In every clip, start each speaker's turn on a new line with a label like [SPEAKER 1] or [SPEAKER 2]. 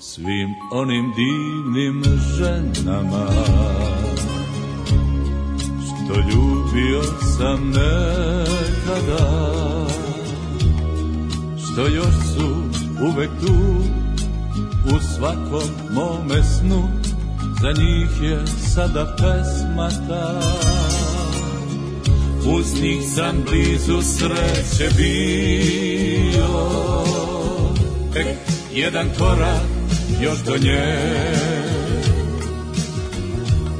[SPEAKER 1] svim onim divnim ženama što ljubio sam nekada što još su uvek tu u svakom mome snu za njih je sada pesma ta uz njih sam blizu sreće bio tek jedan korak još do nje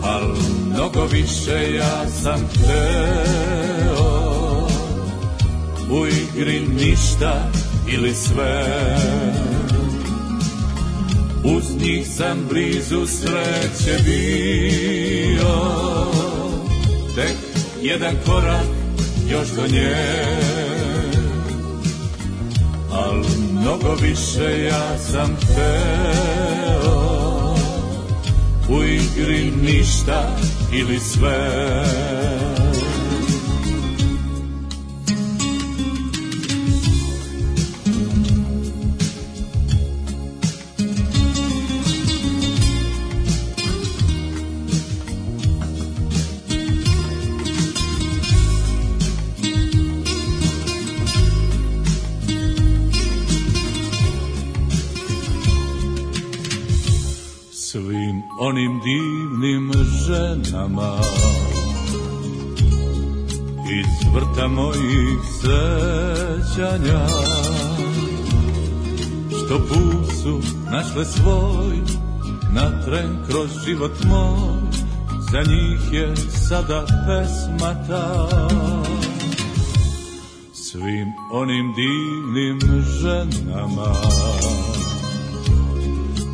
[SPEAKER 1] al mnogo više ja sam hteo u igri ništa ili sve uz njih sam blizu sreće bio Tek jedan korak još do nje Al mnogo više ja sam teo U igri ništa ili sve svim onim divnim ženama iz vrta mojih sećanja što put su našle svoj na tren kroz život moj za njih je sada pesma ta svim onim divnim ženama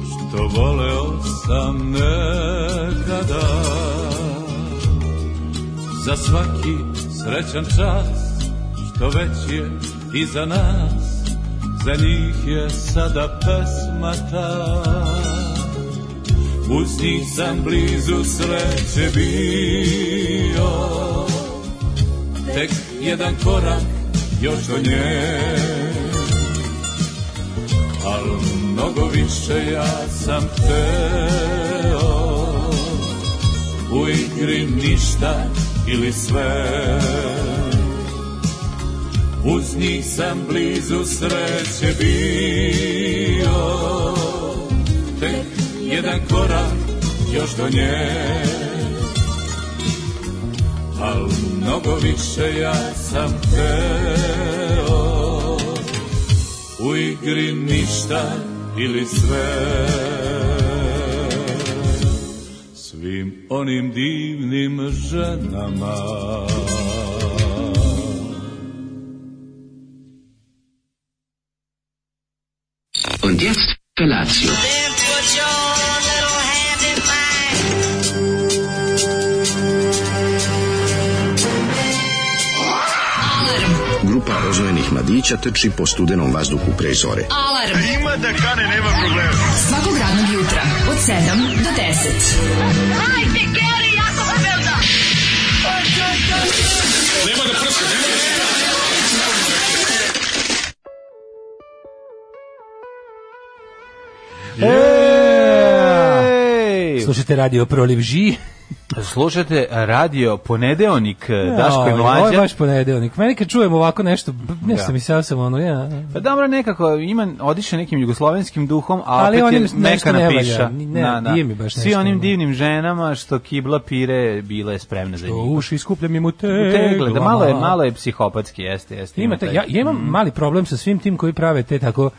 [SPEAKER 1] što voleo sam nekada Za svaki srećan čas što već je iza nas Za njih je sada pesma ta Uz njih sam blizu sreće bio Tek jedan korak još do nje Al mnogo više ja sam teo U igri ništa ili sve Uz njih sam blizu sreće bio Tek jedan korak još do nje Al mnogo više ja sam teo U igri ništa ili sve Svim onim divnim ženama
[SPEAKER 2] Und jetzt Felatio.
[SPEAKER 3] Then put your little hand in mine.
[SPEAKER 4] Grupa rozvojenih mladića teči po studenom vazduhu pre zore.
[SPEAKER 5] Alarm. Ima da kane, nema problema. Svakog radnog jutra, od 7 do 10.
[SPEAKER 3] Hajde, Geri, Jakobelda!
[SPEAKER 6] Ej!
[SPEAKER 7] Slušajte radio Proliv Ži.
[SPEAKER 6] Slušajte radio ponedeonik Da, Daško i
[SPEAKER 7] Joj, Ovo Ovaj, je
[SPEAKER 6] Mlađa.
[SPEAKER 7] baš ponedeljnik. Meni kad čujem ovako nešto, b- nešto
[SPEAKER 6] Da.
[SPEAKER 7] mi se sam ono, ja...
[SPEAKER 6] Pa dobro, nekako ima odiše nekim jugoslovenskim duhom, a
[SPEAKER 7] Ali
[SPEAKER 6] opet
[SPEAKER 7] onim
[SPEAKER 6] je
[SPEAKER 7] nešto
[SPEAKER 6] mekana
[SPEAKER 7] ne valja,
[SPEAKER 6] piša.
[SPEAKER 7] ni- ne, nije mi baš
[SPEAKER 6] Svi
[SPEAKER 7] nešto,
[SPEAKER 6] onim
[SPEAKER 7] ono.
[SPEAKER 6] divnim ženama što kibla pire bile spremne za njih.
[SPEAKER 7] U uši skuplja mi mu
[SPEAKER 6] U tegle, da
[SPEAKER 7] teglama.
[SPEAKER 6] malo je, malo je psihopatski, jeste, jeste.
[SPEAKER 7] Ima
[SPEAKER 6] taj- Mm.
[SPEAKER 7] taj, ja, ja imam mali problem sa svim tim koji prave te tako...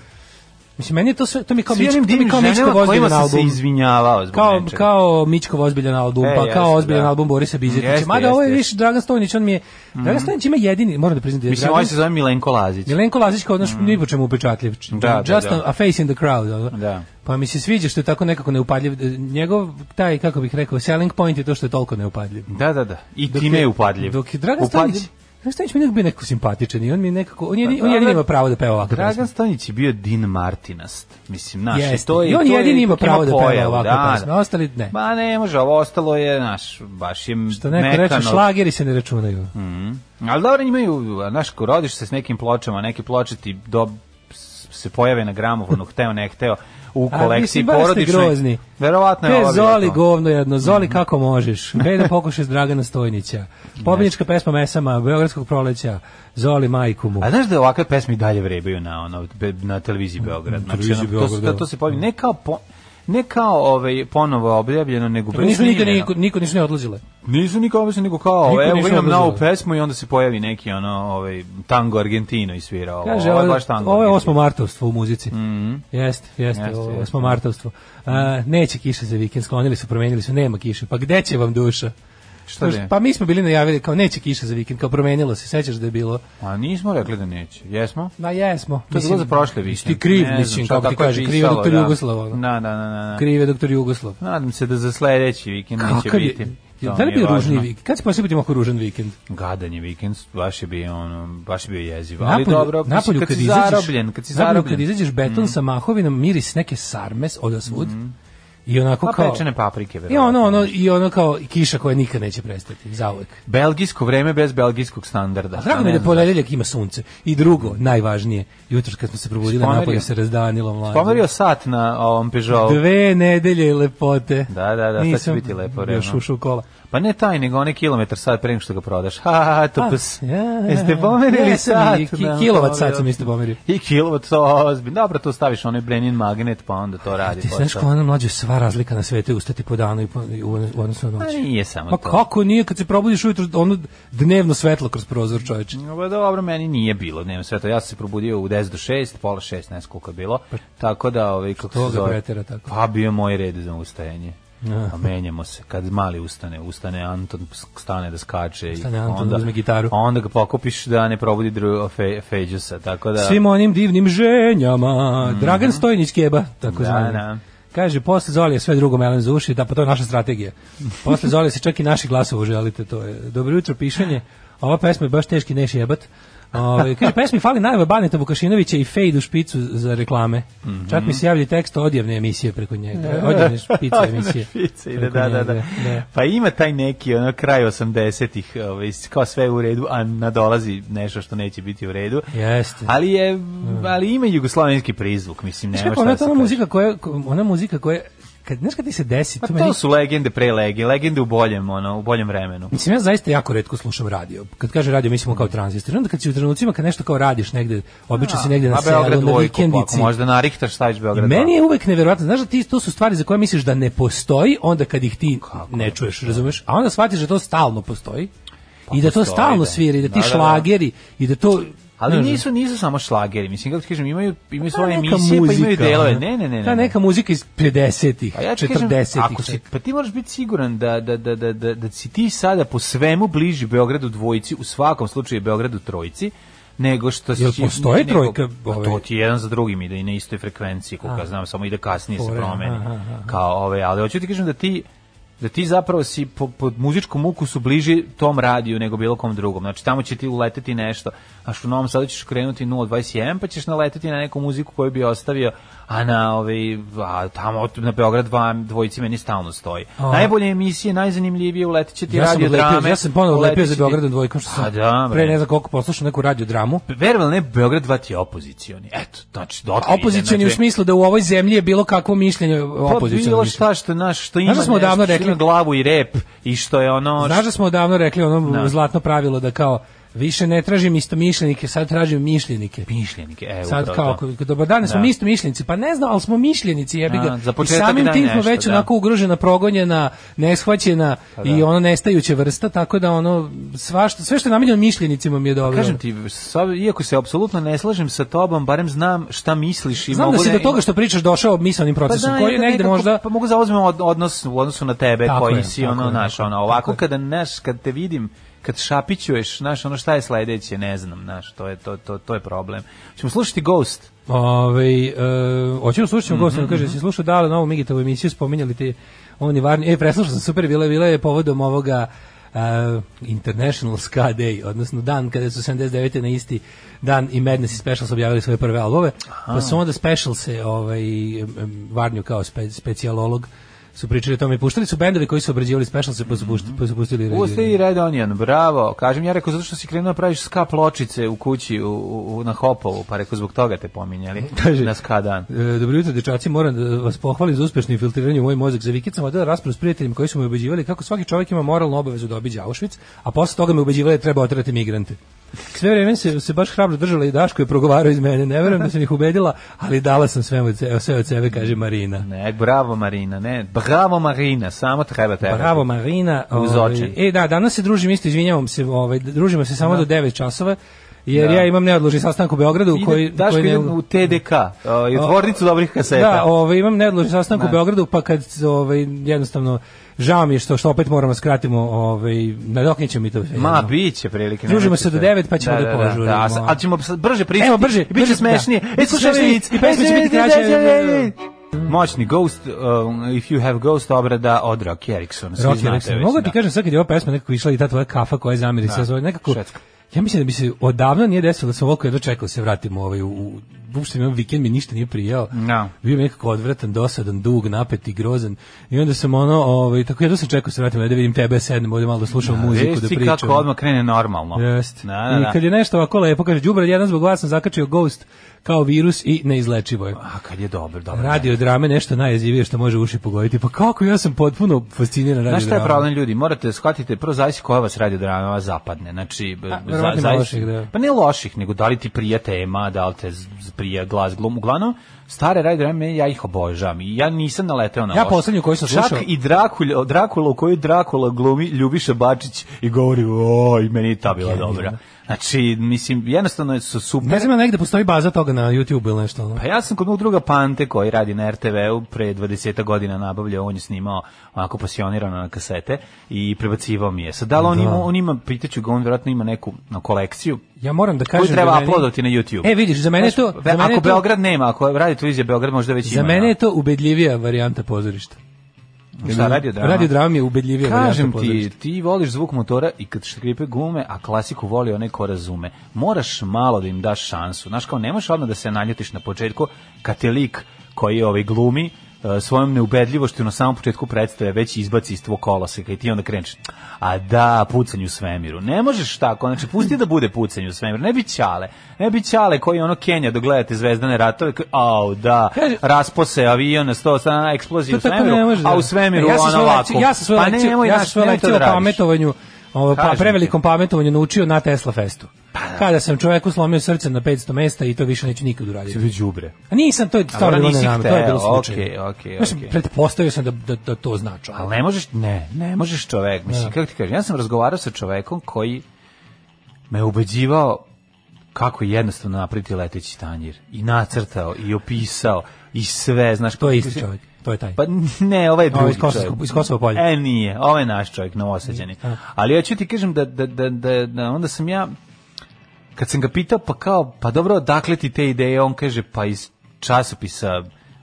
[SPEAKER 7] Mislim, meni je to sve, to mi je kao,
[SPEAKER 6] Svi
[SPEAKER 7] Mičko-
[SPEAKER 6] onim
[SPEAKER 7] to mi je
[SPEAKER 6] divnim
[SPEAKER 7] kao Mičko
[SPEAKER 6] ženama kojima
[SPEAKER 7] Vozbiljan
[SPEAKER 6] sam se
[SPEAKER 7] album.
[SPEAKER 6] izvinjavao zbog
[SPEAKER 7] Kao,
[SPEAKER 6] nečega.
[SPEAKER 7] kao Mičkov ozbiljan album,
[SPEAKER 6] E,
[SPEAKER 7] pa kao
[SPEAKER 6] jeste,
[SPEAKER 7] ozbiljan
[SPEAKER 6] da.
[SPEAKER 7] album Borisa Bizetića.
[SPEAKER 6] Jeste,
[SPEAKER 7] Mada ovo je
[SPEAKER 6] jeste, Mhm.
[SPEAKER 7] više Dragan Stojnić, on mi je... Dragan Stojnić ima jedini, moram da priznati. da je
[SPEAKER 6] Mislim,
[SPEAKER 7] Dragan-
[SPEAKER 6] ovaj se zove Milenko Lazić.
[SPEAKER 7] Milenko Lazić kao naš ni po čemu upečatljiv.
[SPEAKER 6] Mm. Da, da,
[SPEAKER 7] Just
[SPEAKER 6] da.
[SPEAKER 7] A, a face in the crowd. ono.
[SPEAKER 6] Da.
[SPEAKER 7] Pa mi se sviđa što je tako nekako neupadljiv. E, Njegov taj, kako bih rekao, selling point je to što je toliko neupadljiv.
[SPEAKER 6] Da, da, da. I time je upadljiv.
[SPEAKER 7] Dok je Dragan
[SPEAKER 6] Upadljiv.
[SPEAKER 7] Stanić, Dragan Stanić mi je nekako bio nekako simpatičan i on mi je nekako, on, jedini, on
[SPEAKER 6] dobro.
[SPEAKER 7] jedini ima pravo da peva ovako.
[SPEAKER 6] Dragan Stanić je bio Din Martinast, mislim, naš.
[SPEAKER 7] Jeste.
[SPEAKER 6] To je,
[SPEAKER 7] I on
[SPEAKER 6] to je-
[SPEAKER 7] jedini ima pravo da peva
[SPEAKER 6] pojavu,
[SPEAKER 7] ovakve pesme, a ostali ne.
[SPEAKER 6] Ma ne može, ovo ostalo je, naš, baš je
[SPEAKER 7] Što neko
[SPEAKER 6] mekano.
[SPEAKER 7] reče, šlageri se ne računaju.
[SPEAKER 6] Ali dobro, imaju, naš, rodiš se s nekim pločama, neke ploče ti do, s- se pojave na gramofonu, hteo ne hteo, u
[SPEAKER 7] A,
[SPEAKER 6] kolekciji
[SPEAKER 7] mislim, baš ste
[SPEAKER 6] porodičnoj.
[SPEAKER 7] grozni.
[SPEAKER 6] Verovatno je
[SPEAKER 7] Te
[SPEAKER 6] ovo bilo
[SPEAKER 7] Zoli
[SPEAKER 6] to. Mhm.
[SPEAKER 7] govno jedno, Zoli kako možeš. Beda pokušaj Dragana Stojnića. Pobjednička pesma Mesama, Beogradskog proleća, Zoli majku mu.
[SPEAKER 6] A znaš da ovakve pesme i dalje vrebaju na ono be- na televiziji Beograd. Znači,
[SPEAKER 7] televiziji
[SPEAKER 6] ono, to, se-
[SPEAKER 7] Beograd, da.
[SPEAKER 6] to se pojavi ne kao po, ne kao ovaj ponovo objavljeno nego
[SPEAKER 7] Tako Pa nisu nikad
[SPEAKER 6] presnimljeno.
[SPEAKER 7] niko, niko nisu ne odlazile.
[SPEAKER 6] Nisu niko obično nego kao,
[SPEAKER 7] Niko
[SPEAKER 6] evo
[SPEAKER 7] ništa
[SPEAKER 6] imam
[SPEAKER 7] obrazovao.
[SPEAKER 6] novu pesmu i onda se pojavi neki ono, ovaj, tango Argentino i svira ovo.
[SPEAKER 7] Kaže,
[SPEAKER 6] ovo je
[SPEAKER 7] ovo,
[SPEAKER 6] baš tango.
[SPEAKER 7] ovo je
[SPEAKER 6] Argentino.
[SPEAKER 7] osmo martovstvo u muzici. Jeste, jeste,
[SPEAKER 6] Jeste,
[SPEAKER 7] ovo je
[SPEAKER 6] jeste.
[SPEAKER 7] osmo martovstvo. A, neće kiše za vikend, sklonili su, promenili su, nema kiše. Pa gde će vam duša?
[SPEAKER 6] Šta da je?
[SPEAKER 7] Pa mi smo bili najavili kao neće kiše za vikend, kao promenilo se, sećaš da je bilo.
[SPEAKER 6] A nismo rekli da neće, jesmo?
[SPEAKER 7] Ma jesmo.
[SPEAKER 6] To je bilo za prošle vikend.
[SPEAKER 7] Ti kriv,
[SPEAKER 6] Ne znam,
[SPEAKER 7] mislim,
[SPEAKER 6] šta
[SPEAKER 7] kako ti
[SPEAKER 6] tako je
[SPEAKER 7] kaže, kriv je
[SPEAKER 6] pisalo,
[SPEAKER 7] doktor
[SPEAKER 6] da.
[SPEAKER 7] Jugoslav. ono.
[SPEAKER 6] Da, da, da, da. da.
[SPEAKER 7] Kriv je doktor Jugoslav.
[SPEAKER 6] Nadam se da za sledeći vikend neće
[SPEAKER 7] Kakav je,
[SPEAKER 6] biti.
[SPEAKER 7] Jel
[SPEAKER 6] To
[SPEAKER 7] da li
[SPEAKER 6] mi je
[SPEAKER 7] bio
[SPEAKER 6] važno.
[SPEAKER 7] ružni vikend? Kad se poslije budemo oko ružan vikend?
[SPEAKER 6] Gadan je vikend, baš je bio, ono, baš je bio jeziv. Ali
[SPEAKER 7] Napolju-
[SPEAKER 6] dobro, mislim,
[SPEAKER 7] napolju
[SPEAKER 6] kad,
[SPEAKER 7] kad
[SPEAKER 6] si
[SPEAKER 7] izađeš-
[SPEAKER 6] zarobljen, kad si
[SPEAKER 7] napolju
[SPEAKER 6] zarobljen. Mhm.
[SPEAKER 7] Kad izađeš beton sa mahovinom, miris neke sarmes od svud. I onako
[SPEAKER 6] Pa
[SPEAKER 7] kao...
[SPEAKER 6] pečene paprike,
[SPEAKER 7] I
[SPEAKER 6] verovatno.
[SPEAKER 7] ono, ono, i ono kao i kiša koja nikad neće prestati, zauvek.
[SPEAKER 6] Belgijsko vreme bez belgijskog standarda.
[SPEAKER 7] A drago
[SPEAKER 6] Pa
[SPEAKER 7] mi je
[SPEAKER 6] ne
[SPEAKER 7] da
[SPEAKER 6] znam.
[SPEAKER 7] ponedeljak ima sunce. I drugo, najvažnije, jutro kad smo se probudili,
[SPEAKER 6] Spomerio.
[SPEAKER 7] napolje se razdanilo mlađe.
[SPEAKER 6] Pomerio sat na ovom Peugeotu.
[SPEAKER 7] Dve nedelje lepote.
[SPEAKER 6] Da, da, da, sad će
[SPEAKER 7] Nisam
[SPEAKER 6] biti lepo
[SPEAKER 7] Još
[SPEAKER 6] vreme.
[SPEAKER 7] ušao u kola.
[SPEAKER 6] Pa ne taj, nego onaj kilometar sat pre nego što ga prodaš. Ha, ha, ha, to pus.
[SPEAKER 7] Pa, Ja, ja,
[SPEAKER 6] Jeste pomerili
[SPEAKER 7] ja
[SPEAKER 6] sat?
[SPEAKER 7] sam i ki-
[SPEAKER 6] Da,
[SPEAKER 7] kilovat
[SPEAKER 6] to
[SPEAKER 7] sat
[SPEAKER 6] je
[SPEAKER 7] sam isto pomerio.
[SPEAKER 6] I kilovat, to ozbiljno. Dobro, to staviš onaj Brenin magnet, pa onda to radi.
[SPEAKER 7] Ti znaš
[SPEAKER 6] posao.
[SPEAKER 7] kao ona mlađa sva razlika na svetu je ustati po danu i po, i u, u odnosu na
[SPEAKER 6] Pa
[SPEAKER 7] noć.
[SPEAKER 6] nije samo
[SPEAKER 7] Pa
[SPEAKER 6] to.
[SPEAKER 7] kako nije kad se probudiš ujutro ono dnevno svetlo kroz prozor čoveče.
[SPEAKER 6] No, Pa dobro, meni nije bilo, nema sve to. Ja sam se probudio u 10 do 6, pola 6, ne znam koliko je bilo. Tako da, ovaj, kako
[SPEAKER 7] što
[SPEAKER 6] se
[SPEAKER 7] Pa, ga
[SPEAKER 6] zove?
[SPEAKER 7] pretera tako?
[SPEAKER 6] Pa bio je moj red za ustajanje. A menjamo se. Kad mali ustane, ustane Anton, stane da skače. i
[SPEAKER 7] Stane Anton, uzme gitaru.
[SPEAKER 6] a Onda ga pokupiš da ne probudi dru, fe, Feđusa. Tako da... Mhm.
[SPEAKER 7] Svim onim divnim ženjama. Dragan Stojnić keba, tako
[SPEAKER 6] Da,
[SPEAKER 7] zvani.
[SPEAKER 6] da.
[SPEAKER 7] Kaže, posle Zolije sve drugo melen za uši, da pa to je naša strategija. Posle Zolije se čak i naši glasovo želite, to je. Dobro jutro, pišanje. Ova pesma je baš teški neš jebat. Ove, kaže, pesmi fali najva Baneta Vukašinovića i Fejdu Špicu za reklame.
[SPEAKER 6] Mhm.
[SPEAKER 7] Čak mi se javlja tekst odjevne emisije preko njega. Odjevne špice emisije.
[SPEAKER 6] Da. Špice ide,
[SPEAKER 7] preko
[SPEAKER 6] da, da, da,
[SPEAKER 7] njega, da.
[SPEAKER 6] Pa ima taj neki ono kraj 80-ih, ovaj kao sve je u redu, a nadolazi nešto što neće biti u redu.
[SPEAKER 7] Da. Jeste.
[SPEAKER 6] Ali je ali ima jugoslavenski prizvuk, mislim,
[SPEAKER 7] Znaš
[SPEAKER 6] nema
[SPEAKER 7] kako,
[SPEAKER 6] šta
[SPEAKER 7] Da. ona,
[SPEAKER 6] da se
[SPEAKER 7] to ona
[SPEAKER 6] kaže.
[SPEAKER 7] muzika koja, ona muzika koja, kad, znaš kad ti se desi,
[SPEAKER 6] Pa
[SPEAKER 7] to meni
[SPEAKER 6] to su legende pre lege, legende u boljem, ono, u boljem vremenu.
[SPEAKER 7] Mislim, ja zaista jako redko slušam radio. Kad kaže radio, mislimo kao tranzistor. Onda kad si u trenucima, kad nešto kao radiš negde, obično si negde na
[SPEAKER 6] Da. A
[SPEAKER 7] selu,
[SPEAKER 6] Beograd
[SPEAKER 7] na
[SPEAKER 6] dvojku, pa
[SPEAKER 7] vikendici.
[SPEAKER 6] ako možda narihtaš, staviš Beograd
[SPEAKER 7] Meni
[SPEAKER 6] dva.
[SPEAKER 7] je uvek neverovatno, znaš da ti to su stvari za koje misliš da ne postoji, onda kad ih ti ne čuješ, razumeš? A onda shvatiš da to stalno postoji. I da to
[SPEAKER 6] postoji,
[SPEAKER 7] stalno
[SPEAKER 6] da.
[SPEAKER 7] svira, i da ti
[SPEAKER 6] Da, da, da.
[SPEAKER 7] šlageri, i da to...
[SPEAKER 6] Ali
[SPEAKER 7] znaš,
[SPEAKER 6] nisu nisu samo šlageri, mislim kako ti kažem, imaju imaju
[SPEAKER 7] ta
[SPEAKER 6] svoje
[SPEAKER 7] neka
[SPEAKER 6] emisije, pa imaju
[SPEAKER 7] muzika,
[SPEAKER 6] delove.
[SPEAKER 7] ono.
[SPEAKER 6] Ne, ne, ne, ne.
[SPEAKER 7] Ta
[SPEAKER 6] ne.
[SPEAKER 7] neka muzika iz 50-ih,
[SPEAKER 6] A Pa ja ti kažem,
[SPEAKER 7] 40-ih.
[SPEAKER 6] ako si,
[SPEAKER 7] čak.
[SPEAKER 6] pa ti moraš biti siguran da, da, da, da, da, da si ti sada po svemu bliži Beogradu dvojici, u svakom slučaju Beogradu trojici, nego što si...
[SPEAKER 7] Jel postoji
[SPEAKER 6] nego-
[SPEAKER 7] trojka,
[SPEAKER 6] Pa
[SPEAKER 7] ovaj?
[SPEAKER 6] to ti jedan za drugim ide i na istoj frekvenciji, koliko ja znam, samo ide kasnije se
[SPEAKER 7] Fore,
[SPEAKER 6] promeni.
[SPEAKER 7] aha, aha.
[SPEAKER 6] Kao ove, ali hoću ti kažem da ti da ti zapravo si po, po muzičkom ukusu bliži tom radiju nego bilo kom drugom. Znači tamo će ti uleteti nešto, a što u Novom Sadu ćeš krenuti 0.21 pa ćeš naleteti na neku muziku koju bi ostavio, a na ovaj, a tamo od- na Beograd dva dvojici meni stalno stoji.
[SPEAKER 7] A.
[SPEAKER 6] Najbolje emisije, najzanimljivije uletit će ti
[SPEAKER 7] ja sam
[SPEAKER 6] radio
[SPEAKER 7] odlepio-
[SPEAKER 6] drame.
[SPEAKER 7] ja sam ponovo
[SPEAKER 6] uletit
[SPEAKER 7] lepio
[SPEAKER 6] će
[SPEAKER 7] za
[SPEAKER 6] ti-
[SPEAKER 7] Beogradom dvojkom, što sam
[SPEAKER 6] A da, bre.
[SPEAKER 7] pre ne znam koliko poslušao neku radio dramu.
[SPEAKER 6] Verovali ne, Beograd 2 ti je opozicioni. Eto, znači, dotle ide,
[SPEAKER 7] Pa opozicioni u
[SPEAKER 6] znači-
[SPEAKER 7] smislu da u ovoj zemlji je bilo kakvo mišljenje opozicioni.
[SPEAKER 6] Pa bilo šta što naš što ima
[SPEAKER 7] Znaš da smo
[SPEAKER 6] nešto,
[SPEAKER 7] odavno
[SPEAKER 6] što
[SPEAKER 7] rekli-
[SPEAKER 6] ima glavu i rep i što je ono
[SPEAKER 7] Znaš da smo odavno rekli ono
[SPEAKER 6] Da.
[SPEAKER 7] zlatno pravilo da kao više ne tražim istomišljenike, sad tražim mišljenike.
[SPEAKER 6] mišljenike e
[SPEAKER 7] Sad
[SPEAKER 6] upravo
[SPEAKER 7] kao,
[SPEAKER 6] to.
[SPEAKER 7] k- dobar dan, smo
[SPEAKER 6] Da.
[SPEAKER 7] mi isto mišljenici, pa ne znam, ali smo mišljenici, jebi ga.
[SPEAKER 6] Da, za
[SPEAKER 7] I
[SPEAKER 6] početak
[SPEAKER 7] samim
[SPEAKER 6] daj
[SPEAKER 7] tim smo
[SPEAKER 6] nešto,
[SPEAKER 7] već
[SPEAKER 6] da. Pa
[SPEAKER 7] onako ugrožena, progonjena, neshvaćena i ono nestajuća vrsta, tako da ono, svašta, sve što je namenjeno mišljenicima mi je dobro.
[SPEAKER 6] Kažem ti, sa, iako se apsolutno ne slažem sa tobom, barem znam šta misliš i
[SPEAKER 7] Znam
[SPEAKER 6] mogu
[SPEAKER 7] da si do toga što pričaš došao misaonim
[SPEAKER 6] Pa
[SPEAKER 7] procesom,
[SPEAKER 6] da,
[SPEAKER 7] koji je
[SPEAKER 6] ja
[SPEAKER 7] negde
[SPEAKER 6] nekako-
[SPEAKER 7] možda...
[SPEAKER 6] pa mogu zauzmem od, odnos u odnosu na tebe
[SPEAKER 7] Tako
[SPEAKER 6] koji
[SPEAKER 7] je,
[SPEAKER 6] si
[SPEAKER 7] tako
[SPEAKER 6] ono
[SPEAKER 7] je,
[SPEAKER 6] naš
[SPEAKER 7] tako
[SPEAKER 6] ono
[SPEAKER 7] je.
[SPEAKER 6] ovako
[SPEAKER 7] Tako je.
[SPEAKER 6] kada naš kad te vidim kad šapićuješ naš ono šta je sledeće ne znam naš to je to to to je problem. Ćemo slušati Ghost.
[SPEAKER 7] Ove, e, hoćemo slušati mm -hmm. kaže, si slušao dale novu Migitovu emisiju, spominjali ti oni varni, e, preslušao sam, super, bila, bila je povodom ovoga e, International Ska Day, odnosno dan kada su 79. na isti dan i Madness i Specials objavili svoje prve albume, pa su onda Specials se ovaj, em, em, varnju kao spe, specijalolog su pričali o tome. Puštali su bendovi koji su obrađivali specialce, pa su, pušt, pa su pustili Red
[SPEAKER 6] Pusti i
[SPEAKER 7] Union.
[SPEAKER 6] Red Onion, bravo. Kažem, ja rekao, zato što si krenuo da praviš ska pločice u kući u, u, na Hopovu, pa rekao, zbog toga te pominjali
[SPEAKER 7] Kaže-
[SPEAKER 6] na ska dan.
[SPEAKER 7] E, dobro jutro, dečaci, moram da vas pohvalim za uspešno infiltriranje u moj mozak. Za vikend sam odela raspravu s prijateljima koji su me ubeđivali kako svaki čovjek ima moralnu obavezu da obiđe Auschwitz, a posle toga me ubeđivali da treba otrati migrante. Sve vreme se, se baš hrabro držala i Daško je progovarao iz mene. Ne verujem da sam ih ubedila, ali dala sam sve od, se- sve od sebe, kaže Marina.
[SPEAKER 6] Ne, bravo Marina, ne, bravo Marina, samo treba tebe.
[SPEAKER 7] Bravo Marina.
[SPEAKER 6] Uz
[SPEAKER 7] ovaj,
[SPEAKER 6] očin.
[SPEAKER 7] E da, danas se družimo isto, izvinjavam se, ovaj družimo se
[SPEAKER 6] Da.
[SPEAKER 7] samo do 9 časova. Jer ja imam neodložni sastanak u Beogradu
[SPEAKER 6] Ide,
[SPEAKER 7] koji
[SPEAKER 6] Daško
[SPEAKER 7] koji ne-
[SPEAKER 6] ide u TDK, i u tvornicu dobrih kaseta. Da.
[SPEAKER 7] Da, ovaj imam neodložni sastanak u Beogradu pa kad ovaj jednostavno žao mi je što što opet moramo da skratimo ovaj nadoknićemo mi to sve.
[SPEAKER 6] Ma, bit će prilike.
[SPEAKER 7] Družimo
[SPEAKER 6] nemojte
[SPEAKER 7] se do devet, pa ćemo da
[SPEAKER 6] Da,
[SPEAKER 7] požurimo.
[SPEAKER 6] da, a ćemo sad brže pričati.
[SPEAKER 7] Evo, brže,
[SPEAKER 6] i Bit će
[SPEAKER 7] brže,
[SPEAKER 6] smešnije.
[SPEAKER 7] da.
[SPEAKER 6] E,
[SPEAKER 7] Bit će
[SPEAKER 6] slušaj,
[SPEAKER 7] smešnije
[SPEAKER 6] vic.
[SPEAKER 7] i pesma će biti kraća.
[SPEAKER 6] Moćni Ghost, um, If You Have Ghost, obrada od Rocky Ericksona. Svi
[SPEAKER 7] Rocky
[SPEAKER 6] znate
[SPEAKER 7] Erickson.
[SPEAKER 6] već,
[SPEAKER 7] Mogu ti
[SPEAKER 6] da.
[SPEAKER 7] kažem sad kad je ova pesma nekako išla i ta tvoja kafa koja zamiri se zove nekako
[SPEAKER 6] švedska.
[SPEAKER 7] Ja mislim da bi se odavno nije desilo da sam ovako jedva čekao da se vratim ovaj u, u uopšte mi ovaj vikend mi ništa nije prijao.
[SPEAKER 6] Da.
[SPEAKER 7] Bio mi nekako odvratan, dosadan, dug, napet i grozan. I onda sam ono, ovaj, tako jedva sam čekao da se vratim, ajde da vidim tebe, sednem ovdje malo da slušam muziku,
[SPEAKER 6] Vidiš
[SPEAKER 7] da
[SPEAKER 6] ti
[SPEAKER 7] pričam.
[SPEAKER 6] kako odmah krene normalno.
[SPEAKER 7] Jeste.
[SPEAKER 6] Da, da, da.
[SPEAKER 7] I kad je nešto ovako lepo, kaže, Đubrad, jedan zbog vas sam zakačio Ghost kao virus i neizlečivo je.
[SPEAKER 6] A kad je dobro, dobro.
[SPEAKER 7] Radio drame nešto najjezivije što može uši pogoditi. Pa kako, ja sam potpuno fasciniran radio
[SPEAKER 6] Znaš šta je
[SPEAKER 7] dramom.
[SPEAKER 6] problem ljudi? Morate da shvatite, prvo zavisi koja vas radio drama ova zapadne. Znači, b-
[SPEAKER 7] A, verovatno ima loših, da.
[SPEAKER 6] Pa ne loših, nego da li ti prija tema, da li te z- z- prija glas glum. Uglavnom, stare radio drame, ja ih obožavam. I ja nisam naleteo na
[SPEAKER 7] Ja
[SPEAKER 6] loše.
[SPEAKER 7] poslednju koju sam slušao-
[SPEAKER 6] Čak i Drakula, Drakula u kojoj Drakula glumi Ljubiša Bačić i govori, oj, meni je ta bila
[SPEAKER 7] Genijalno.
[SPEAKER 6] dobra. Znači, mislim, jednostavno su super.
[SPEAKER 7] da. Ne znam, ja negde postoji baza toga na YouTube ili nešto. ono.
[SPEAKER 6] Pa ja sam kod mog druga Pante koji radi na RTV-u pre 20 godina nabavljao, on je snimao onako pasionirano na kasete i prebacivao mi je. Sad, da li on,
[SPEAKER 7] Da.
[SPEAKER 6] ima, on ima, pitaću ga, on vjerojatno ima neku no, kolekciju
[SPEAKER 7] Ja moram da
[SPEAKER 6] koju
[SPEAKER 7] kažem
[SPEAKER 6] treba
[SPEAKER 7] da meni-
[SPEAKER 6] uploadati na YouTube.
[SPEAKER 7] E, vidiš, za mene je to...
[SPEAKER 6] Znaš,
[SPEAKER 7] Za mene
[SPEAKER 6] ako
[SPEAKER 7] je to,
[SPEAKER 6] Beograd nema, ako radi televizija Beograd možda već ima.
[SPEAKER 7] za mene
[SPEAKER 6] da.
[SPEAKER 7] je to ubedljivija varijanta pozorišta.
[SPEAKER 6] Šta, radio da drama?
[SPEAKER 7] Radio drama mi je ubedljivija
[SPEAKER 6] Kažem
[SPEAKER 7] varijanta
[SPEAKER 6] ti,
[SPEAKER 7] pozorišta.
[SPEAKER 6] ti voliš zvuk motora i kad škripe gume, a klasiku voli onaj ko razume. Moraš malo da im daš šansu. Znaš, kao nemoš odmah da se naljutiš na početku kad te lik koji je ovaj glumi e, svojom neubedljivošću na samom početku predstave već izbaci iz tvog koloseka i ti onda kreneš a da, pucanj u svemiru ne možeš tako, znači pusti da bude pucanj u svemiru ne bi ćale, ne bi ćale koji ono Kenja dok gledate zvezdane ratove koji, au da, raspose avion na 100 strana, eksplozija
[SPEAKER 7] To
[SPEAKER 6] u
[SPEAKER 7] tako
[SPEAKER 6] svemiru
[SPEAKER 7] ne može, da.
[SPEAKER 6] a u svemiru
[SPEAKER 7] E, ja sam
[SPEAKER 6] ona
[SPEAKER 7] svoju
[SPEAKER 6] ovako
[SPEAKER 7] lekciju- Ja sam svoju
[SPEAKER 6] Pa
[SPEAKER 7] lekciju,
[SPEAKER 6] nemoj,
[SPEAKER 7] ja sam
[SPEAKER 6] znaš,
[SPEAKER 7] svoju
[SPEAKER 6] nemoj to
[SPEAKER 7] lekciju
[SPEAKER 6] da
[SPEAKER 7] o
[SPEAKER 6] radiš.
[SPEAKER 7] pametovanju ovo, pa
[SPEAKER 6] Kažem ti. Pa da.
[SPEAKER 7] prevelikom pametovanju naučio na Tesla festu. Kada sam čoveku slomio srce na 500 mesta i to više neću nikad uraditi.
[SPEAKER 6] Ti đubre.
[SPEAKER 7] A nisam, to je stvarno
[SPEAKER 6] dobro,
[SPEAKER 7] bilo
[SPEAKER 6] nisi
[SPEAKER 7] nenamjerno, to je bilo
[SPEAKER 6] hteo,
[SPEAKER 7] slučajno.
[SPEAKER 6] okej, okej,
[SPEAKER 7] Znaš,
[SPEAKER 6] okej.
[SPEAKER 7] pretpostavio sam da, da, da to zna čovjek.
[SPEAKER 6] Ali ne možeš, ne, ne možeš čovek.
[SPEAKER 7] Da.
[SPEAKER 6] Mislim, kako ti kažem, ja sam razgovarao sa čovekom koji me ubeđivao kako jednostavno napraviti leteći tanjir. I nacrtao, i opisao, i sve, znaš.
[SPEAKER 7] To je isti čovjek, to je taj.
[SPEAKER 6] Pa ne, ovaj je drugi
[SPEAKER 7] Ovaj iz Kosovskog-
[SPEAKER 6] čovjek.
[SPEAKER 7] iz Kosova polja.
[SPEAKER 6] E, nije, ovaj je naš čovjek, novosađeni. Ali ja ću ti kažem da, da, da, da, da onda sam ja, kad sam ga pitao, pa kao, pa dobro, odakle ti te ideje, on kaže, pa iz časopisa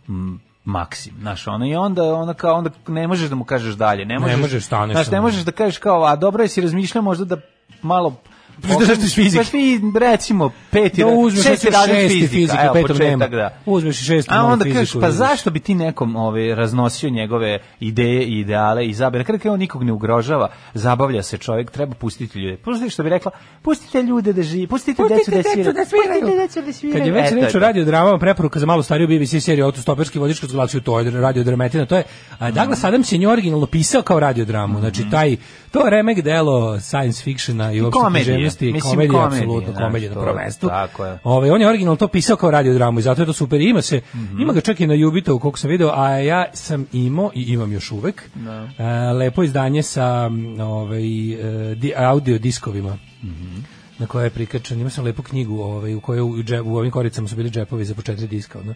[SPEAKER 6] m, Maksim, znaš, ono, i onda, onda, kao, onda ne možeš da mu kažeš dalje, ne možeš,
[SPEAKER 7] možeš, staneš
[SPEAKER 6] znaš, ne
[SPEAKER 7] samo.
[SPEAKER 6] možeš da kažeš kao, a dobro, jesi razmišljao možda da malo
[SPEAKER 7] Zadržiš fizike.
[SPEAKER 6] Pa ti, recimo, peti,
[SPEAKER 7] da uzmeš
[SPEAKER 6] šesti
[SPEAKER 7] šesti,
[SPEAKER 6] razred
[SPEAKER 7] šesti
[SPEAKER 6] fizika,
[SPEAKER 7] fizika,
[SPEAKER 6] evo,
[SPEAKER 7] petom
[SPEAKER 6] početak,
[SPEAKER 7] nema.
[SPEAKER 6] da.
[SPEAKER 7] Uzmeš i šesti
[SPEAKER 6] A
[SPEAKER 7] malo
[SPEAKER 6] onda
[SPEAKER 7] fiziku, da
[SPEAKER 6] kažeš, pa
[SPEAKER 7] uzmeš.
[SPEAKER 6] zašto bi ti nekom ove, raznosio njegove ideje i ideale i zabe? Na kraju krajeva on nikog ne ugrožava, zabavlja se čovjek, treba pustiti ljude. Pustite što bi rekla, pustite ljude da žive, pustite,
[SPEAKER 7] Pustite
[SPEAKER 6] decu da
[SPEAKER 7] decu
[SPEAKER 6] sviraju.
[SPEAKER 7] da sviraju.
[SPEAKER 6] Pustite decu da sviraju.
[SPEAKER 7] Kad je već
[SPEAKER 6] E, to
[SPEAKER 7] reč o
[SPEAKER 6] to.
[SPEAKER 7] radio dramama, preporuka za malo stariju BBC seriju autostoperski vodič kroz glavcu, to je radio dramatina, to je a, Douglas Adams je nju originalno pisao kao radio dramu, znači taj, to je remek delo science fictiona i uopšte
[SPEAKER 6] komedije,
[SPEAKER 7] književnosti, i
[SPEAKER 6] mislim,
[SPEAKER 7] komedije,
[SPEAKER 6] komedije,
[SPEAKER 7] apsolutno,
[SPEAKER 6] znaš,
[SPEAKER 7] komedije na
[SPEAKER 6] to-
[SPEAKER 7] prvom mestu.
[SPEAKER 6] tako je.
[SPEAKER 7] Ovaj, on je originalno to pisao kao radio dramu i zato je to super. I Ima se,
[SPEAKER 6] Mhm.
[SPEAKER 7] ima ga čak i na Jubito, koliko sam video, a ja sam imao i imam još uvek
[SPEAKER 6] Da.
[SPEAKER 7] e, lepo izdanje sa m, ovaj, e, di- audio diskovima
[SPEAKER 6] Mhm.
[SPEAKER 7] na koja je prikačen. Imao sam lepu knjigu ovaj, u kojoj u, džep- u ovim koricama su bili džepovi za po četiri diska. Ono.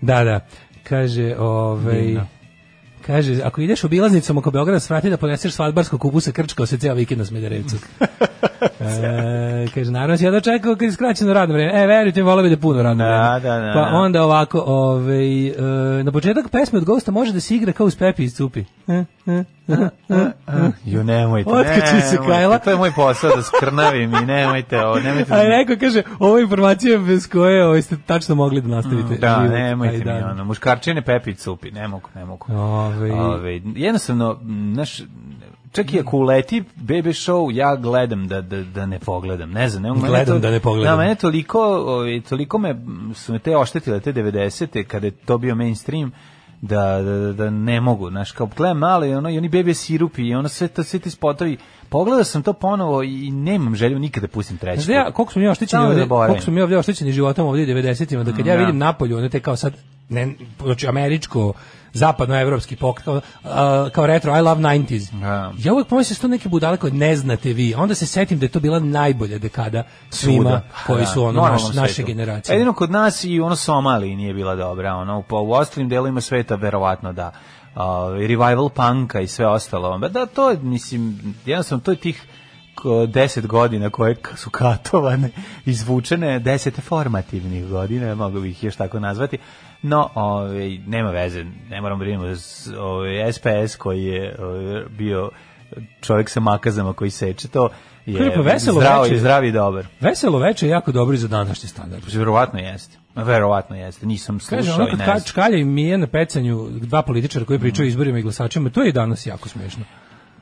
[SPEAKER 7] Da, da. Kaže, ovaj, Kaže, ako ideš obilaznicom oko Beograda, svrati da poneseš svadbarskog kubusa, krčkao se cijel vikend na Smederevcu. E, E, kaže, naravno si ja dočekao kad je skraćeno radno vreme. E, verujte, volao bi da je puno radno
[SPEAKER 6] Da,
[SPEAKER 7] vreme.
[SPEAKER 6] da, da,
[SPEAKER 7] Pa
[SPEAKER 6] da.
[SPEAKER 7] onda ovako, ovaj, e, na početak pesme od Ghosta može da se igra kao uz Pepi iz Cupi. E, e,
[SPEAKER 6] Da. Jo, Ah, nemojte,
[SPEAKER 7] Otkači se
[SPEAKER 6] nemojte,
[SPEAKER 7] Kajla.
[SPEAKER 6] To je moj posao da skrnavim i nemojte ovo, nemojte.
[SPEAKER 7] A
[SPEAKER 6] da mi-
[SPEAKER 7] neko kaže, ovo je informacija bez koje ovaj, ste tačno mogli da nastavite.
[SPEAKER 6] Da,
[SPEAKER 7] život.
[SPEAKER 6] nemojte
[SPEAKER 7] Aj,
[SPEAKER 6] mi
[SPEAKER 7] da.
[SPEAKER 6] ono, muškarčine pepi i cupi, ne mogu, ne mogu.
[SPEAKER 7] Ovaj.
[SPEAKER 6] Ovaj, jednostavno, m, znaš, čak i ako uleti bebe show, ja gledam da, da, da ne pogledam, ne znam. Ne, mogu, mene
[SPEAKER 7] Gledam da ne pogledam.
[SPEAKER 6] Da, mene toliko, ovaj, toliko me m, su me te oštetile, te 90-te, kada je to bio mainstream, da, da, da- da ne mogu, znaš, kao gledam malo i, ono, i oni bebe sirupi i ono sve, to, sve ti spotovi. Pogledao sam to ponovo i nemam želju nikada pustim treći
[SPEAKER 7] Znaš da ja, koliko smo mi oštećeni
[SPEAKER 6] Samo da
[SPEAKER 7] ovdje,
[SPEAKER 6] zaboravim.
[SPEAKER 7] koliko smo mi ovdje oštećeni životom ovdje u 90-ima, da kad ja
[SPEAKER 6] da.
[SPEAKER 7] vidim napolju, ono te kao sad, ne, znači američko, zapadnoevropski pokret, ono, a, kao retro, I love 90s.
[SPEAKER 6] Da.
[SPEAKER 7] Ja uvek pomislim što neke budale koje ne znate vi, a onda se setim da je to bila najbolja dekada svima
[SPEAKER 6] svuda.
[SPEAKER 7] koji
[SPEAKER 6] Da,
[SPEAKER 7] su ono,
[SPEAKER 6] normalno
[SPEAKER 7] naš,
[SPEAKER 6] u
[SPEAKER 7] naše
[SPEAKER 6] svetu. E,
[SPEAKER 7] generacije.
[SPEAKER 6] Jedino kod nas i ono Somali nije bila dobra, ono, pa u ostalim delovima sveta verovatno da. Uh, revival punka i sve ostalo. Ma Da, to je, mislim, jednostavno, to je tih ko- 10 godina koje k- su katovane, izvučene, 10 formativnih godina, mogu bih ih još tako nazvati, no, ovaj, nema veze, ne moramo brinimo, s- ovaj, SPS koji je ovaj, bio čovjek sa makazama koji seče to, je
[SPEAKER 7] Kaže, pa veselo
[SPEAKER 6] zdravo
[SPEAKER 7] veče.
[SPEAKER 6] i zdravi i dobar.
[SPEAKER 7] Veselo veče je jako dobro i za današnji standard.
[SPEAKER 6] Verovatno jeste. Ma, Verovatno jeste. Nisam
[SPEAKER 7] Kaže,
[SPEAKER 6] slušao
[SPEAKER 7] ono
[SPEAKER 6] i
[SPEAKER 7] kad
[SPEAKER 6] ne
[SPEAKER 7] ka-
[SPEAKER 6] znam.
[SPEAKER 7] Čkalja i Mije na pecanju, dva političara koji pričaju o izborima i glasačima, to je i danas jako smiješno.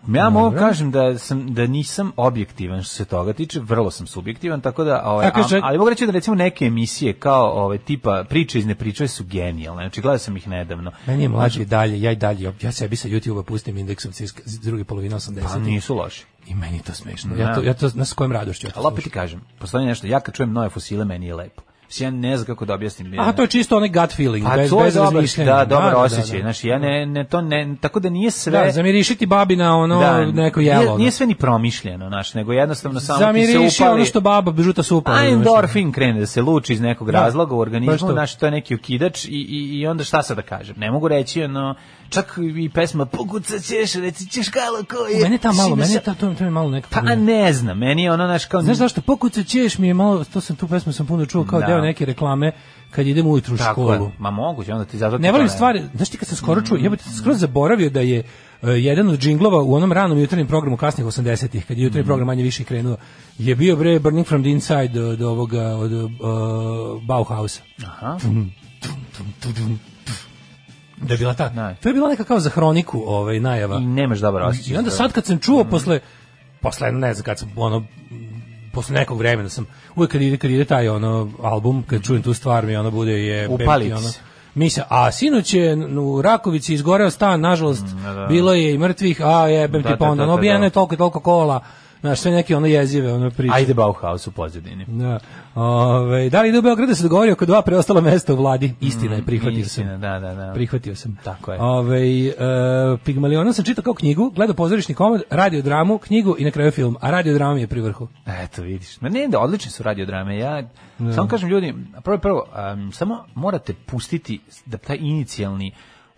[SPEAKER 6] Ja mogu kažem da sam da nisam objektivan što se toga tiče, vrlo sam subjektivan, tako da ovaj,
[SPEAKER 7] A kaže-
[SPEAKER 6] a- ali mogu reći da recimo neke emisije kao ovaj tipa priče iz nepriče su genijalne. Znači gledao sam ih nedavno.
[SPEAKER 7] Meni je mlađi i dalje, ja i dalje, ja sebi sa YouTube-a pustim indeksom iz iz druge polovine 80.
[SPEAKER 6] Pa nisu loši.
[SPEAKER 7] I meni je to smešno. Ja to, ja to na s kojom radošću ja to
[SPEAKER 6] da. Ali opet ti
[SPEAKER 7] slušam.
[SPEAKER 6] kažem, postoji nešto, ja kad čujem nove fosile, meni je lepo. Mislim, ja ne znam kako da objasnim.
[SPEAKER 7] Aha, to je čisto onaj gut feeling,
[SPEAKER 6] Pa
[SPEAKER 7] bez,
[SPEAKER 6] to je
[SPEAKER 7] bez
[SPEAKER 6] dobar,
[SPEAKER 7] razmišljanja.
[SPEAKER 6] da, dobar
[SPEAKER 7] da,
[SPEAKER 6] osjećaj.
[SPEAKER 7] da.
[SPEAKER 6] Znači, ja ne, ne, to ne, tako da nije sve... da,
[SPEAKER 7] Da, zamirišiti babina ono neko jelo.
[SPEAKER 6] Nije,
[SPEAKER 7] ono.
[SPEAKER 6] nije sve ni promišljeno, znaš, nego jednostavno samo ti
[SPEAKER 7] Zamiriši
[SPEAKER 6] se upali.
[SPEAKER 7] ono što baba žuta supa.
[SPEAKER 6] A
[SPEAKER 7] ono,
[SPEAKER 6] endorfin krene da se luči iz nekog
[SPEAKER 7] Pa, Da,
[SPEAKER 6] razloga u
[SPEAKER 7] baš to.
[SPEAKER 6] organizmu, znaš, to je neki ukidač i, i, i onda šta sad da kažem, ne mogu reći, ono, čak i pesma Poguca ćeš, reci ćeš kalo ko
[SPEAKER 7] znaš.
[SPEAKER 6] je.
[SPEAKER 7] U, Mene ta
[SPEAKER 6] Mislim,
[SPEAKER 7] malo,
[SPEAKER 6] da
[SPEAKER 7] mene
[SPEAKER 6] sa-
[SPEAKER 7] ta, to, to mi je malo neka...
[SPEAKER 6] Pa ne znam, meni je ono, znaš, kao...
[SPEAKER 7] Znaš zašto pokuca ćeš mi je malo, to sam tu pesmu sam puno čuo kao
[SPEAKER 6] Da.
[SPEAKER 7] deo neke reklame kad idem ujutru u
[SPEAKER 6] Tako je,
[SPEAKER 7] školu.
[SPEAKER 6] ma moguće, onda ti zato... ti
[SPEAKER 7] Ne
[SPEAKER 6] to
[SPEAKER 7] volim stvari, znaš ti kad sam skoro čuo, jebote, sam skroz zaboravio da je e, jedan od džinglova u onom ranom jutarnjem programu kasnih 80-ih, kad je jutarnji
[SPEAKER 6] Mhm.
[SPEAKER 7] program manje više krenuo, je bio bre Burning from the Inside od ovoga, od e, Bauhausa. Mhm.
[SPEAKER 6] Aha.
[SPEAKER 7] Da je bila ta,
[SPEAKER 6] Da.
[SPEAKER 7] to je bila neka kao za hroniku ovaj, najava.
[SPEAKER 6] I nemaš dobar osjećaj.
[SPEAKER 7] I onda sad kad sam
[SPEAKER 6] Mhm.
[SPEAKER 7] čuo posle posle ne znam kad sam ono posle nekog vremena sam uvek kad ide kad ide taj ono album kad čujem tu stvar mi ono bude je
[SPEAKER 6] Upali
[SPEAKER 7] bebki,
[SPEAKER 6] ti
[SPEAKER 7] ono
[SPEAKER 6] se.
[SPEAKER 7] Mislim, a sinoć je n- u Rakovici izgoreo stan, nažalost, bilo je i mrtvih, a jebem
[SPEAKER 6] Mm, Da,
[SPEAKER 7] ti
[SPEAKER 6] da,
[SPEAKER 7] pa onda,
[SPEAKER 6] da,
[SPEAKER 7] ono,
[SPEAKER 6] da,
[SPEAKER 7] obijeno
[SPEAKER 6] da.
[SPEAKER 7] je toliko i toliko kola, znaš, sve neke ono jezive, ono priče.
[SPEAKER 6] Ajde Bauhaus u pozadini.
[SPEAKER 7] Da. Ove, da li ide u Beogradu se dogovorio oko dva preostala mesta u vladi? Istina je, prihvatio
[SPEAKER 6] Mm, Istina,
[SPEAKER 7] sam.
[SPEAKER 6] da, da, da.
[SPEAKER 7] Prihvatio sam.
[SPEAKER 6] Tako je.
[SPEAKER 7] Ove, e, Pigmaliona sam čitao kao knjigu, gledao pozorišni komad, radio dramu, knjigu i na kraju film. A radio drama mi je pri vrhu.
[SPEAKER 6] Eto vidiš. Ma ne, da odlične su radiodrame. Ja samo kažem ljudi, prvo prvo, em, samo morate pustiti da taj inicijalni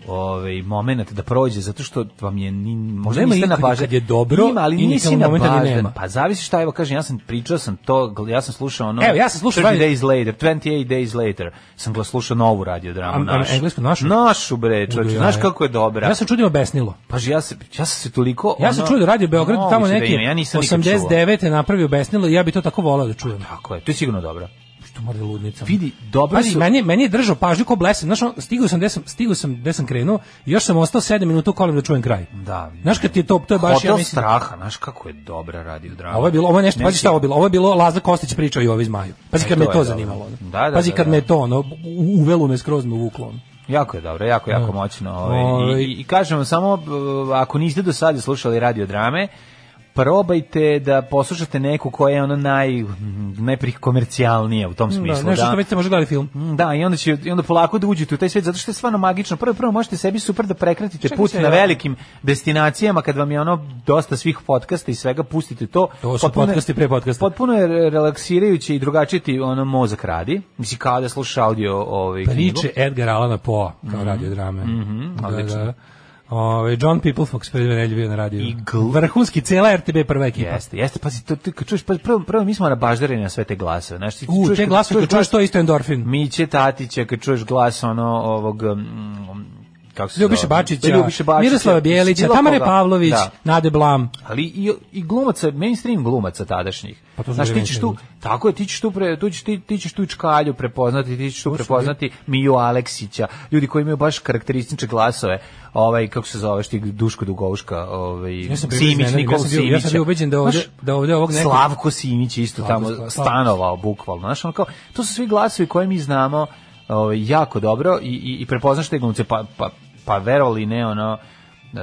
[SPEAKER 6] ovaj momenat da prođe zato što vam je ni možda
[SPEAKER 7] Nema
[SPEAKER 6] niste
[SPEAKER 7] ikad
[SPEAKER 6] na bazen.
[SPEAKER 7] kad je dobro,
[SPEAKER 6] Ima, ali nisi
[SPEAKER 7] inicijalnog
[SPEAKER 6] na
[SPEAKER 7] momenta ni
[SPEAKER 6] bazen.
[SPEAKER 7] nema.
[SPEAKER 6] Pa zavisi šta evo kažem, ja sam pričao sam to, gl- ja sam slušao ono
[SPEAKER 7] Evo, ja sam slušao
[SPEAKER 6] 30
[SPEAKER 7] radio-
[SPEAKER 6] days later, 28 days later. Sam ga slušao novu radiodramu,
[SPEAKER 7] Am- am-
[SPEAKER 6] našu.
[SPEAKER 7] englesku našu?
[SPEAKER 6] Našu bre, čoveče.
[SPEAKER 7] Udo,
[SPEAKER 6] Znaš
[SPEAKER 7] ja.
[SPEAKER 6] kako je dobra.
[SPEAKER 7] Ja sam čudio besnilo.
[SPEAKER 6] pa ja se ja sam se toliko
[SPEAKER 7] Ja sam
[SPEAKER 6] ono-
[SPEAKER 7] čuo da radio Beograd tamo
[SPEAKER 6] Moguće da
[SPEAKER 7] neki
[SPEAKER 6] ima, ja nisam nikad čuo. Pa,
[SPEAKER 7] 89. napravio besnilo i ja bi to tako volao da čujem.
[SPEAKER 6] Tako je, to je sigurno dobro.
[SPEAKER 7] Što mora da ludnica.
[SPEAKER 6] Vidi, dobro
[SPEAKER 7] Pazi,
[SPEAKER 6] su-
[SPEAKER 7] meni, meni je držao pažnju ko blesen. Znaš, on, stigao sam gde sam, stigao sam gde sam krenuo i još sam ostao 7 minuta u kolima da čujem kraj.
[SPEAKER 6] Da.
[SPEAKER 7] Znaš kad ti je to, to je baš,
[SPEAKER 6] Hotel
[SPEAKER 7] ja mislim...
[SPEAKER 6] straha, znaš kako je dobra radio drama. Znači,
[SPEAKER 7] A Ovo je bilo, ovo je nešto,
[SPEAKER 6] Ne
[SPEAKER 7] pazi šta
[SPEAKER 6] si-
[SPEAKER 7] ovo je bilo, ovo je bilo Lazar Kostić pričao i ovi zmaju. Pazi
[SPEAKER 6] E,
[SPEAKER 7] kad
[SPEAKER 6] to
[SPEAKER 7] me
[SPEAKER 6] je
[SPEAKER 7] to
[SPEAKER 6] dobro.
[SPEAKER 7] zanimalo. ono.
[SPEAKER 6] Da, da,
[SPEAKER 7] Pazi
[SPEAKER 6] da,
[SPEAKER 7] kad
[SPEAKER 6] da.
[SPEAKER 7] me to, ono, u- uvelo me skroz me uvuklo. ono.
[SPEAKER 6] Jako je dobro, jako, jako moćno.
[SPEAKER 7] Ovaj.
[SPEAKER 6] Ovaj. I, i, I kažem vam samo, b- ako niste do sada slušali radio drame, probajte da poslušate neku koja je ono naj, najprikomercijalnija u tom
[SPEAKER 7] Da,
[SPEAKER 6] smislu.
[SPEAKER 7] nešto što već ste možda gledali film.
[SPEAKER 6] Mm, Da, i onda će i onda polako da uđete u taj svet zato što je stvarno magično. Prvo prvo možete sebi super da prekratite
[SPEAKER 7] Čekaj
[SPEAKER 6] put
[SPEAKER 7] se,
[SPEAKER 6] na
[SPEAKER 7] ja.
[SPEAKER 6] velikim destinacijama kad vam je ono dosta svih podcasta i svega pustite to.
[SPEAKER 7] To su
[SPEAKER 6] Potpuno je-
[SPEAKER 7] podcasti pre podcasta.
[SPEAKER 6] Potpuno je re- relaksirajuće i drugačije ti ono mozak radi. Mislim kao da
[SPEAKER 7] Pa
[SPEAKER 6] slušaš audio ovaj knjigu.
[SPEAKER 7] Priče Edgar Alana Poa, kao radio drame.
[SPEAKER 6] Mhm, odlično.
[SPEAKER 7] Ovaj John Peoplefox pre dve nedelje bio na radiju.
[SPEAKER 6] Eagle.
[SPEAKER 7] Vrhunski cela RTB prva ekipa.
[SPEAKER 6] Jeste, jeste, pa si to, ti kad čuješ, pa prvo, prvo mi smo na baždareni na sve te glasove, znaš, ti
[SPEAKER 7] U, te
[SPEAKER 6] kad-
[SPEAKER 7] glasove, kad čuješ to je isto endorfin.
[SPEAKER 6] Miće Tatića, kad čuješ glas ono ovog mm, kako se
[SPEAKER 7] Ljubiše
[SPEAKER 6] zove?
[SPEAKER 7] Bačića,
[SPEAKER 6] Ljubiše Bačića,
[SPEAKER 7] Miroslava Bjelića,
[SPEAKER 6] bilo
[SPEAKER 7] Tamare
[SPEAKER 6] koga.
[SPEAKER 7] Pavlović,
[SPEAKER 6] Da.
[SPEAKER 7] Nade Blam.
[SPEAKER 6] Ali i, i glumaca, mainstream glumaca tadašnjih.
[SPEAKER 7] Pa to su
[SPEAKER 6] Znaš,
[SPEAKER 7] bili
[SPEAKER 6] ti ćeš tu,
[SPEAKER 7] mainstream.
[SPEAKER 6] tako je, ti ćeš tu, pre, tu ćeš, ti, ti ćeš tu i Čkalju prepoznati, ti ćeš tu prepoznati Miju Aleksića, ljudi koji imaju baš karakteristične glasove, ovaj, kako se zoveš ti, Duško Dugovuška, ovaj,
[SPEAKER 7] Ja sam bio
[SPEAKER 6] Simić,
[SPEAKER 7] iznenađen,
[SPEAKER 6] Nikola
[SPEAKER 7] ja sam bio-
[SPEAKER 6] Simić.
[SPEAKER 7] ja sam bio ubeđen da ovdje- da ovdje ovog nekog-
[SPEAKER 6] Slavko Simić je isto tamo
[SPEAKER 7] Slavko, Slavko.
[SPEAKER 6] stanovao, bukvalno. Znaš, ono kao, to su svi glasovi koje mi znamo ovaj, jako dobro i, i, i prepoznaš te glumce, pa, pa, pa verovali ne, ono,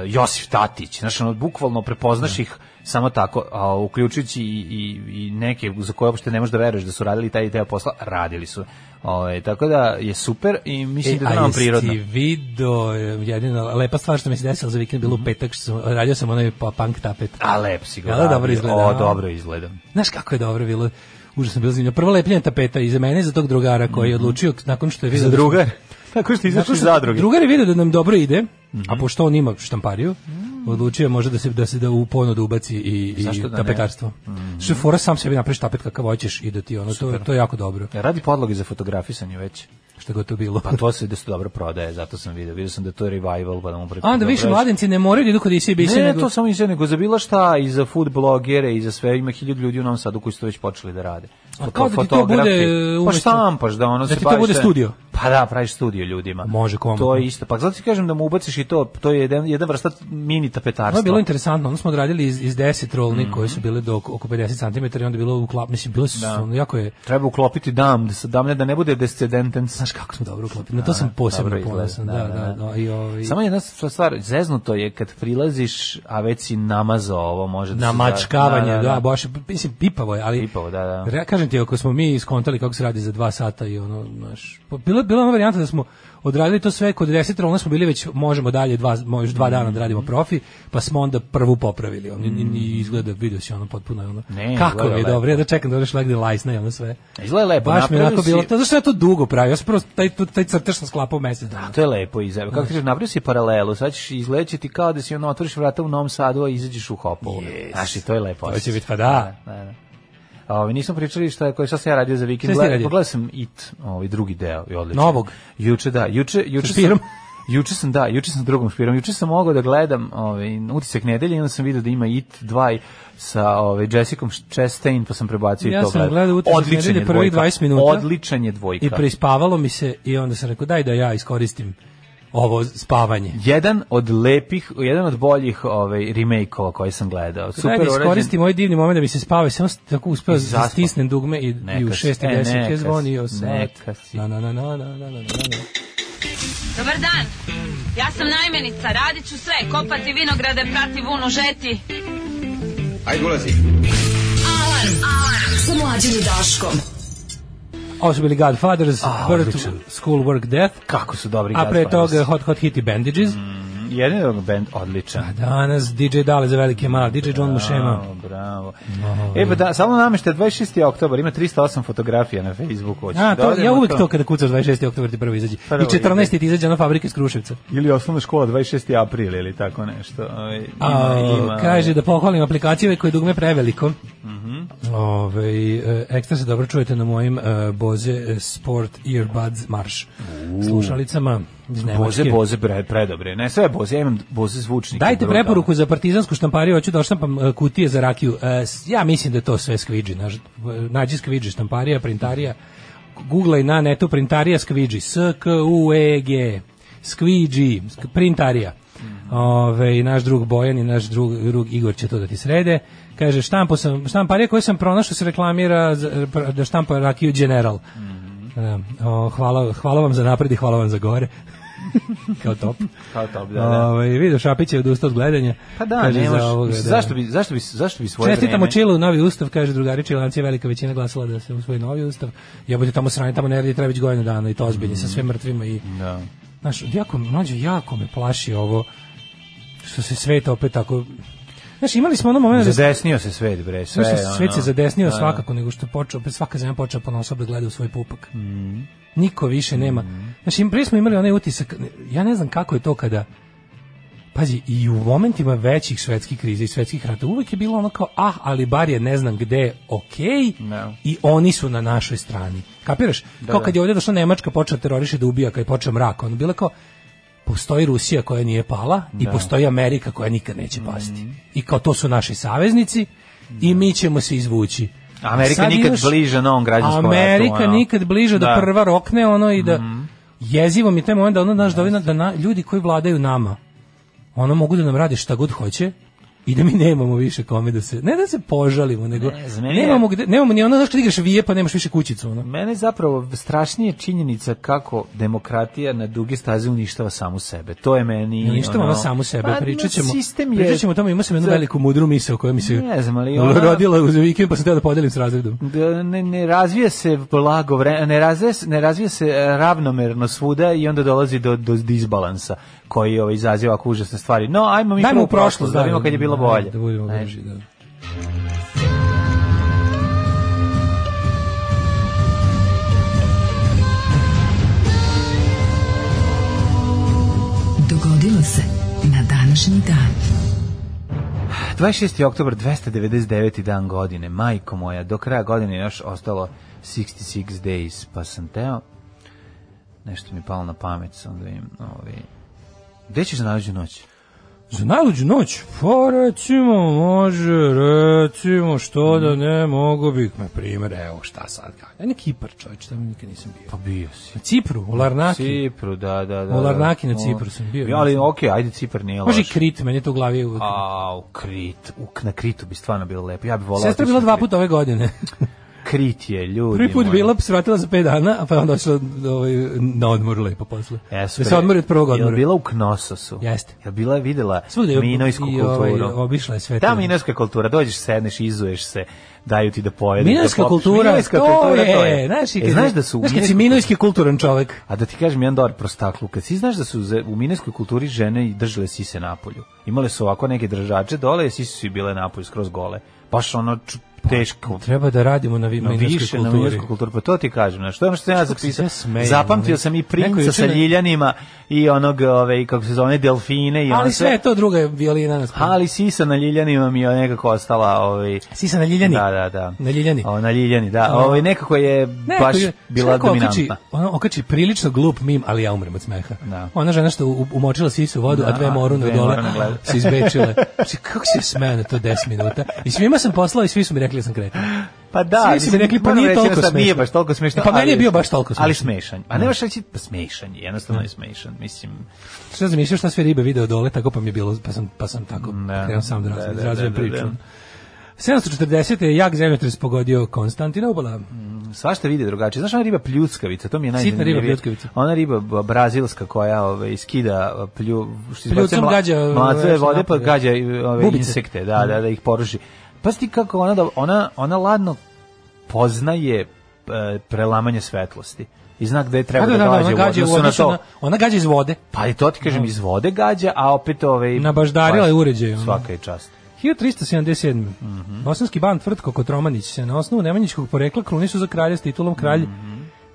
[SPEAKER 6] Josif Tatić, znaš, ono, bukvalno
[SPEAKER 7] Da.
[SPEAKER 6] prepoznaš ih samo tako, a uključujući i, i, i neke za koje uopšte ne možeš da veruješ da su radili taj deo posla, radili su. Ovaj, tako da je super i mislim da je to
[SPEAKER 7] E, a
[SPEAKER 6] nam
[SPEAKER 7] jesi
[SPEAKER 6] prirodno.
[SPEAKER 7] video, e, jedina lepa stvar što mi se desila za vikend bilo u petak, što sam, radio sam onaj pa, punk tapet.
[SPEAKER 6] Mhm. A lep si ga.
[SPEAKER 7] Jel da
[SPEAKER 6] radio?
[SPEAKER 7] dobro izgleda,
[SPEAKER 6] O,
[SPEAKER 7] a?
[SPEAKER 6] dobro izgleda.
[SPEAKER 7] Znaš kako je dobro bilo? Užasno je bilo zanimljivo. Prvo lepljenje tapeta i za mene i za tog drugara koji je odlučio nakon što je vidio...
[SPEAKER 6] Mhm. Za
[SPEAKER 7] da smo-
[SPEAKER 6] drugar? Tako što izašli Mhm.
[SPEAKER 7] Nakon
[SPEAKER 6] iz
[SPEAKER 7] što-
[SPEAKER 6] zadruge.
[SPEAKER 7] Drugar je vidio da nam dobro ide, a pošto on ima štampariju, odlučio je možda da se da se da u ponudu ubaci i, i
[SPEAKER 6] Mhm. Zašto da ne? Mhm.
[SPEAKER 7] tapetarstvo. Što je fora sam sebi napraviš tapet kakav hoćeš i da ti ono, to, to je jako dobro.
[SPEAKER 6] Radi podloge za fotografisanje već.
[SPEAKER 7] Što god to bilo.
[SPEAKER 6] E. Pa to se da se dobro prodaje, zato sam video. Video sam da to je revival, pa da mu preporučujem.
[SPEAKER 7] A onda više mladenci ne moraju da idu kod Isije
[SPEAKER 6] Ne,
[SPEAKER 7] Bise, nego...
[SPEAKER 6] to samo izjave, nego za bilo šta, i za food blogere, i za sve, ima hiljadu ljudi u Novom Sadu koji su to već počeli da rade.
[SPEAKER 7] A kao da ti to
[SPEAKER 6] Fotografi.
[SPEAKER 7] bude, e,
[SPEAKER 6] Pa
[SPEAKER 7] umesto-
[SPEAKER 6] štampaš da ono
[SPEAKER 7] Da
[SPEAKER 6] se
[SPEAKER 7] ti to
[SPEAKER 6] baviš
[SPEAKER 7] bude
[SPEAKER 6] sa-
[SPEAKER 7] studio.
[SPEAKER 6] Pa da, praviš studio ljudima.
[SPEAKER 7] Može, komotno.
[SPEAKER 6] To je isto. Pa zato ti kažem da mu ubaciš i to, to je jedan, jedna vrsta mini
[SPEAKER 7] Ono
[SPEAKER 6] tapetarstva.
[SPEAKER 7] je bilo interesantno, onda smo odradili iz, iz 10 rolni
[SPEAKER 6] Mhm.
[SPEAKER 7] koje su bile do oko oko 50 cm i onda je bilo uklap, mislim, bilo
[SPEAKER 6] Da.
[SPEAKER 7] su, ono, jako je,
[SPEAKER 6] Treba uklopiti dam, da se damne da ne bude descendenten.
[SPEAKER 7] znaš kako smo dobro uklopili, na to sam posebno
[SPEAKER 6] dobro izgleda,
[SPEAKER 7] ponosan, da,
[SPEAKER 6] da,
[SPEAKER 7] da,
[SPEAKER 6] da, da.
[SPEAKER 7] da, i ovaj,
[SPEAKER 6] Samo jedna stvar, stvar, zeznuto je kad prilaziš, a već si namazao ovo, može da se...
[SPEAKER 7] na mačkavanje,
[SPEAKER 6] Da,
[SPEAKER 7] da,
[SPEAKER 6] da, da.
[SPEAKER 7] baš, mislim, pipavo je, ali...
[SPEAKER 6] Pipavo, da, da.
[SPEAKER 7] Re- kažem ti, ako smo mi iskontali kako se radi za dva sata i ono, znaš, pa bila, bila je ona varijanta da smo odradili to sve kod 10 rolna smo bili već, možemo dalje, dva, mo- još dva dana da
[SPEAKER 6] Mhm.
[SPEAKER 7] radimo profi, pa smo onda prvu popravili, ono, i- i izgleda, vidio si ono, potpuno je ono,
[SPEAKER 6] Ne,
[SPEAKER 7] kako
[SPEAKER 6] izgleda
[SPEAKER 7] je dobro,
[SPEAKER 6] lepo.
[SPEAKER 7] ja da čekam da odeš legde lajsna i ono sve.
[SPEAKER 6] Izgleda lepo.
[SPEAKER 7] Baš mi je
[SPEAKER 6] napravio
[SPEAKER 7] onako bilo,
[SPEAKER 6] si-
[SPEAKER 7] to, zašto ja to dugo pravio, ja sam prvo taj, taj crtež sam sklapao mesec dana.
[SPEAKER 6] To je lepo iz Kako ti kažeš, napravio si paralelu, sad ćeš izgledat će ti kao da si ono otvoriš vrata u Novom Sadu, a izađeš u Hopovu.
[SPEAKER 7] Yes.
[SPEAKER 6] Znaš, i to je lepo.
[SPEAKER 7] To će
[SPEAKER 6] osjećaj.
[SPEAKER 7] biti, pa da.
[SPEAKER 6] Da, da. A, Ovi, nismo pričali šta, je- koje, šta sam ja radio za vikend.
[SPEAKER 7] Šta si ti
[SPEAKER 6] Gleda-
[SPEAKER 7] radio?
[SPEAKER 6] Pogledao sam It, ovaj drugi deo. I odlično.
[SPEAKER 7] Novog?
[SPEAKER 6] Juče, da. Juče, juče
[SPEAKER 7] Sa špirom?
[SPEAKER 6] Sam, juče sam, da, juče sam drugom špirom. Juče sam mogao da gledam ovaj, utisak nedelje i onda sam vidio da ima It 2 i sa ovaj, Jessicom Chastain, pa sam prebacio i
[SPEAKER 7] Ja
[SPEAKER 6] to
[SPEAKER 7] sam
[SPEAKER 6] gledam.
[SPEAKER 7] gledao utisak
[SPEAKER 6] Odličan
[SPEAKER 7] nedelje
[SPEAKER 6] je
[SPEAKER 7] prvih
[SPEAKER 6] dvojka.
[SPEAKER 7] 20 minuta.
[SPEAKER 6] Odličan je dvojka.
[SPEAKER 7] I prespavalo mi se i onda sam rekao daj da ja iskoristim ovo spavanje.
[SPEAKER 6] jedan od lepih, jedan od boljih ovaj remake-ova koje sam gledao. Super
[SPEAKER 7] Super, da
[SPEAKER 6] urađen.
[SPEAKER 7] iskoristim ovaj divni moment da mi se spava, samo sam tako uspeo
[SPEAKER 6] I
[SPEAKER 7] da
[SPEAKER 6] zaspao.
[SPEAKER 7] stisnem dugme i, i u
[SPEAKER 6] Neka si.
[SPEAKER 7] 6 i
[SPEAKER 6] E,
[SPEAKER 7] 10
[SPEAKER 6] neka
[SPEAKER 7] je
[SPEAKER 6] si,
[SPEAKER 7] zvonio sam.
[SPEAKER 6] neka si.
[SPEAKER 7] Na, na, na, na, na, na, na, na.
[SPEAKER 5] Dobar dan. Ja sam najmenica, radit ću sve, kopati vinograde, prati vunu, žeti.
[SPEAKER 7] Ovo su bili Godfathers,
[SPEAKER 6] A,
[SPEAKER 7] Birth,
[SPEAKER 6] odličan.
[SPEAKER 7] School, Work, Death,
[SPEAKER 6] Kako su dobri
[SPEAKER 7] a pre
[SPEAKER 6] Godfathers. Mm.
[SPEAKER 7] toga Hot Hot Hitty Bandages.
[SPEAKER 6] Jedan je band odličan.
[SPEAKER 7] A danas DJ Dale za velike male, DJ John Mušema.
[SPEAKER 6] Bravo, bravo.
[SPEAKER 7] Ovaj.
[SPEAKER 6] E pa da, samo namešta 26. oktobar, ima 308 fotografija na Facebooku. hoćeš da
[SPEAKER 7] A, to, ja
[SPEAKER 6] odemo
[SPEAKER 7] uvijek to kada kucaš 26. oktober ti prvo izađe. I
[SPEAKER 6] Prvo
[SPEAKER 7] 14. ti izađe ona fabrika iz Kruševca.
[SPEAKER 6] Ili osnovna škola 26. april ili tako nešto. Ovaj, Ima,
[SPEAKER 7] A,
[SPEAKER 6] ima. Mhm.
[SPEAKER 7] kaže da pohvalim aplikaciju koje je dugme preveliko. Ove, e, ekstra se dobro čujete na mojim e, Boze e, Sport Earbuds Marš slušalicama iz
[SPEAKER 6] Boze,
[SPEAKER 7] Nemačke.
[SPEAKER 6] boze, pre, predobre. Ne, sve boze, ja imam boze zvučnike.
[SPEAKER 7] Dajte
[SPEAKER 6] brutalno.
[SPEAKER 7] preporuku za partizansku štampariju, hoću da oštampam e, kutije za rakiju. E, s- ja mislim da je to sve skviđi. Naš, nađi skviđi, štamparija, printarija. Googlaj na netu printarija skviđi. S, K, U, E, G. Skviđi, sk- printarija. Ove, i naš drug Bojan i naš drug, drug Igor će to da ti srede. Kaže, štampo sam, štamparija koju sam pronašao se reklamira za- da štampa rakiju General. Da. O, hvala, hvala vam za napred i hvala vam za gore. Kao top.
[SPEAKER 6] Kao top, da, da.
[SPEAKER 7] Ovaj vidio Šapić je odustao od gledanja.
[SPEAKER 6] Pa da,
[SPEAKER 7] Kaže,
[SPEAKER 6] ne
[SPEAKER 7] za
[SPEAKER 6] možeš.
[SPEAKER 7] ovoga, da.
[SPEAKER 6] Zašto bi, zašto bi, zašto bi svoje
[SPEAKER 7] Čestitamo
[SPEAKER 6] vreme-
[SPEAKER 7] Čilu novi ustav, kaže drugari Čilanci, je velika većina glasala da se usvoji novi ustav. Ja budem tamo sranje, tamo ne radi treba već godinu dana i to ozbiljno sa sve mrtvima i
[SPEAKER 6] Da.
[SPEAKER 7] znaš, jako mlađe jako me plaši ovo što se sveta opet tako Znaš, imali smo ono moment da
[SPEAKER 6] Zadesnio se svet, bre, sve.
[SPEAKER 7] sve, svet se
[SPEAKER 6] ono.
[SPEAKER 7] zadesnio
[SPEAKER 6] Da, da.
[SPEAKER 7] svakako nego što je počeo, opet svaka zemlja počela ponosa da gleda u svoj pupak.
[SPEAKER 6] Mm.
[SPEAKER 7] Niko više nema. Znači, im prije smo imali onaj utisak, ja ne znam kako je to kada Pazi, i u momentima većih svetskih kriza i svetskih rata uvek je bilo ono kao, ah, ali bar je ne znam gde, okej,
[SPEAKER 6] Da.
[SPEAKER 7] i oni su na našoj strani. Kapiraš? kao
[SPEAKER 6] da.
[SPEAKER 7] kad je ovdje došla Nemačka, počela teroriše da ubija, kad je počeo mrak, ono bilo kao, postoji Rusija koja nije pala i
[SPEAKER 6] Da.
[SPEAKER 7] postoji Amerika koja nikad neće pasti.
[SPEAKER 6] Mhm.
[SPEAKER 7] I kao to su naši saveznici i mi ćemo se izvući.
[SPEAKER 6] Da. Amerika
[SPEAKER 7] Sad
[SPEAKER 6] nikad
[SPEAKER 7] imaš-
[SPEAKER 6] bliže na ovom građanskom ratu,
[SPEAKER 7] Amerika
[SPEAKER 6] ono.
[SPEAKER 7] nikad bliže da,
[SPEAKER 6] Da. Mhm.
[SPEAKER 7] prva rokne ono i da jezivo mi je taj moment da ono znaš da, ovi na- da na- ljudi koji vladaju nama ono mogu da nam rade šta god hoće i da mi nemamo više kome da se ne da se požalimo nego
[SPEAKER 6] Ne znam, meni je-
[SPEAKER 7] nemamo gde, nemamo ni ono znaš kad igraš vije pa nemaš više kućicu ono
[SPEAKER 6] Mene je zapravo strašnije činjenica kako demokratija na duge staze uništava samu sebe. To je meni...
[SPEAKER 7] I ništa ono samo sebe,
[SPEAKER 6] Pa,
[SPEAKER 7] pričat ćemo,
[SPEAKER 6] Sistem je...
[SPEAKER 7] pričat ćemo o tome, imao sam jednu
[SPEAKER 6] Za-
[SPEAKER 7] veliku mudru misao koja mi se
[SPEAKER 6] Ne znam, ali ona-
[SPEAKER 7] rodila uz vikend pa sam teo da podelim s razredom.
[SPEAKER 6] Da, ne, ne razvija se blago vre, ne razvija, se- ne razvija se e, ravnomerno svuda i onda dolazi do, do disbalansa koji ovaj, izaziva ovako užasne stvari. No, ajmo mi
[SPEAKER 7] Dajmo
[SPEAKER 6] prvo
[SPEAKER 7] u prošlost,
[SPEAKER 6] da vidimo kad je bilo bolje.
[SPEAKER 7] Da budemo
[SPEAKER 6] Ajde.
[SPEAKER 7] bliži, da.
[SPEAKER 8] Dogodilo se na današnji dan.
[SPEAKER 6] 26. oktober, 299. dan godine, majko moja, do kraja godine je još ostalo 66 days, pa sam teo, nešto mi je palo na pamet, sam da vidim, ovaj, gde ćeš nađu noć?
[SPEAKER 7] Za Da najluđu noć? Pa recimo, može, recimo, što da ne, mogu bih, na primjer, evo šta sad, kako, na Kipar čovječ, tamo nikad nisam bio.
[SPEAKER 6] Pa bio si.
[SPEAKER 7] Na Cipru, u Larnaki,
[SPEAKER 6] Cipru, da, da, da.
[SPEAKER 7] U Larnaki na
[SPEAKER 6] O,
[SPEAKER 7] Cipru sam bio,
[SPEAKER 6] Ja, ali
[SPEAKER 7] mislim.
[SPEAKER 6] okej, ajde, Cipar nije
[SPEAKER 7] može i
[SPEAKER 6] loš.
[SPEAKER 7] Krit, meni je to u glavi uvijek.
[SPEAKER 6] A, u Krit, u, na Kritu bi stvarno bilo lepo, ja bi volao.
[SPEAKER 7] Sestra je
[SPEAKER 6] otići na
[SPEAKER 7] bila dva
[SPEAKER 6] Krit.
[SPEAKER 7] puta ove godine.
[SPEAKER 6] Krit je, ljudi
[SPEAKER 7] Prvi put
[SPEAKER 6] moji.
[SPEAKER 7] bila, pa se vratila za 5 dana, a pa je onda došla ovaj, na odmor lepo posle.
[SPEAKER 6] Jesu,
[SPEAKER 7] da se
[SPEAKER 6] bre.
[SPEAKER 7] odmori od prvog
[SPEAKER 6] Jel
[SPEAKER 7] odmora.
[SPEAKER 6] bila u Knososu?
[SPEAKER 7] Jeste.
[SPEAKER 6] Jel bila videla
[SPEAKER 7] Svuda je-
[SPEAKER 6] minojsku
[SPEAKER 7] i ovaj,
[SPEAKER 6] kulturu?
[SPEAKER 7] obišla je sve
[SPEAKER 6] Da,
[SPEAKER 7] to.
[SPEAKER 6] minojska kultura, dođeš, sedneš, izuješ se, daju ti da pojedeš.
[SPEAKER 7] Minojska
[SPEAKER 6] da popiš.
[SPEAKER 7] kultura,
[SPEAKER 6] minojska
[SPEAKER 7] to,
[SPEAKER 6] kultura,
[SPEAKER 7] je,
[SPEAKER 6] to je.
[SPEAKER 7] Znaš, i
[SPEAKER 6] E,
[SPEAKER 7] kad-
[SPEAKER 6] znaš da su u
[SPEAKER 7] znaš kad si
[SPEAKER 6] minojskoj-
[SPEAKER 7] minojski kulturan čovek.
[SPEAKER 6] A da ti kažem jedan dobar prostaklu, kad si znaš da su za- u minojskoj kulturi žene i držale sise napolju. Imale su ovako neke držače dole, i sise su i bile napolju skroz gole. Baš ono ču- teško.
[SPEAKER 7] Treba da radimo na, vi-
[SPEAKER 6] Na
[SPEAKER 7] minojskoj
[SPEAKER 6] više na
[SPEAKER 7] kulturi.
[SPEAKER 6] minojskoj kulturi, pa to ti kažem. Znaš, to je ono što sam ja
[SPEAKER 7] Kako se
[SPEAKER 6] zapisao.
[SPEAKER 7] ja smejem,
[SPEAKER 6] Zapamtio
[SPEAKER 7] ono.
[SPEAKER 6] sam i
[SPEAKER 7] Neko
[SPEAKER 6] princa
[SPEAKER 7] juče
[SPEAKER 6] sa
[SPEAKER 7] me-
[SPEAKER 6] ljiljanima i onog, ove, kako se zove, delfine. I ono
[SPEAKER 7] Ali sve je to druga violina. nas-
[SPEAKER 6] Ali sisa na Ljiljanima mi je nekako ostala... Ovaj,
[SPEAKER 7] Sisa na Ljiljani.
[SPEAKER 6] Da, da, da.
[SPEAKER 7] Na Ljiljani.
[SPEAKER 6] O, na Ljiljani, da.
[SPEAKER 7] O.
[SPEAKER 6] Ovaj, nekako je
[SPEAKER 7] Ne,
[SPEAKER 6] baš
[SPEAKER 7] to je- znači,
[SPEAKER 6] bila
[SPEAKER 7] šta ko
[SPEAKER 6] dominantna.
[SPEAKER 7] Okači, ono okači prilično glup mim, ali ja umrem od smeha.
[SPEAKER 6] Da.
[SPEAKER 7] Ona žena što u- umočila sisu u vodu, a
[SPEAKER 6] Da,
[SPEAKER 7] dve moru na
[SPEAKER 6] dve
[SPEAKER 7] dole
[SPEAKER 6] morune gleda.
[SPEAKER 7] se izbečile. Znači, kako se smeo na to 10 minuta? I svima sam poslao i svi su mi rekli da sam kretan.
[SPEAKER 6] Pa da,
[SPEAKER 7] Svi su mi rekli, pa
[SPEAKER 6] moram
[SPEAKER 7] nije
[SPEAKER 6] reći,
[SPEAKER 7] toliko
[SPEAKER 6] jednostavno, Nije
[SPEAKER 7] smešno.
[SPEAKER 6] baš toliko smešno.
[SPEAKER 7] E, pa meni
[SPEAKER 6] ali
[SPEAKER 7] je bio baš toliko
[SPEAKER 6] Ali
[SPEAKER 7] smešno. Da.
[SPEAKER 6] smešan. A ne možeš reći, pa smešan je, jednostavno je smešan. Mislim,
[SPEAKER 7] Što sam mislio šta sve ribe video dole, tako pa mi je bilo, pa sam, pa sam tako
[SPEAKER 6] Da.
[SPEAKER 7] krenuo sam da
[SPEAKER 6] Da,
[SPEAKER 7] razvijem
[SPEAKER 6] da,
[SPEAKER 7] da, razvijem
[SPEAKER 6] da, da,
[SPEAKER 7] priču.
[SPEAKER 6] da.
[SPEAKER 7] 740. je jak zemljotres pogodio Konstantinopola.
[SPEAKER 6] svašta vide drugačije. Znaš, ona riba pljuckavica, to mi je
[SPEAKER 7] Sitna riba
[SPEAKER 6] najzanimljivije.
[SPEAKER 7] pljuckavica.
[SPEAKER 6] Ona riba b- brazilska koja ovaj, skida plju... Što
[SPEAKER 7] Pljucom
[SPEAKER 6] izbacuje mla-
[SPEAKER 7] gađa,
[SPEAKER 6] Mlacove
[SPEAKER 7] nešto
[SPEAKER 6] vode, pa
[SPEAKER 7] napolje.
[SPEAKER 6] gađa i, ove,
[SPEAKER 7] Bubice. Mhm.
[SPEAKER 6] insekte, da, da, da ih poruši. Pa sti kako ona, da, ona, ona ladno poznaje e, prelamanje svetlosti i zna gde treba da, gađa, u odnosu
[SPEAKER 7] u
[SPEAKER 6] na
[SPEAKER 7] odnosu
[SPEAKER 6] to.
[SPEAKER 7] na- ona gađa iz vode.
[SPEAKER 6] Pa i to ti kažem, iz vode gađa, a opet ovaj...
[SPEAKER 7] Nabaždarila je
[SPEAKER 6] baš-
[SPEAKER 7] uređaj, ono.
[SPEAKER 6] Svaka je čast.
[SPEAKER 7] 1377. Bosanski ban Tvrtko Kotromanić se na osnovu nemanjičkog porekla kruni su za kralja s titulom kralj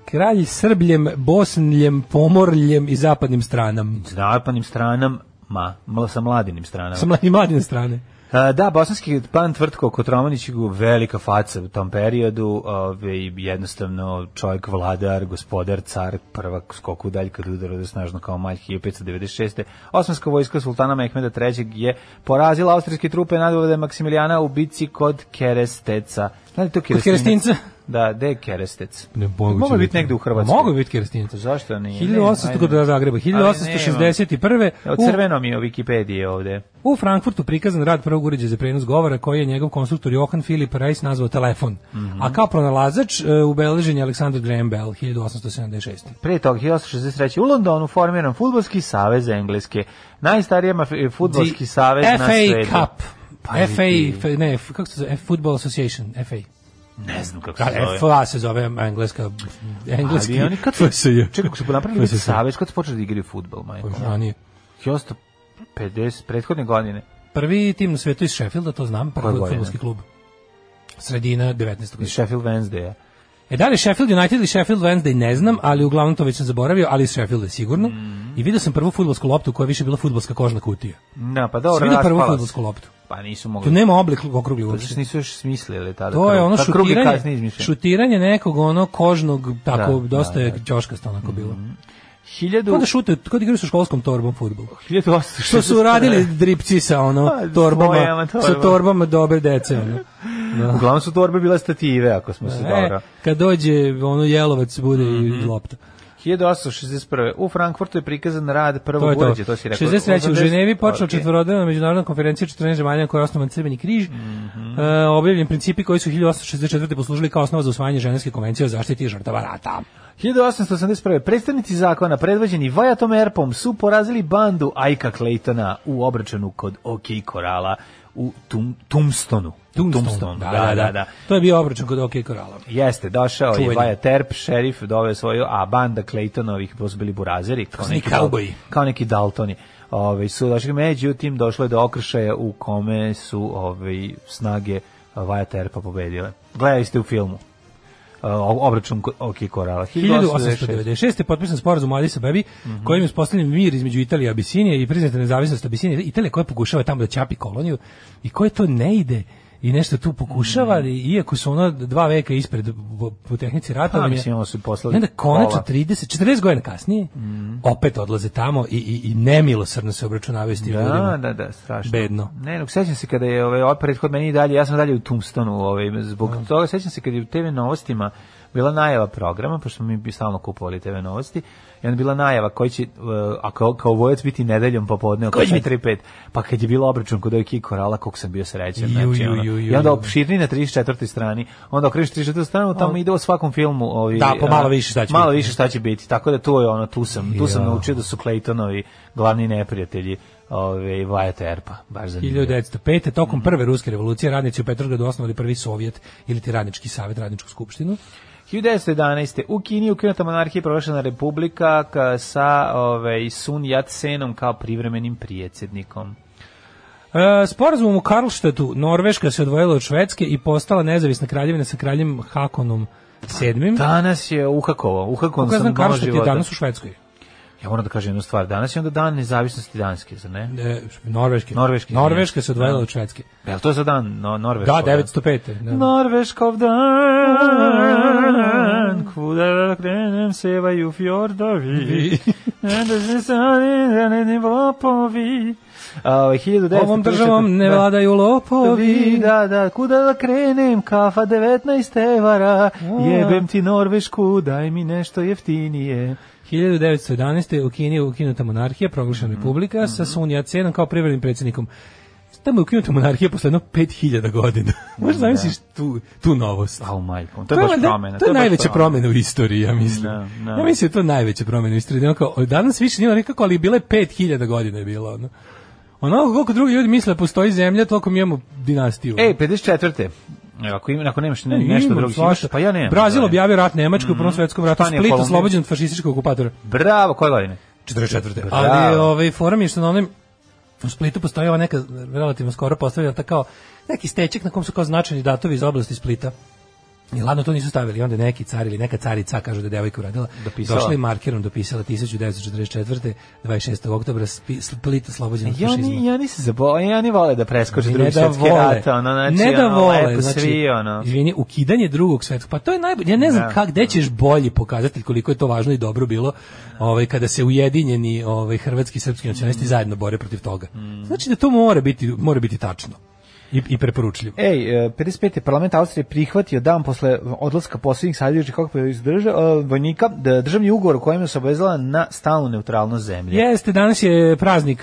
[SPEAKER 7] kralj Srbljem, Bosnljem, Pomorljem i zapadnim stranam.
[SPEAKER 6] S napanim stranama, mla, sa mladinim stranama.
[SPEAKER 7] Sa mladim mladine strane.
[SPEAKER 6] A, da, bosanski pan Tvrtko Kotromanić velika faca u tom periodu, ovaj, jednostavno čovjek vladar, gospodar, car, prvak skoku dalj kad udara da snažno kao malj 1596. Osmanska vojska sultana Mehmeda III. je porazila austrijske trupe nadvode Maksimilijana u bici kod Keresteca. Znate to Kerestinac?
[SPEAKER 7] Kerestinca?
[SPEAKER 6] Da, gde je Kerestec?
[SPEAKER 7] Ne, moguće
[SPEAKER 6] Mogu biti
[SPEAKER 7] biti.
[SPEAKER 6] negde u Hrvatskoj.
[SPEAKER 7] Mogu biti Kerestinca.
[SPEAKER 6] Zašto nije?
[SPEAKER 7] 1800 kod Zagreba, 1861.
[SPEAKER 6] Od
[SPEAKER 7] u-
[SPEAKER 6] crveno mi je Wikipedije ovde.
[SPEAKER 7] U Frankfurtu prikazan rad prvog uređaja za prenos govora koji je njegov konstruktor Johan Philip Reis nazvao telefon. A kao pronalazač e, ubeležen je Alexander Graham Bell 1876.
[SPEAKER 6] Pre toga 1863. u Londonu formiran futbolski savez Engleske. Najstarija maf- e, futbolski savez na
[SPEAKER 7] FA
[SPEAKER 6] svetu.
[SPEAKER 7] Cup.
[SPEAKER 6] Pa
[SPEAKER 7] FA,
[SPEAKER 6] vidi.
[SPEAKER 7] f- ne, f- kako se zove, F- Football Association, FA.
[SPEAKER 6] Ne znam kako se
[SPEAKER 7] Da,
[SPEAKER 6] zove.
[SPEAKER 7] FA se zove engleska, engleski.
[SPEAKER 6] Ali oni kad
[SPEAKER 7] FSJ.
[SPEAKER 6] su, čekaj, kako su napravili
[SPEAKER 7] FSJ.
[SPEAKER 6] savez, kad su počeli da igraju futbol, majko?
[SPEAKER 7] Ranije.
[SPEAKER 6] 1850, prethodne godine.
[SPEAKER 7] Prvi tim na svetu iz Sheffielda, to znam,
[SPEAKER 6] Koje
[SPEAKER 7] prvi
[SPEAKER 6] godine?
[SPEAKER 7] futbolski klub. Sredina 19.
[SPEAKER 6] Iz Sheffield Wednesdaya.
[SPEAKER 7] E da li je Sheffield United ili Sheffield Wednesday ne znam, ali uglavnom to već sam zaboravio, ali Sheffield je sigurno.
[SPEAKER 6] Mhm.
[SPEAKER 7] I vidio sam prvu fudbalsku loptu koja je više bila fudbalska kožna kutija.
[SPEAKER 6] Da, pa
[SPEAKER 7] Dobro,
[SPEAKER 6] dobro,
[SPEAKER 7] vidio prvu
[SPEAKER 6] raspala
[SPEAKER 7] fudbalsku
[SPEAKER 6] se.
[SPEAKER 7] loptu.
[SPEAKER 6] Pa nisu
[SPEAKER 7] Tu
[SPEAKER 6] mogli.
[SPEAKER 7] nema oblik okrugli
[SPEAKER 6] Pa zašto
[SPEAKER 7] uopšte.
[SPEAKER 6] nisu još smislili tada.
[SPEAKER 7] To je ono šutiranje,
[SPEAKER 6] Šut...
[SPEAKER 7] šutiranje nekog ono kožnog, tako
[SPEAKER 6] Da,
[SPEAKER 7] dosta
[SPEAKER 6] da,
[SPEAKER 7] je
[SPEAKER 6] da.
[SPEAKER 7] ćoškasto onako bilo. Kao
[SPEAKER 6] 1000...
[SPEAKER 7] da šute, kao da igraju sa školskom torbom fudbal.
[SPEAKER 6] 1800...
[SPEAKER 7] Što su radili dripci sa ono
[SPEAKER 6] Pa, s
[SPEAKER 7] torbama,
[SPEAKER 6] bojama,
[SPEAKER 7] sa
[SPEAKER 6] torbama.
[SPEAKER 7] torbama dobre dece ono.
[SPEAKER 6] Uglavnom su torbe bila stative, ako smo se dobro. Mhm.
[SPEAKER 7] E, kad dođe ono jelovac bude i lopta.
[SPEAKER 6] 1861. U Frankfurtu je prikazan rad
[SPEAKER 7] To je
[SPEAKER 6] prvog
[SPEAKER 7] to.
[SPEAKER 6] uređaja, to si rekao.
[SPEAKER 7] 63. u
[SPEAKER 6] 80
[SPEAKER 7] Ženevi počela
[SPEAKER 6] Ok.
[SPEAKER 7] četvorodnevna međunarodna konferencija 14 zemalja koja je osnovan Crveni križ.
[SPEAKER 6] Mhm.
[SPEAKER 7] E, objavljen principi koji su 1864. poslužili kao osnova za usvajanje ženevske konvencije o zaštiti žrtava rata.
[SPEAKER 6] 1881. Predstavnici zakona predvođeni Vajatom Erpom su porazili bandu Ajka Claytona u obračunu kod OK Korala u Tum, Tumstonu. Tombstone, da, da, da,
[SPEAKER 7] To je bio obračun kod OK Korala.
[SPEAKER 6] Jeste, došao
[SPEAKER 7] Čuveni.
[SPEAKER 6] je Vaja Terp, šerif, doveo svoju, a banda Claytonovih, to su bili burazeri, kao
[SPEAKER 7] su
[SPEAKER 6] neki,
[SPEAKER 7] neki
[SPEAKER 6] Dal-
[SPEAKER 7] kauboji.
[SPEAKER 6] kao neki Daltoni. Ove, su došli, međutim, došlo je do okršaja u kome su ove, snage Vaja Terpa pobedile. Gledali ste u filmu. E, o- obračun ko- OK Korala.
[SPEAKER 7] 1896. je potpisan sporazum o Addis Abebi, kojim je uspostavljen mir između Italije i Abisinije i priznata nezavisnost Abisinije. Italija koja pokušava tamo da ćapi koloniju i koja to ne ide i nešto tu pokušava, i- iako su ona dva veka ispred po- po tehnici rata.
[SPEAKER 6] Pa,
[SPEAKER 7] nam je-
[SPEAKER 6] mislim, ono su poslali
[SPEAKER 7] I onda konačno
[SPEAKER 6] pola.
[SPEAKER 7] 30, 40 godina kasnije, opet odlaze tamo i, i, i nemilosrdno se obračunavaju s tim
[SPEAKER 6] Da,
[SPEAKER 7] ljudima.
[SPEAKER 6] da, da, strašno.
[SPEAKER 7] Bedno.
[SPEAKER 6] Ne, nego sećam se kada je ovaj ovaj prethod meni i dalje, ja sam dalje u Tombstonu, ovaj zbog
[SPEAKER 7] Da.
[SPEAKER 6] toga sećam se kada je u TV novostima bila najava programa, pošto mi bi stalno kupovali TV novosti, i onda bila najava koji će, uh, a kao, kao vojac biti nedeljom popodne oko
[SPEAKER 7] Koji će
[SPEAKER 6] 4.5, pa kad je bila obračun kod ovih korala, koliko sam bio srećan,
[SPEAKER 7] Ju,
[SPEAKER 6] znači,
[SPEAKER 7] ju,
[SPEAKER 6] ono,
[SPEAKER 7] ju, ju,
[SPEAKER 6] i onda
[SPEAKER 7] ju.
[SPEAKER 6] opširni na 34. strani, onda okreš 34. stranu, tamo
[SPEAKER 7] On-
[SPEAKER 6] ide u svakom filmu, ovi,
[SPEAKER 7] Da, pa malo
[SPEAKER 6] a,
[SPEAKER 7] više šta će
[SPEAKER 6] malo
[SPEAKER 7] biti.
[SPEAKER 6] više šta će biti, tako da to je ono, tu sam, tu sam
[SPEAKER 7] Ja.
[SPEAKER 6] naučio da su Claytonovi glavni neprijatelji ove, Vajata Erpa, baš zanimljivo.
[SPEAKER 7] 1905. tokom prve ruske revolucije radnici u Petrogradu osnovali prvi sovjet ili ti radnički savjet, radničku skupštinu.
[SPEAKER 6] 1911. U Kini je ukinuta monarhija i proglašena republika ka- sa ove, Sun Yat-senom kao privremenim prijedsjednikom.
[SPEAKER 7] E, sporazumom u Karlštetu Norveška se odvojila od Švedske i postala nezavisna kraljevina sa kraljem Hakonom VII.
[SPEAKER 6] Danas je uhakovo, uhakovan
[SPEAKER 7] Kako ja
[SPEAKER 6] sam
[SPEAKER 7] znam,
[SPEAKER 6] malo
[SPEAKER 7] Karlštet je
[SPEAKER 6] života.
[SPEAKER 7] danas u Švedskoj.
[SPEAKER 6] Ja moram da kažem jednu stvar, danas je onda dan nezavisnosti Danske, zar ne?
[SPEAKER 7] E, Norveške.
[SPEAKER 6] Norveške,
[SPEAKER 7] Norveška
[SPEAKER 6] izvinite.
[SPEAKER 7] se odvojila
[SPEAKER 6] Da.
[SPEAKER 7] od Švedske.
[SPEAKER 6] Je li to za dan no, Norveškov?
[SPEAKER 7] Da,
[SPEAKER 6] dan?
[SPEAKER 7] 905. Da.
[SPEAKER 6] Norveškov dan, kuda krenem sevaju fjordovi, da se sani zaneni lopovi. A, ovaj, 1900
[SPEAKER 7] Ovom državom ne
[SPEAKER 6] Da.
[SPEAKER 7] vladaju lopovi.
[SPEAKER 6] Da, da, kuda da krenem, kafa 19 evara, jebem ti Norvešku, daj mi nešto jeftinije.
[SPEAKER 7] 1911. u Kini je ukinuta monarhija, proglašena
[SPEAKER 6] Mhm,
[SPEAKER 7] republika, sa Sun Yat-senom kao privrednim predsjednikom. Tamo je ukinuta monarhija posle jedno 5000 godina. Možeš zamisliš tu, tu novost.
[SPEAKER 6] Au majko, Da. Pa, to je baš
[SPEAKER 7] valjda-
[SPEAKER 6] promena.
[SPEAKER 7] To je
[SPEAKER 6] baš
[SPEAKER 7] najveća promena u istoriji, ja mislim.
[SPEAKER 6] Da, da.
[SPEAKER 7] Ja mislim da je to najveća promena u istoriji. da ono kao, od danas više nije nekako, ali bila je 5000 godina je bila. Ono. Ono koliko drugi ljudi misle da postoji zemlja, toliko mi imamo dinastiju.
[SPEAKER 6] Ej, 54. Evo, E, Ako, ima, ako nemaš ne,
[SPEAKER 7] Ne,
[SPEAKER 6] E, nešto
[SPEAKER 7] imam
[SPEAKER 6] drugo,
[SPEAKER 7] svašta.
[SPEAKER 6] pa ja nemam.
[SPEAKER 7] Brazil
[SPEAKER 6] Da. Mhm.
[SPEAKER 7] objavio rat Nemačkoj u Prvom svetskom ratu,
[SPEAKER 6] Španija,
[SPEAKER 7] Split
[SPEAKER 6] Kolumbija.
[SPEAKER 7] oslobođen od fašističkog okupatora.
[SPEAKER 6] Bravo, koje godine?
[SPEAKER 7] 44.
[SPEAKER 6] Bravo.
[SPEAKER 7] Ali ovaj forum je što na onim u Splitu postoji ova neka relativno skoro postavljena ta kao neki steček na kom su kao značajni datovi iz oblasti Splita. I ladno to nisu stavili, onda je neki car ili neka carica, kažu da je devojka uradila,
[SPEAKER 6] Dopisala.
[SPEAKER 7] došla i markerom dopisala 1944. 26. oktobra Spi- Split oslobođen od
[SPEAKER 6] E, Ja
[SPEAKER 7] fašizma.
[SPEAKER 6] ni, ja ni se zabo, ja ni vole da preskoče
[SPEAKER 7] I
[SPEAKER 6] drugi svetski rat, ono, znači,
[SPEAKER 7] ne da
[SPEAKER 6] ono,
[SPEAKER 7] vole,
[SPEAKER 6] lepo
[SPEAKER 7] znači,
[SPEAKER 6] svi, ono.
[SPEAKER 7] izvini, ukidanje drugog svetskog, pa to je najbolje, ja ne znam
[SPEAKER 6] Da.
[SPEAKER 7] kak, gde ćeš bolji pokazatelj koliko je to važno i dobro bilo, ovaj, kada se ujedinjeni ovaj, hrvatski i srpski
[SPEAKER 6] Mm.
[SPEAKER 7] nacionalisti zajedno bore protiv toga. Znači da to mora biti, mora biti tačno i, i preporučljivo.
[SPEAKER 6] Ej, e, 55. parlament Austrije prihvatio dan posle odlaska posljednjih savjeđačih kako iz drža, e, vojnika da državni ugovor kojim se obavezala na stalnu neutralnost zemlje.
[SPEAKER 7] Jeste, danas je praznik,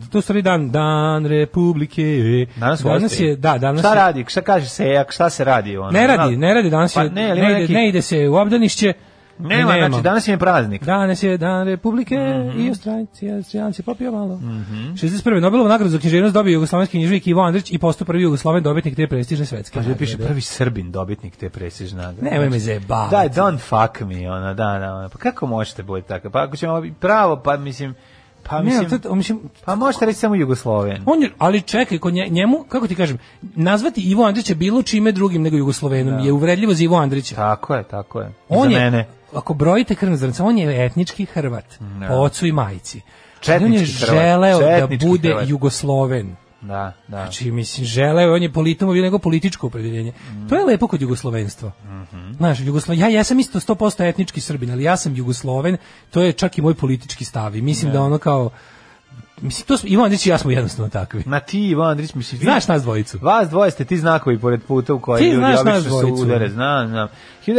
[SPEAKER 7] eh, tu stvari dan, dan Republike.
[SPEAKER 6] Danas, u Austriji.
[SPEAKER 7] je, da, danas
[SPEAKER 6] šta
[SPEAKER 7] je,
[SPEAKER 6] radi, šta kaže sejak, šta se radi? Ono?
[SPEAKER 7] ne radi,
[SPEAKER 6] Zna-
[SPEAKER 7] ne radi danas,
[SPEAKER 6] Pa
[SPEAKER 7] je,
[SPEAKER 6] ne,
[SPEAKER 7] ne,
[SPEAKER 6] ali ima
[SPEAKER 7] ide,
[SPEAKER 6] neki-
[SPEAKER 7] ne ide se u obdanišće,
[SPEAKER 6] Nema, znači danas im je praznik.
[SPEAKER 7] Danas je dan Republike
[SPEAKER 6] Mhm.
[SPEAKER 7] i Australijanci, Australijanci popio malo. 61. Nobelovu nagradu za književnost dobio jugoslovenski književnik Ivo Andrić i postao prvi jugosloven dobitnik te prestižne svetske.
[SPEAKER 6] Pa da
[SPEAKER 7] nagrade.
[SPEAKER 6] piše prvi Srbin dobitnik te prestižne nagrade.
[SPEAKER 7] Nemoj me zajebavati.
[SPEAKER 6] Da, don't fuck me, ona, da, da, ono. pa kako možete biti tako? Pa ako ćemo pravo, pa mislim, Pa
[SPEAKER 7] Ne,
[SPEAKER 6] mislim,
[SPEAKER 7] ali to- mislim,
[SPEAKER 6] pa možete reći samo Jugosloven.
[SPEAKER 7] On je, ali čekaj, kod nje- njemu, kako ti kažem, nazvati Ivo Andrića bilo čime drugim nego Jugoslovenom je uvredljivo za Ivo Andrića.
[SPEAKER 6] Da. Tako je, tako je.
[SPEAKER 7] on
[SPEAKER 6] Za
[SPEAKER 7] je,
[SPEAKER 6] mene. Da.
[SPEAKER 7] ako brojite krvne zrnca, on je etnički Hrvat, po ocu i majici. Ali on je
[SPEAKER 6] Četnički Hrvat,
[SPEAKER 7] želeo da
[SPEAKER 6] četnički
[SPEAKER 7] bude
[SPEAKER 6] Hrvat.
[SPEAKER 7] Jugosloven.
[SPEAKER 6] Da, da.
[SPEAKER 7] Znači, mislim, želeo, je, on je politom bio nego političko opredeljenje. To je lepo kod jugoslovenstva. Znaš, Jugoslo... ja, ja sam isto 100% etnički srbin, ali ja sam jugosloven, to je čak i moj politički stav i mislim da ono kao, mislim, to smo, Ivan Andrić i ja smo jednostavno takvi.
[SPEAKER 6] Ma ti, Ivan Andrić, mislim, vi-
[SPEAKER 7] Znaš nas dvojicu.
[SPEAKER 6] Vas dvoje ste ti znakovi pored puta u kojoj
[SPEAKER 7] Ti
[SPEAKER 6] ljudi
[SPEAKER 7] znaš nas
[SPEAKER 6] obično
[SPEAKER 7] dvojicu.
[SPEAKER 6] su udare. Znam, znam.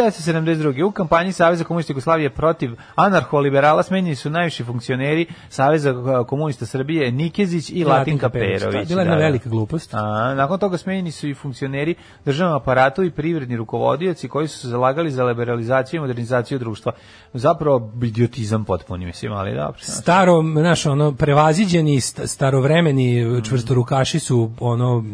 [SPEAKER 6] 1972. U kampanji Saveza komunista Jugoslavije protiv anarcho-liberala smenjeni su najviši funkcioneri Saveza eh, komunista Srbije Nikezić i Latinka
[SPEAKER 7] Perović. To je
[SPEAKER 6] Perović.
[SPEAKER 7] bila
[SPEAKER 6] da,
[SPEAKER 7] jedna
[SPEAKER 6] da.
[SPEAKER 7] velika glupost.
[SPEAKER 6] A, nakon toga smenjeni su i funkcioneri državnog aparatu i privredni rukovodioci koji su se zalagali za liberalizaciju i modernizaciju društva. Zapravo idiotizam potpuni, mislim, ali dobro. znači. znaš.
[SPEAKER 7] Staro, znaš, ono, prevaziđeni, st- starovremeni čvrstorukaši su, ono,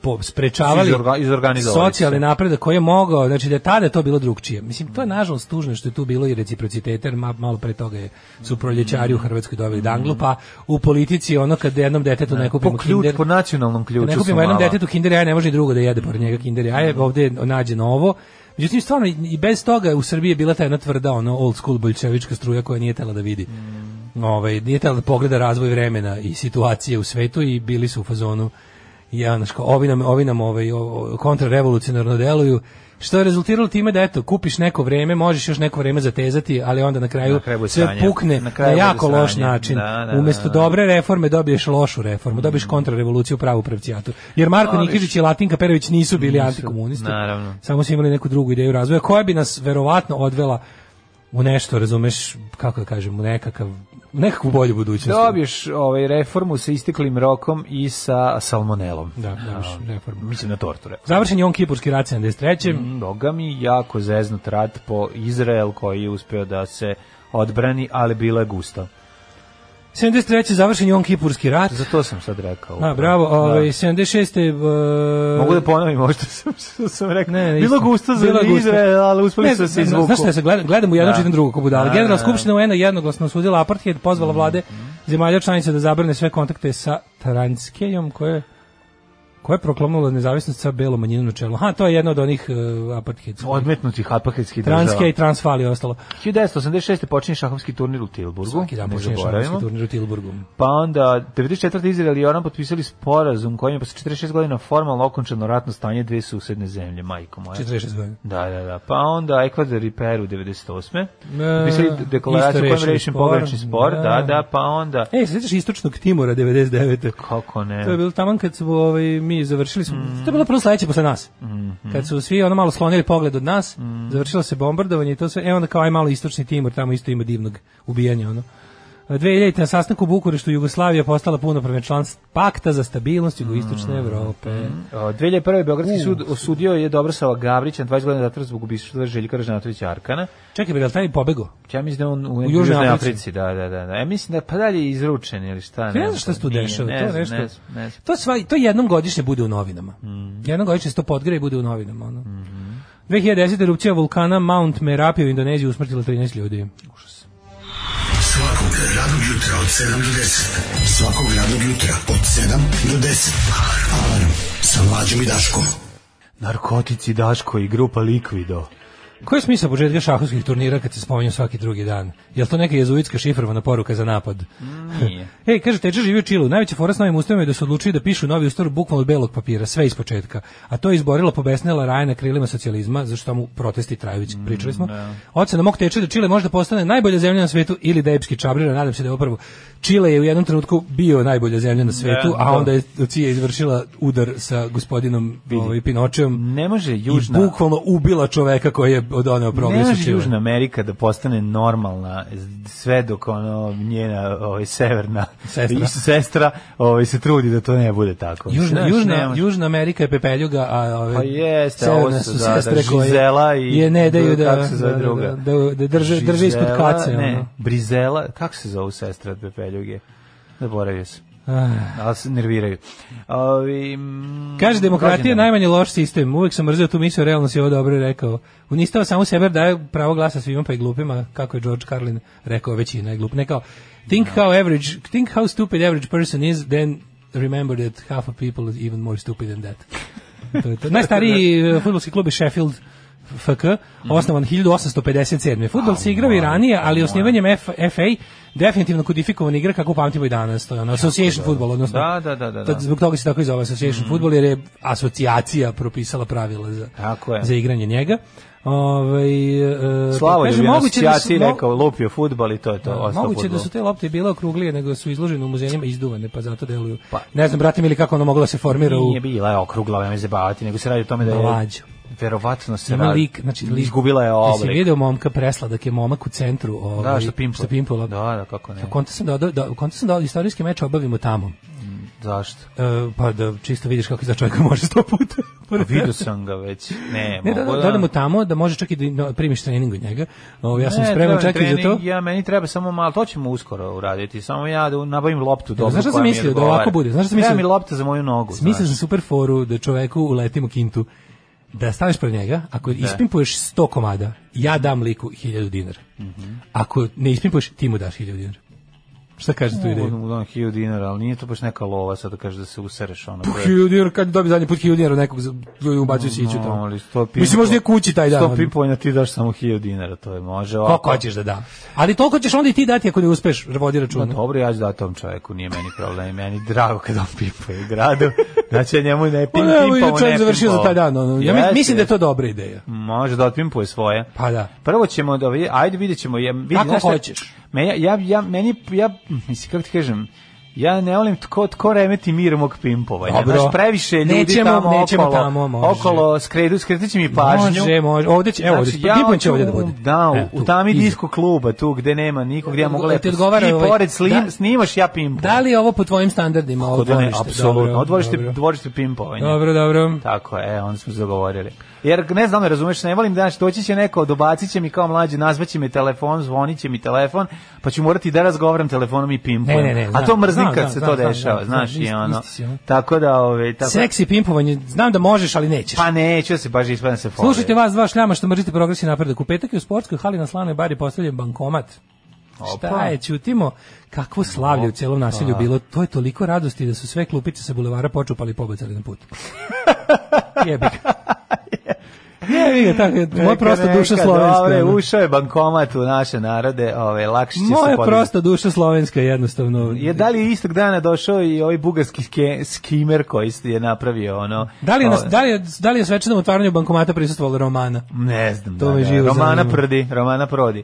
[SPEAKER 7] po, sprečavali
[SPEAKER 6] Izorga- izorganizovali
[SPEAKER 7] socijalni
[SPEAKER 6] se.
[SPEAKER 7] napredak koji je mogao, znači da je tada to bilo drugčije. Mislim, to je nažalost tužno što je tu bilo i reciprociteta, jer ma- malo pre toga je, su proljećari u Hrvatskoj dobili danglu, pa u politici ono kad jednom detetu ne kupimo
[SPEAKER 6] Po, ključ,
[SPEAKER 7] kinder,
[SPEAKER 6] po nacionalnom ključu
[SPEAKER 7] kad Da ne
[SPEAKER 6] su
[SPEAKER 7] kupimo jednom
[SPEAKER 6] mala. Mm.
[SPEAKER 7] detetu kinder jaje, ne može i drugo da jede pored njega kinder jaje, ovde je nađeno ovo. Međutim, stvarno, i- i bez toga u Srbiji je bila ta jedna tvrda, ono, old school boljčevička struja koja nije tela da vidi.
[SPEAKER 6] Mm.
[SPEAKER 7] Ovaj, nije tela da pogleda razvoj vremena i situacije u svetu i bili su u fazonu ja, znaš, kao, ovi nam, ovi nam ovaj, o- o- kontrarevolucionarno deluju, što je rezultiralo time da eto kupiš neko vreme, možeš još neko vreme zatezati, ali onda na kraju,
[SPEAKER 6] Na kraju bude
[SPEAKER 7] sve
[SPEAKER 6] sranje.
[SPEAKER 7] pukne na,
[SPEAKER 6] Na kraju bude
[SPEAKER 7] jako loš
[SPEAKER 6] sranje.
[SPEAKER 7] način.
[SPEAKER 6] Da, da,
[SPEAKER 7] Umesto
[SPEAKER 6] da, da.
[SPEAKER 7] dobre reforme dobiješ lošu reformu,
[SPEAKER 6] Mm.
[SPEAKER 7] dobiješ kontrarevoluciju pravu pravcijatu. Jer Marko
[SPEAKER 6] Dobiš.
[SPEAKER 7] Nikizić i Latinka Perović nisu bili antikomunisti.
[SPEAKER 6] naravno.
[SPEAKER 7] Samo su imali neku drugu ideju razvoja koja bi nas verovatno odvela u nešto, razumeš, kako da kažem, u nekakav u nekakvu bolju budućnost.
[SPEAKER 6] Dobiješ ovaj reformu sa isteklim rokom i sa salmonelom.
[SPEAKER 7] Da, dobiješ reformu.
[SPEAKER 6] Mislim na torture.
[SPEAKER 7] Završen je on Kipurski rat 73.
[SPEAKER 6] Boga mi jako zeznut rat po Izrael koji je uspeo da se odbrani, ali bilo je gusto.
[SPEAKER 7] 73. završen je on Kipurski rat.
[SPEAKER 6] Zato sam sad rekao.
[SPEAKER 7] A, bravo,
[SPEAKER 6] Da.
[SPEAKER 7] ovaj, 76.
[SPEAKER 6] Mogu da ponovim ovo što sam, što sam rekao.
[SPEAKER 7] Ne, ne,
[SPEAKER 6] bilo
[SPEAKER 7] isto.
[SPEAKER 6] gusto za
[SPEAKER 7] Bilo je gusto.
[SPEAKER 6] Izrael, ali uspeli
[SPEAKER 7] Ne,
[SPEAKER 6] su da
[SPEAKER 7] ne,
[SPEAKER 6] se
[SPEAKER 7] ne,
[SPEAKER 6] izvuku.
[SPEAKER 7] Znaš šta se gledam, gledam u jedno
[SPEAKER 6] Da.
[SPEAKER 7] čitam drugo kao budala.
[SPEAKER 6] Da,
[SPEAKER 7] Generalna
[SPEAKER 6] da, Mhm.
[SPEAKER 7] skupština UN-a jednoglasno osudila apartheid, pozvala vlade zemalja članica da zabrane sve kontakte sa Transkejom koje koja je proklamovala nezavisnost sa belom manjinom na čelu. Ha, to je jedna od onih uh, apartheid.
[SPEAKER 6] Odmetnutih apaketskih država.
[SPEAKER 7] Transkej i Transfali i ostalo.
[SPEAKER 6] 1986. počinje šahovski turnir u Tilburgu.
[SPEAKER 7] Svaki dan
[SPEAKER 6] ne
[SPEAKER 7] počinje
[SPEAKER 6] zaboravimo.
[SPEAKER 7] šarovski turnir u Tilburgu.
[SPEAKER 6] Pa onda, 94. Izrael i Jordan potpisali sporazum kojim je posle 46 godina formalno okončano ratno stanje dve susedne zemlje, majko moja.
[SPEAKER 7] 46 godina.
[SPEAKER 6] Da, da, da. Pa onda Ekvador i Peru 98.
[SPEAKER 7] E,
[SPEAKER 6] Potpisali
[SPEAKER 7] isto
[SPEAKER 6] deklaraciju kojom
[SPEAKER 7] rešili
[SPEAKER 6] rešim
[SPEAKER 7] spor.
[SPEAKER 6] pogrešni spor.
[SPEAKER 7] Da.
[SPEAKER 6] Da, da, pa onda...
[SPEAKER 7] Ej, E, se sjećaš istočnog Timora 99.
[SPEAKER 6] Kako ne?
[SPEAKER 7] To je bilo tamo kad su ovaj, mi završili smo, to je bilo prvo sledeće posle nas. Kad su svi ono malo slonili pogled od nas, završilo se bombardovanje i to sve, e onda kao aj malo istočni Timor, tamo isto ima divnog ubijanja ono. E, 2000. na sastanku u Bukureštu Jugoslavija postala punopravna član pakta za stabilnost jugoistočne Evrope.
[SPEAKER 6] O, 2001. Beogradski sud osudio je Dobrosava Gavrića na 20 godina zatvora zbog ubistva Željka Ražnatovića Arkana.
[SPEAKER 7] Čekaj, bre, je li taj pobego?
[SPEAKER 6] Ja mislim da je on u,
[SPEAKER 7] Južnoj
[SPEAKER 6] Južnoj
[SPEAKER 7] Africi.
[SPEAKER 6] Africi. da, da, da. da. Ja mislim da pa dalje je izručen ili šta.
[SPEAKER 7] Ne znam
[SPEAKER 6] znam,
[SPEAKER 7] šta se tu
[SPEAKER 6] nije,
[SPEAKER 7] dešava,
[SPEAKER 6] ne
[SPEAKER 7] to je
[SPEAKER 6] znam,
[SPEAKER 7] nešto.
[SPEAKER 6] Ne znam, ne znam.
[SPEAKER 7] To sva to jednom godišnje bude u novinama. Jednom godišnje se to podgreje i bude u novinama, ono. 2010. erupcija vulkana Mount Merapi u Indoneziji usmrtila 13 ljudi.
[SPEAKER 4] Svakog radnog jutra od 7 do 10. Svakog radnog jutra od 7 do 10. Alarm sa mlađom i Daškom.
[SPEAKER 6] Narkotici Daško i grupa Likvido.
[SPEAKER 7] Koji je smisao početka šahovskih turnira kad se spominju svaki drugi dan? Je to neka jezuitska šifrovana poruka za napad?
[SPEAKER 6] Nije.
[SPEAKER 7] Ej, kaže, Tečer živi u Čilu. Najveća fora s novim ustavima je da su odlučili da pišu novi ustav bukvalno od belog papira, sve iz početka. A to je izborila pobesnela Raja na krilima socijalizma, zašto tamo protesti traju, već
[SPEAKER 6] Mm,
[SPEAKER 7] pričali smo. Ocena mog Tečera da Čile može da postane najbolja zemlja na svetu ili da je epski čabrira, nadam se da je upravo Čile je u jednom trenutku bio najbolja zemlja na svetu,
[SPEAKER 6] Da,
[SPEAKER 7] a
[SPEAKER 6] da.
[SPEAKER 7] onda je CIA izvršila udar sa gospodinom ovaj, Pinočeom.
[SPEAKER 6] Ne može
[SPEAKER 7] Južna.
[SPEAKER 6] Južna...
[SPEAKER 7] I bukvalno ubila čoveka koji je odoneo
[SPEAKER 6] Ne
[SPEAKER 7] progres u
[SPEAKER 6] može
[SPEAKER 7] Čile.
[SPEAKER 6] Južna Amerika da postane normalna sve dok ono njena ovaj severna
[SPEAKER 7] Sestra.
[SPEAKER 6] i sestra ovaj se trudi da to ne bude tako.
[SPEAKER 7] Južna,
[SPEAKER 6] Znaš, ne
[SPEAKER 7] južna,
[SPEAKER 6] može.
[SPEAKER 7] južna Amerika je pepeljuga, a ove
[SPEAKER 6] Pa jeste,
[SPEAKER 7] severne
[SPEAKER 6] ovo su, da, da, Žizela i-
[SPEAKER 7] je ne daju da,
[SPEAKER 6] kako se zove
[SPEAKER 7] da,
[SPEAKER 6] druga?
[SPEAKER 7] da, da, da drže, drže ispod
[SPEAKER 6] Žizela,
[SPEAKER 7] kace.
[SPEAKER 6] Ne,
[SPEAKER 7] Ono.
[SPEAKER 6] Brizela, kako se zove sestra od Pepeljuge? Zaboravio sam.
[SPEAKER 7] Ah.
[SPEAKER 6] ali se nerviraju. Ovi, mm,
[SPEAKER 7] Kaže demokratija je
[SPEAKER 6] rođendan.
[SPEAKER 7] najmanje loš sistem. Uvek sam mrzio tu misao, realno si ovo dobro rekao. Uništava samo sebe, jer daje pravo glasa svima pa i glupima, kako je George Carlin rekao, većina je glup. Ne kao think
[SPEAKER 6] Da.
[SPEAKER 7] how average, think how stupid average person is, then remember that half of people is even more stupid than that. to je to. Najstariji
[SPEAKER 6] Da.
[SPEAKER 7] eh, fudbalski klub je Sheffield FK,
[SPEAKER 6] Mhm.
[SPEAKER 7] osnovan 1857. Fudbal se igrao i ranije, ali osnivanjem F- FA definitivno kodifikovan igra kako pamtimo i danas. To je ono, association football, odnosno
[SPEAKER 6] Da, da, da, da, da.
[SPEAKER 7] Tad zbog toga se tako i zove
[SPEAKER 6] Mhm.
[SPEAKER 7] Association Football, jer je asocijacija propisala pravila za,
[SPEAKER 6] Tako je.
[SPEAKER 7] za igranje njega. Ovaj, e,
[SPEAKER 6] Slavo
[SPEAKER 7] kaže,
[SPEAKER 6] je
[SPEAKER 7] moguće da su-
[SPEAKER 6] asocijacija
[SPEAKER 7] mo-
[SPEAKER 6] rekao, lupio futbal i to je to. ostao
[SPEAKER 7] Moguće da
[SPEAKER 6] fudbal.
[SPEAKER 7] su te lopte bile okruglije, nego su izložene u muzejima i izduvane, pa zato deluju. ne znam, brate mi, ili kako ono moglo da se formira u...
[SPEAKER 6] Nije bila je okrugla, nema se baviti, nego se radi o tome da je...
[SPEAKER 7] Mlađo.
[SPEAKER 6] Verovatno se
[SPEAKER 7] Ima
[SPEAKER 6] radi-
[SPEAKER 7] lik, znači lik.
[SPEAKER 6] da- izgubila je
[SPEAKER 7] Jesi
[SPEAKER 6] oblik.
[SPEAKER 7] video momka presladak je momak u centru, ovaj,
[SPEAKER 6] Da, što pimpla.
[SPEAKER 7] Što pimpla.
[SPEAKER 6] Da, da, kako ne.
[SPEAKER 7] Konta sam da, da, da, konta sam da istorijski meč obavimo tamo.
[SPEAKER 6] Zašto?
[SPEAKER 7] E, pa da čisto vidiš kako za čovjeka može sto puta.
[SPEAKER 6] Pa Vidio sam ga već. Ne,
[SPEAKER 7] Ne, da,
[SPEAKER 6] mogu
[SPEAKER 7] da, da, mu tamo da može čak i da no, primiš trening od njega. Ovo, ja sam
[SPEAKER 6] Ne,
[SPEAKER 7] spreman
[SPEAKER 6] treba
[SPEAKER 7] čak i za
[SPEAKER 6] trening,
[SPEAKER 7] to.
[SPEAKER 6] Ja, meni treba samo malo, to ćemo uskoro uraditi. Samo ja da nabavim loptu dobro.
[SPEAKER 7] znaš šta sam mislio? Da ovako bude. Znaš šta sam
[SPEAKER 6] Treba mi
[SPEAKER 7] mislio?
[SPEAKER 6] lopta za moju nogu.
[SPEAKER 7] Smislio sam
[SPEAKER 6] znaš.
[SPEAKER 7] super foru da čoveku uletimo kintu. Da staviš pred njega, ako
[SPEAKER 6] Da.
[SPEAKER 7] ispimpuješ 100 komada, ja dam liku 1000 dinara.
[SPEAKER 6] Mhm.
[SPEAKER 7] Ako ne ispimpuješ, ti mu daš 1000 dinara. Šta kaže tu
[SPEAKER 6] Mogu
[SPEAKER 7] ideju?
[SPEAKER 6] da mu dam 1000 dinara, ali nije to baš neka lova sad da kaže da se usereš ono.
[SPEAKER 7] Puh, 1000 dinara, kad dobi zadnji put 1000 dinara od nekog za- ljudi ubacujući iću tamo.
[SPEAKER 6] ali sto pimpo-
[SPEAKER 7] Mislim, možda je kući taj dan.
[SPEAKER 6] Sto pipojna ti daš samo 1000 dinara, to je može. ovako.
[SPEAKER 7] Koliko hoćeš da da. Ali toliko ćeš onda i ti dati ako ne uspeš, vodi
[SPEAKER 6] Pa
[SPEAKER 7] računa.
[SPEAKER 6] dobro, ja ću dati tom čoveku, nije meni problem, meni drago kad on pipa u gradu, znači ja njemu ne pim,
[SPEAKER 7] Pa evo,
[SPEAKER 6] pimpao,
[SPEAKER 7] i čovjek
[SPEAKER 6] ne
[SPEAKER 7] završio za
[SPEAKER 6] pimpao.
[SPEAKER 7] taj dan. ono. Ja mi-
[SPEAKER 6] Jeste,
[SPEAKER 7] mislim da je to dobra ideja.
[SPEAKER 6] Može da otpimpuje svoje.
[SPEAKER 7] Pa da.
[SPEAKER 6] Prvo ćemo da vidi- ajde vidjet ćemo. Ja, vidi,
[SPEAKER 7] Kako
[SPEAKER 6] znaš šta-
[SPEAKER 7] hoćeš.
[SPEAKER 6] Me, ja, ja, ja, meni, ja, mislim, kako ti kažem, Ja ne volim tko, tko remeti mir mog pimpovanja.
[SPEAKER 7] Dobro.
[SPEAKER 6] Znaš, previše ljudi
[SPEAKER 7] Nećemo-
[SPEAKER 6] tamo
[SPEAKER 7] nećemo
[SPEAKER 6] okolo,
[SPEAKER 7] tamo, može.
[SPEAKER 6] okolo skredu, skretit će mi pažnju. Znači,
[SPEAKER 7] Može, može. Ovde će, evo, ovde će,
[SPEAKER 6] ja
[SPEAKER 7] Pipan će
[SPEAKER 6] hoću
[SPEAKER 7] ovde da bude.
[SPEAKER 6] u- Da, u,
[SPEAKER 7] Evo, tu,
[SPEAKER 6] u tami
[SPEAKER 7] iza.
[SPEAKER 6] disko kluba, tu gde nema nikog, gde ja mogu
[SPEAKER 7] Ti
[SPEAKER 6] lepo.
[SPEAKER 7] odgovara
[SPEAKER 6] I
[SPEAKER 7] ovaj-
[SPEAKER 6] pored slim,
[SPEAKER 7] da.
[SPEAKER 6] snimaš, ja pimpam.
[SPEAKER 7] Da li je ovo po tvojim standardima ovo
[SPEAKER 6] Kod one,
[SPEAKER 7] dvorište?
[SPEAKER 6] Apsolutno,
[SPEAKER 7] Dobro,
[SPEAKER 6] Ovo dvorište,
[SPEAKER 7] dobro.
[SPEAKER 6] dvorište pimpovanja.
[SPEAKER 7] Dobro, dobro.
[SPEAKER 6] Tako je, e, onda smo se dogovorili. Jer ne znam, ne razumeš, ne volim da znači, doći će neko, dobacit će mi kao mlađi, nazvaće mi telefon, zvonit će mi telefon, pa ću morati da razgovaram telefonom i pimpujem.
[SPEAKER 7] Ne, ne, ne,
[SPEAKER 6] A
[SPEAKER 7] znam,
[SPEAKER 6] to mrzim
[SPEAKER 7] znam,
[SPEAKER 6] kad
[SPEAKER 7] znam,
[SPEAKER 6] se
[SPEAKER 7] znam,
[SPEAKER 6] to
[SPEAKER 7] znam,
[SPEAKER 6] dešava,
[SPEAKER 7] znam,
[SPEAKER 6] znaš,
[SPEAKER 7] znam,
[SPEAKER 6] i
[SPEAKER 7] isti-
[SPEAKER 6] ono.
[SPEAKER 7] isti si, ono.
[SPEAKER 6] Tako da, ove, tako,
[SPEAKER 7] Seksi pimpovanje, znam da možeš, ali nećeš.
[SPEAKER 6] pa neću se baš ispadam se fore.
[SPEAKER 7] Slušajte vas dva šljama što mrzite progresi napredak. U petak je u sportskoj hali na Slanoj bari postavljen bankomat. Šta je, čutimo kakvo slavlje u cijelom naselju bilo. To je toliko radosti da su sve klupice sa bulevara počupali i pobacali na put. Jebi ga. Jebi ga, tako je. Moja
[SPEAKER 6] Neka,
[SPEAKER 7] prosta
[SPEAKER 6] neka,
[SPEAKER 7] duša slovenska.
[SPEAKER 6] Dobre,
[SPEAKER 7] ono.
[SPEAKER 6] ušao je bankomat u naše narode, ove, lakše će se
[SPEAKER 7] Moja
[SPEAKER 6] podizati.
[SPEAKER 7] prosta duša slovenska jednostavno.
[SPEAKER 6] Je da li je istog dana došao i ovaj bugarski ske- skimer koji je napravio ono? ovaj,
[SPEAKER 7] Da li je, na,
[SPEAKER 6] ove-
[SPEAKER 7] da li je, da li je svečanom otvaranju bankomata prisustvovala Romana?
[SPEAKER 6] Ne znam.
[SPEAKER 7] To
[SPEAKER 6] da,
[SPEAKER 7] me
[SPEAKER 6] da.
[SPEAKER 7] živo
[SPEAKER 6] Romana
[SPEAKER 7] zanima.
[SPEAKER 6] Prdi, Romana Prodi.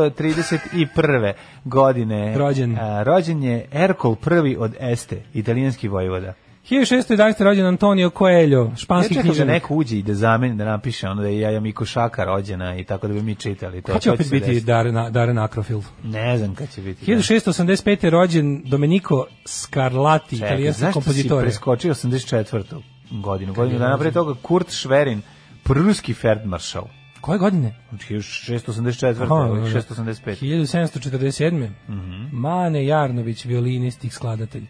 [SPEAKER 6] 1431. godine.
[SPEAKER 7] Rođen.
[SPEAKER 6] A, rođen je Erkol I od Este, italijanski vojvoda.
[SPEAKER 7] 1611. rođen Antonio Coelho,
[SPEAKER 6] Ja
[SPEAKER 7] španski
[SPEAKER 6] čekam da
[SPEAKER 7] književnik.
[SPEAKER 6] neko uđe i da zameni, da napiše ono da je Jaja Miko Šaka rođena i tako da bi mi čitali to.
[SPEAKER 7] Ko će
[SPEAKER 6] To
[SPEAKER 7] opet
[SPEAKER 6] se
[SPEAKER 7] biti
[SPEAKER 6] desiti.
[SPEAKER 7] Darren, Darren Akrofil?
[SPEAKER 6] Ne znam kad će biti. da.
[SPEAKER 7] 1685. je rođen Domenico Scarlatti,
[SPEAKER 6] Čekaj,
[SPEAKER 7] italijanski
[SPEAKER 6] zašto si
[SPEAKER 7] kompozitor.
[SPEAKER 6] preskočio 84. godinu? Godinu dana pre toga Kurt Schwerin, pruski feldmaršal. Znači,
[SPEAKER 7] Koje godine?
[SPEAKER 6] 684.
[SPEAKER 7] Aha,
[SPEAKER 6] ili
[SPEAKER 7] da, da.
[SPEAKER 6] 685.
[SPEAKER 7] 1747.
[SPEAKER 6] Mhm.
[SPEAKER 7] Mane Jarnović, violinist i skladatelj.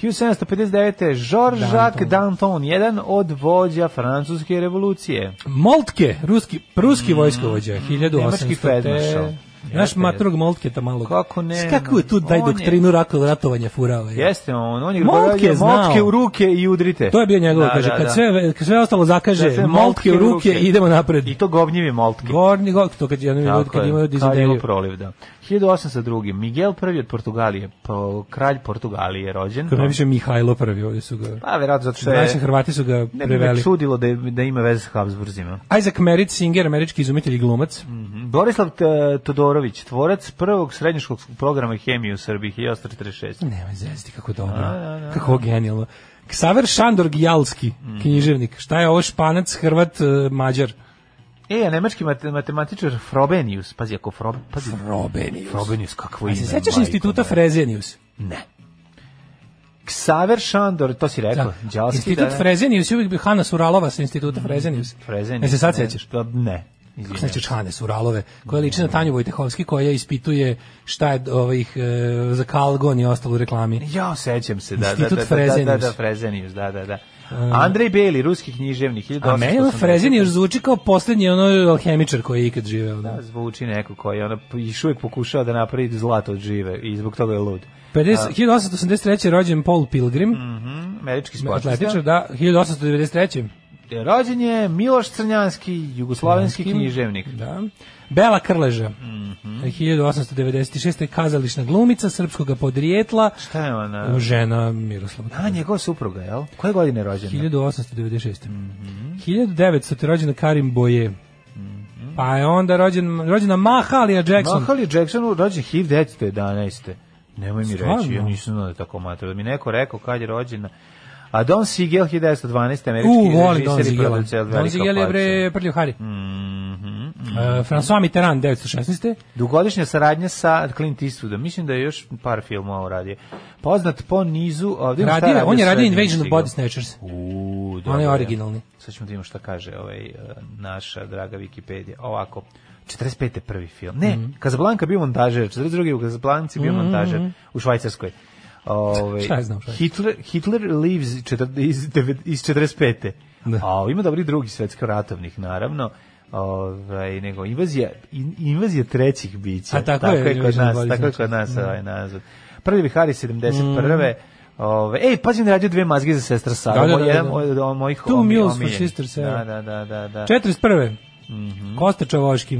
[SPEAKER 6] 1759. Jean-Jacques Danton, jedan od vođa francuske revolucije.
[SPEAKER 7] Moltke, ruski, ruski vojskovođa, 1800.
[SPEAKER 6] Mm, Nemački feldmaršal.
[SPEAKER 7] Naš
[SPEAKER 6] Jeste,
[SPEAKER 7] matrog Moltke ta malo.
[SPEAKER 6] Kako ne,
[SPEAKER 7] Kako je tu
[SPEAKER 6] no,
[SPEAKER 7] taj
[SPEAKER 6] on je-
[SPEAKER 7] doktrinu rakov ratovanja ovaj? furava? je?
[SPEAKER 6] Jeste on, on je
[SPEAKER 7] Moltke
[SPEAKER 6] govorio,
[SPEAKER 7] je znao.
[SPEAKER 6] motke u ruke i udrite.
[SPEAKER 7] To je bio njegov,
[SPEAKER 6] Da,
[SPEAKER 7] kaže,
[SPEAKER 6] da,
[SPEAKER 7] kad,
[SPEAKER 6] da.
[SPEAKER 7] Sve, kad sve ostalo zakaže,
[SPEAKER 6] Da, sve
[SPEAKER 7] Moltke u ruke, idemo napred.
[SPEAKER 6] I to govnjivi moltke.
[SPEAKER 7] Gorni gok, to kad jednom ljudi,
[SPEAKER 6] Tako
[SPEAKER 7] kad
[SPEAKER 6] je,
[SPEAKER 7] imaju
[SPEAKER 6] Kraljevo
[SPEAKER 7] dizenteriju.
[SPEAKER 6] proliv, da. 1802. Miguel I od Portugalije, po, kralj Portugalije je rođen.
[SPEAKER 7] Kako ne više Mihajlo prvi, ovdje su ga...
[SPEAKER 6] Pa, verovatno zato što je...
[SPEAKER 7] Naši Hrvati su ga
[SPEAKER 6] Ne bi me
[SPEAKER 7] preveli.
[SPEAKER 6] čudilo da, je- da ima veze s Habsburzima. Mhm.
[SPEAKER 7] Isaac Merritt Singer, američki izumitelj i glumac.
[SPEAKER 6] Borislav T- Todorović, tvorac prvog srednjoškolskog programa hemije u Srbiji 1846.
[SPEAKER 7] Pa Nemoj zezati, kako dobro.
[SPEAKER 6] Da,
[SPEAKER 7] Kako genijalno. Ksaver Šandor Gijalski,
[SPEAKER 6] Mhm.
[SPEAKER 7] književnik. Šta je ovo španac, hrvat, eh, mađar?
[SPEAKER 6] E, a nemački mate- matematičar Frobenius, pazi, ako Fro, pazi,
[SPEAKER 7] Frobenius.
[SPEAKER 6] Frobenius, kakvo
[SPEAKER 7] A
[SPEAKER 6] ime.
[SPEAKER 7] se sećaš
[SPEAKER 6] majko
[SPEAKER 7] instituta
[SPEAKER 6] moja.
[SPEAKER 7] Frezenius?
[SPEAKER 6] Ne. Ksaver Šandor, to si
[SPEAKER 7] Da.
[SPEAKER 6] rekao, đalski da, Mhm.
[SPEAKER 7] Institut Frezenius, je uvijek bi Hanna Suralova sa instituta Frezenius.
[SPEAKER 6] Frezenius. da.
[SPEAKER 7] E se sad
[SPEAKER 6] ne,
[SPEAKER 7] sećaš?
[SPEAKER 6] to- Ne. Izvinjavam
[SPEAKER 7] znači Čane Suralove, koja liči na
[SPEAKER 6] Mhm.
[SPEAKER 7] Tanju Vojtehovski, koja ispituje šta je ovih e, za Kalgon i ostalo u reklami.
[SPEAKER 6] Ja, sećam se, da, da,
[SPEAKER 7] Institut
[SPEAKER 6] da, da, da, da, da,
[SPEAKER 7] Frezenius.
[SPEAKER 6] Frezenius, da, da, da. Andrej Beli, ruski književnik, 1880.
[SPEAKER 7] A meni ono Frezin još zvuči kao poslednji ono alhemičar koji je ikad živeo. Da.
[SPEAKER 6] Da, zvuči neko koji je ono, još uvijek pokušava da napravi zlato od žive i zbog toga je lud. Da.
[SPEAKER 7] 50, 1883. je rođen Paul
[SPEAKER 6] Mhm.
[SPEAKER 7] Pilgrim,
[SPEAKER 6] Američki sportista.
[SPEAKER 7] atletičar, da, 1893.
[SPEAKER 6] Rođen je Miloš Crnjanski, jugoslovenski književnik. Mhm.
[SPEAKER 7] Da. Bela Krleža, 1896. kazališna glumica srpskog podrijetla,
[SPEAKER 6] Šta je ona?
[SPEAKER 7] žena Miroslava.
[SPEAKER 6] A, njegova supruga, jel? Koje godine je rođena?
[SPEAKER 7] 1896.
[SPEAKER 6] Mhm.
[SPEAKER 7] 1900. je rođena Karim Boje. Pa je onda rođen, rođena Mahalija Jackson.
[SPEAKER 6] Mahali Jackson rođen 1911. Nemoj mi
[SPEAKER 7] Stvarno?
[SPEAKER 6] reći, ja nisam znao da je tako matra. Da mi neko rekao kad je rođena. A Don Siegel, 1912. američki
[SPEAKER 7] U, volim Don
[SPEAKER 6] režiser i
[SPEAKER 7] Zigela.
[SPEAKER 6] producent
[SPEAKER 7] Don
[SPEAKER 6] velika
[SPEAKER 7] Zigel je
[SPEAKER 6] faca.
[SPEAKER 7] bre prljio Hari.
[SPEAKER 6] Mhm.
[SPEAKER 7] E, François Mitterrand, 916.
[SPEAKER 6] Dugogodišnja saradnja sa Clint Eastwoodom. Mislim da je još par filmova uradio. Poznat po nizu... Ovdje ima šta
[SPEAKER 7] Radio, on je radio
[SPEAKER 6] sve
[SPEAKER 7] Invasion of
[SPEAKER 6] Don
[SPEAKER 7] Body
[SPEAKER 6] Siegel.
[SPEAKER 7] Snatchers.
[SPEAKER 6] U, dobro
[SPEAKER 7] Onaj originalni.
[SPEAKER 6] Sad ćemo da vidimo šta kaže ovaj, e, naša draga Wikipedia. Ovako, 45. je prvi film. Ne,
[SPEAKER 7] Mhm.
[SPEAKER 6] mm Casablanca bio montažer, 42. u Casablanci bio montažer u Švajcarskoj. Ove,
[SPEAKER 7] Šta ja znam, šta je?
[SPEAKER 6] Hitler, Hitler lives četir- iz, devet- iz 45.
[SPEAKER 7] Da.
[SPEAKER 6] A ima dobri drugi svetsko ratovnih, naravno. Ovaj nego invazija in- invazija trećih bića.
[SPEAKER 7] A tako je, znači.
[SPEAKER 6] kod
[SPEAKER 7] Invasion of
[SPEAKER 6] nas,
[SPEAKER 7] Body
[SPEAKER 6] tako je kod
[SPEAKER 7] Snatchers.
[SPEAKER 6] nas ovaj nazad. Prvi Vihari 71. Ove, Ovaj, ej, pazi na radio dve mazge za sestra Sara.
[SPEAKER 7] Mhm. Da, da,
[SPEAKER 6] Ovo
[SPEAKER 7] da,
[SPEAKER 6] je jedan
[SPEAKER 7] da.
[SPEAKER 6] od- od mojih
[SPEAKER 7] Two
[SPEAKER 6] omi-
[SPEAKER 7] Mules for
[SPEAKER 6] omiljenih.
[SPEAKER 7] Sister Sarah.
[SPEAKER 6] Da, da, da, da, da.
[SPEAKER 7] 41.
[SPEAKER 6] Mhm.
[SPEAKER 7] Kosta Čavoški.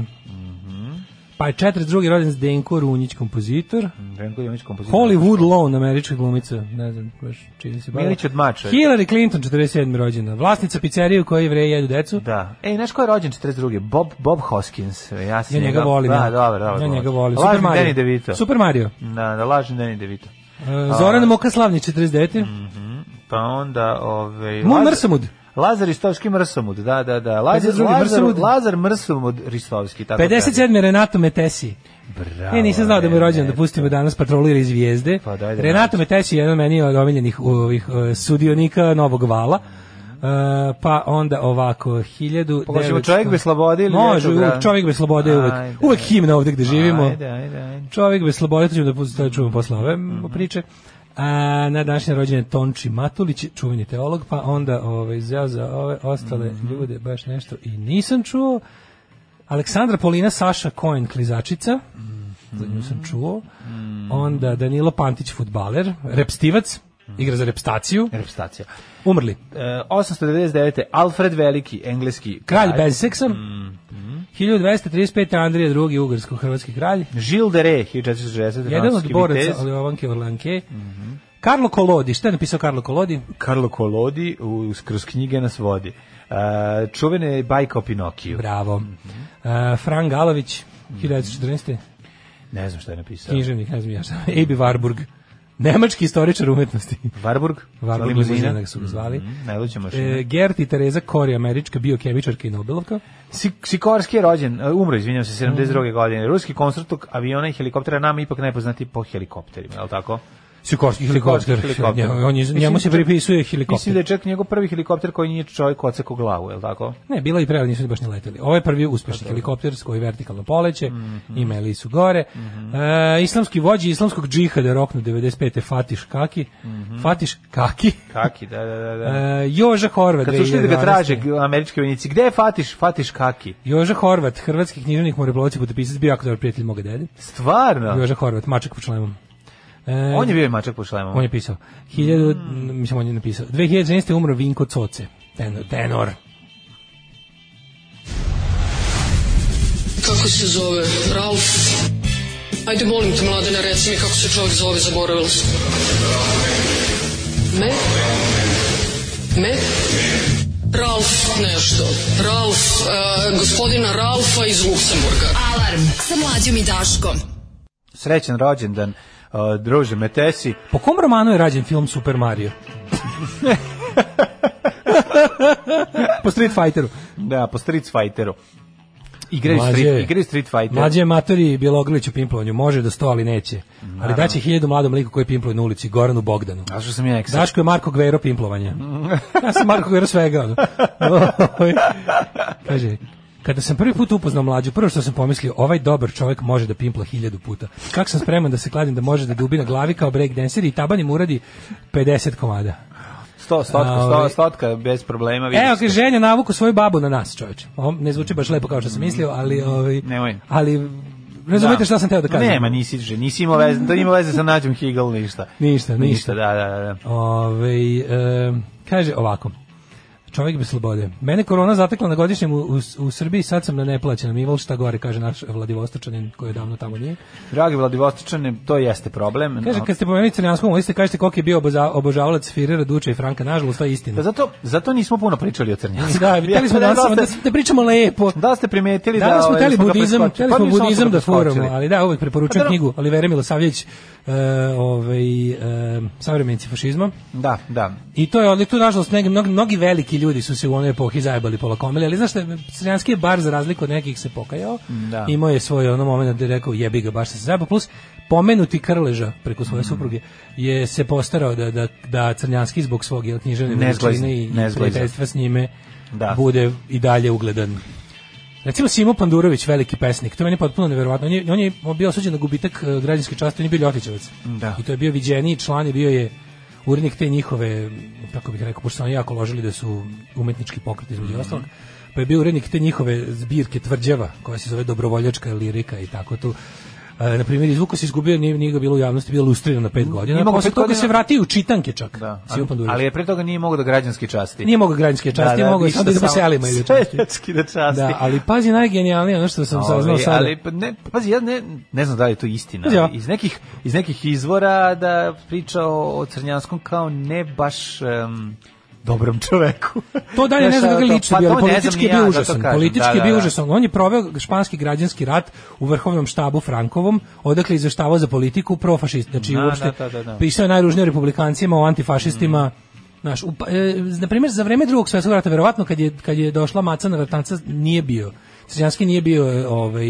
[SPEAKER 7] Pa je 42. rođen Zdenko Runjić, kompozitor.
[SPEAKER 6] Renko Jović kompozitor.
[SPEAKER 7] Hollywood Loan, američka glumica. Ne znam baš čini se bavila.
[SPEAKER 6] Milić od Mača.
[SPEAKER 7] Hillary Clinton, 47. rođena. Vlasnica pizzerije u kojoj vre jedu decu.
[SPEAKER 6] Da. Ej, znaš ko je rođen 42. Bob Bob Hoskins. Ja, sam
[SPEAKER 7] Ja njega volim.
[SPEAKER 6] Da, dobro, dobro.
[SPEAKER 7] Ja njega volim.
[SPEAKER 6] Lažni Danny DeVito.
[SPEAKER 7] Super Mario.
[SPEAKER 6] Da, da, lažni Danny DeVito.
[SPEAKER 7] E, Zoran Mokaslavnić, 49.
[SPEAKER 6] Pa onda, ovaj...
[SPEAKER 7] Moj
[SPEAKER 6] Laz-
[SPEAKER 7] Mrsamud.
[SPEAKER 6] Lazar Ristovski Mrsomud, da, da, da. Lazar,
[SPEAKER 7] 52.
[SPEAKER 6] Lazar,
[SPEAKER 7] Mrsomud.
[SPEAKER 6] Lazar Mrsomud Ristovski, tako
[SPEAKER 7] 57. Renato Metesi.
[SPEAKER 6] kaže. Bravo.
[SPEAKER 7] E, nisam znao da mu je rođen, da
[SPEAKER 6] Renato.
[SPEAKER 7] pustimo danas patrolira iz Vijezde.
[SPEAKER 6] Pa dajde,
[SPEAKER 7] Renato Metesi je jedan od meni od omiljenih ovih, eh, sudionika Novog Vala. E, pa onda ovako, 1900...
[SPEAKER 6] Pogledajmo, Pa čovjek bez slobode ili
[SPEAKER 7] Može,
[SPEAKER 6] vjetrogra-
[SPEAKER 7] uvek čovjek bez slobode, je uvek,
[SPEAKER 6] Ajde.
[SPEAKER 7] uvek himna ovde gde živimo.
[SPEAKER 6] Ajde, ajde, ajde.
[SPEAKER 7] Čovjek bez slobode, to ćemo da pustimo, to čuvamo posle ove m, priče. A, na današnje rođenje Tonči Matulić, čuveni teolog, pa onda ovaj, ja za ove ostale ljude baš nešto i nisam čuo. Aleksandra Polina Saša Cohen, klizačica, za nju sam čuo. Onda Danilo Pantić, futbaler, repstivac, igra za repstaciju,
[SPEAKER 6] Repstacija.
[SPEAKER 7] umrli.
[SPEAKER 6] E, 899. Alfred Veliki, engleski
[SPEAKER 7] Kralj bez seksa, 1235. Andrija II. Ugarsko-hrvatski kralj,
[SPEAKER 6] Žil de Re, 1460.
[SPEAKER 7] Jedan od
[SPEAKER 6] francuski
[SPEAKER 7] boraca
[SPEAKER 6] vitez. Mhm.
[SPEAKER 7] Olivanke Orlanke. Karlo Kolodi, šta je napisao Karlo Kolodi?
[SPEAKER 6] Karlo Kolodi u, kroz knjige nas vodi. E, čuvene bajka o Pinokiju.
[SPEAKER 7] Bravo.
[SPEAKER 6] Mhm.
[SPEAKER 7] E, Fran Galović, 1914.
[SPEAKER 6] Da. Ne znam šta je napisao.
[SPEAKER 7] Književnik, ne znam ja šta. Ebi Warburg. Nemački istoričar umetnosti.
[SPEAKER 6] Varburg?
[SPEAKER 7] Warburg
[SPEAKER 6] limuzina.
[SPEAKER 7] limuzina su ga zvali.
[SPEAKER 6] Mm, Najluća mašina.
[SPEAKER 7] E, Gert i Tereza Kori, američka biokemičarka i Nobelovka.
[SPEAKER 6] Sik- Sikorski je rođen, e, umro, izvinjam
[SPEAKER 7] Mm.
[SPEAKER 6] se, 72. godine. Ruski konstruktor aviona i helikoptera, nam ipak najpoznati po helikopterima, je li tako?
[SPEAKER 7] Sikorski helikopter.
[SPEAKER 6] Sikorski helikopter.
[SPEAKER 7] Njemu- on je-
[SPEAKER 6] Mislim
[SPEAKER 7] njemu se
[SPEAKER 6] da-
[SPEAKER 7] pripisuje
[SPEAKER 6] Mislim da
[SPEAKER 7] helikopter.
[SPEAKER 6] je čak njegov prvi helikopter koji nije čovjek ocekao glavu, je li tako?
[SPEAKER 7] Ne, bila i pre, ali nisu baš ni leteli. Ovo je prvi
[SPEAKER 6] Pa
[SPEAKER 7] uspešni
[SPEAKER 6] da.
[SPEAKER 7] helikopter s koji vertikalno poleće,
[SPEAKER 6] Mhm.
[SPEAKER 7] imali su gore. E, islamski vođi islamskog džihada roknu 95. Fatiš Kaki. Fatiš Kaki.
[SPEAKER 6] Kaki, da, da, Mhm. da. da.
[SPEAKER 7] E, Joža Horvat.
[SPEAKER 6] Kad su šli da ga
[SPEAKER 7] 2011..
[SPEAKER 6] traže g- američki vojnici, gde je Fatiš? Fatiš Kaki.
[SPEAKER 7] Joža Horvat, hrvatski književnik, moreplovac i putopisac, bio jako dobar prijatelj moga dede.
[SPEAKER 6] Stvarno?
[SPEAKER 7] Joža Horvat, mačak po člemom.
[SPEAKER 6] Da.
[SPEAKER 7] E,
[SPEAKER 6] On je bio i mačak po šlemom.
[SPEAKER 7] on je pisao. 1000, mm. mislim, on je napisao. 2011. je umro Vinko Coce. Tenor. tenor.
[SPEAKER 9] Kako se zove? Ralf? Ajde, molim te, mladene, reci mi kako se čovjek zove, zaboravila sam. Me? Me? Ralf nešto. Ralf, e, gospodina Ralfa iz Luksemburga.
[SPEAKER 8] Alarm sa mlađom i Daškom.
[SPEAKER 6] Srećan rođendan, uh, druže Metesi.
[SPEAKER 7] Po kom romanu je rađen film Super Mario? po Street Fighteru.
[SPEAKER 6] Da, po Street Fighteru. Igraju
[SPEAKER 7] Mlađe je-
[SPEAKER 6] Street, igraju Street Fighter.
[SPEAKER 7] Mlađe je matori Bjelogrlić u pimplovanju. Može do sto, ali neće. Ali daće hiljadu mladom liku koji pimpluje na ulici, Goranu Bogdanu.
[SPEAKER 6] A što sam ja ekstra?
[SPEAKER 7] Daško je Marko Gvero pimplovanja. Ja sam Marko Gvero svega. ono. Ovaj, Kaže, Kada sam prvi put upoznao mlađu, prvo što sam pomislio, ovaj dobar čovjek može da pimpla hiljadu puta. Kako sam spreman da se kladim da može da dubi na glavi kao breakdancer i tabanim uradi 50 komada.
[SPEAKER 6] Sto, stotka,
[SPEAKER 7] Da. A,
[SPEAKER 6] sto,
[SPEAKER 7] ovaj- E,
[SPEAKER 6] stotka, bez problema. vidiš.
[SPEAKER 7] Evo, kaže, ženja navuku svoju babu na nas, čovječe. Ovo ne zvuči baš lepo kao što sam mislio, ali... Ovaj,
[SPEAKER 6] Mm, Nemoj.
[SPEAKER 7] Ali, razumete šta sam teo da kažem?
[SPEAKER 6] Nema, nisi, že- nisi imao veze, to ima veze sa nađom Higel, ništa.
[SPEAKER 7] Ništa, ništa.
[SPEAKER 6] Ništa, da, da, da.
[SPEAKER 7] Ove, e, kaže ovako. Čovjek bez slobode. Mene korona zatekla na godišnjem u, u, u Srbiji, sad sam na neplaćenom. Ival šta gore, kaže naš Vladivostočanin koji je davno tamo nije.
[SPEAKER 6] Dragi Vladivostočane, to jeste problem.
[SPEAKER 7] Kaže,
[SPEAKER 6] no.
[SPEAKER 7] kad ste pomenuli crnjanskom listi, kažete koliko je bio oboza- obožavalac Firera, Duča i Franka. Nažalost, to je
[SPEAKER 6] Pa
[SPEAKER 7] istina.
[SPEAKER 6] zato, zato nismo puno pričali o Crnjansku.
[SPEAKER 7] Da, videli smo danas, da,
[SPEAKER 6] ste,
[SPEAKER 7] da pričamo lepo.
[SPEAKER 6] da ste primetili da...
[SPEAKER 7] Danas smo
[SPEAKER 6] ovaj,
[SPEAKER 7] teli
[SPEAKER 6] ga
[SPEAKER 7] budizam,
[SPEAKER 6] preskočili.
[SPEAKER 7] teli
[SPEAKER 6] Pa
[SPEAKER 7] smo
[SPEAKER 6] mi samo
[SPEAKER 7] budizam
[SPEAKER 6] ga
[SPEAKER 7] da furamo,
[SPEAKER 6] preskočili.
[SPEAKER 7] ali da, uvek preporučujem
[SPEAKER 6] Pa da.
[SPEAKER 7] knjigu Olivera Milosavljević, e, ovaj, e, Savremenici fašizma.
[SPEAKER 6] Da, da.
[SPEAKER 7] I to je ali tu nažalost neki mnogi, mnogi veliki ljudi su se u onoj epohi zajebali pola komile, ali znaš šta, Crnjanski je bar za razliku od nekih se pokajao.
[SPEAKER 6] Da.
[SPEAKER 7] Imao je svoj ono moment da je rekao jebi ga, baš sam se zajebao. Plus pomenuti Krleža preko
[SPEAKER 6] Mm.
[SPEAKER 7] svoje supruge je se postarao da, da, da Crnjanski zbog svog jel, književne
[SPEAKER 6] Nezglajzni,
[SPEAKER 7] veličine i, i
[SPEAKER 6] nezglajzni.
[SPEAKER 7] prijateljstva s njime
[SPEAKER 6] Da.
[SPEAKER 7] bude i dalje ugledan. Recimo Simo Pandurović, veliki pesnik, to je meni potpuno neverovatno. On je, on je bio osuđen na gubitak e, građanske časti, on je bio Ljotićevac.
[SPEAKER 6] Da.
[SPEAKER 7] I to je bio viđeniji član i bio je urednik te njihove, kako bih rekao, pošto su oni jako ložili da su umetnički pokret između
[SPEAKER 6] Mhm.
[SPEAKER 7] ostalog, pa je bio urednik te njihove zbirke tvrđava, koja se zove dobrovoljačka lirika i tako tu. E, na primjer, izvuko se izgubio, nije, nije ga bilo u javnosti, bio lustrirano na pet godina.
[SPEAKER 6] Nije mogao
[SPEAKER 7] Posle
[SPEAKER 6] pet
[SPEAKER 7] toga
[SPEAKER 6] godina-
[SPEAKER 7] se vratio u čitanke čak.
[SPEAKER 6] da.
[SPEAKER 7] Simo Pandurović.
[SPEAKER 6] Ali je pre toga nije mogao da građanski časti.
[SPEAKER 7] Nije mogao građanske časti, da, da, mogao je
[SPEAKER 6] ništa
[SPEAKER 7] samo da ga poselimo. ili
[SPEAKER 6] Sve
[SPEAKER 7] časti.
[SPEAKER 6] ljudski da časti.
[SPEAKER 7] Da, ali pazi najgenijalnije ono što sam saznao
[SPEAKER 6] Ovaj,
[SPEAKER 7] sada.
[SPEAKER 6] ali pa ne, pazi, ja ne, ne znam da li je to istina.
[SPEAKER 7] Pazi, ja.
[SPEAKER 6] ali Iz nekih, iz nekih izvora da priča o, o Crnjanskom kao ne baš... em, dobrom čoveku.
[SPEAKER 7] To dalje
[SPEAKER 6] Znaš,
[SPEAKER 7] ne znam kako je
[SPEAKER 6] to-
[SPEAKER 7] lično
[SPEAKER 6] pa
[SPEAKER 7] bio, ali
[SPEAKER 6] to ne znam
[SPEAKER 7] politički
[SPEAKER 6] ni
[SPEAKER 7] je bio
[SPEAKER 6] ja, zato
[SPEAKER 7] užasan.
[SPEAKER 6] kažem,
[SPEAKER 7] Politički je
[SPEAKER 6] da,
[SPEAKER 7] bio
[SPEAKER 6] da, da.
[SPEAKER 7] užasan. On je proveo španski građanski rat u vrhovnom štabu Frankovom, odakle je izveštavao za politiku profašist, znači
[SPEAKER 6] Da,
[SPEAKER 7] uopšte
[SPEAKER 6] da, da, Mm. da, da.
[SPEAKER 7] pisao je najružnije o republikancima, o antifašistima. Znaš, u, pa- e, na primjer, za vreme drugog svjetskog rata, verovatno kad je, kad je došla maca na vratanca, nije bio. Crnjanski nije bio, e, ovaj,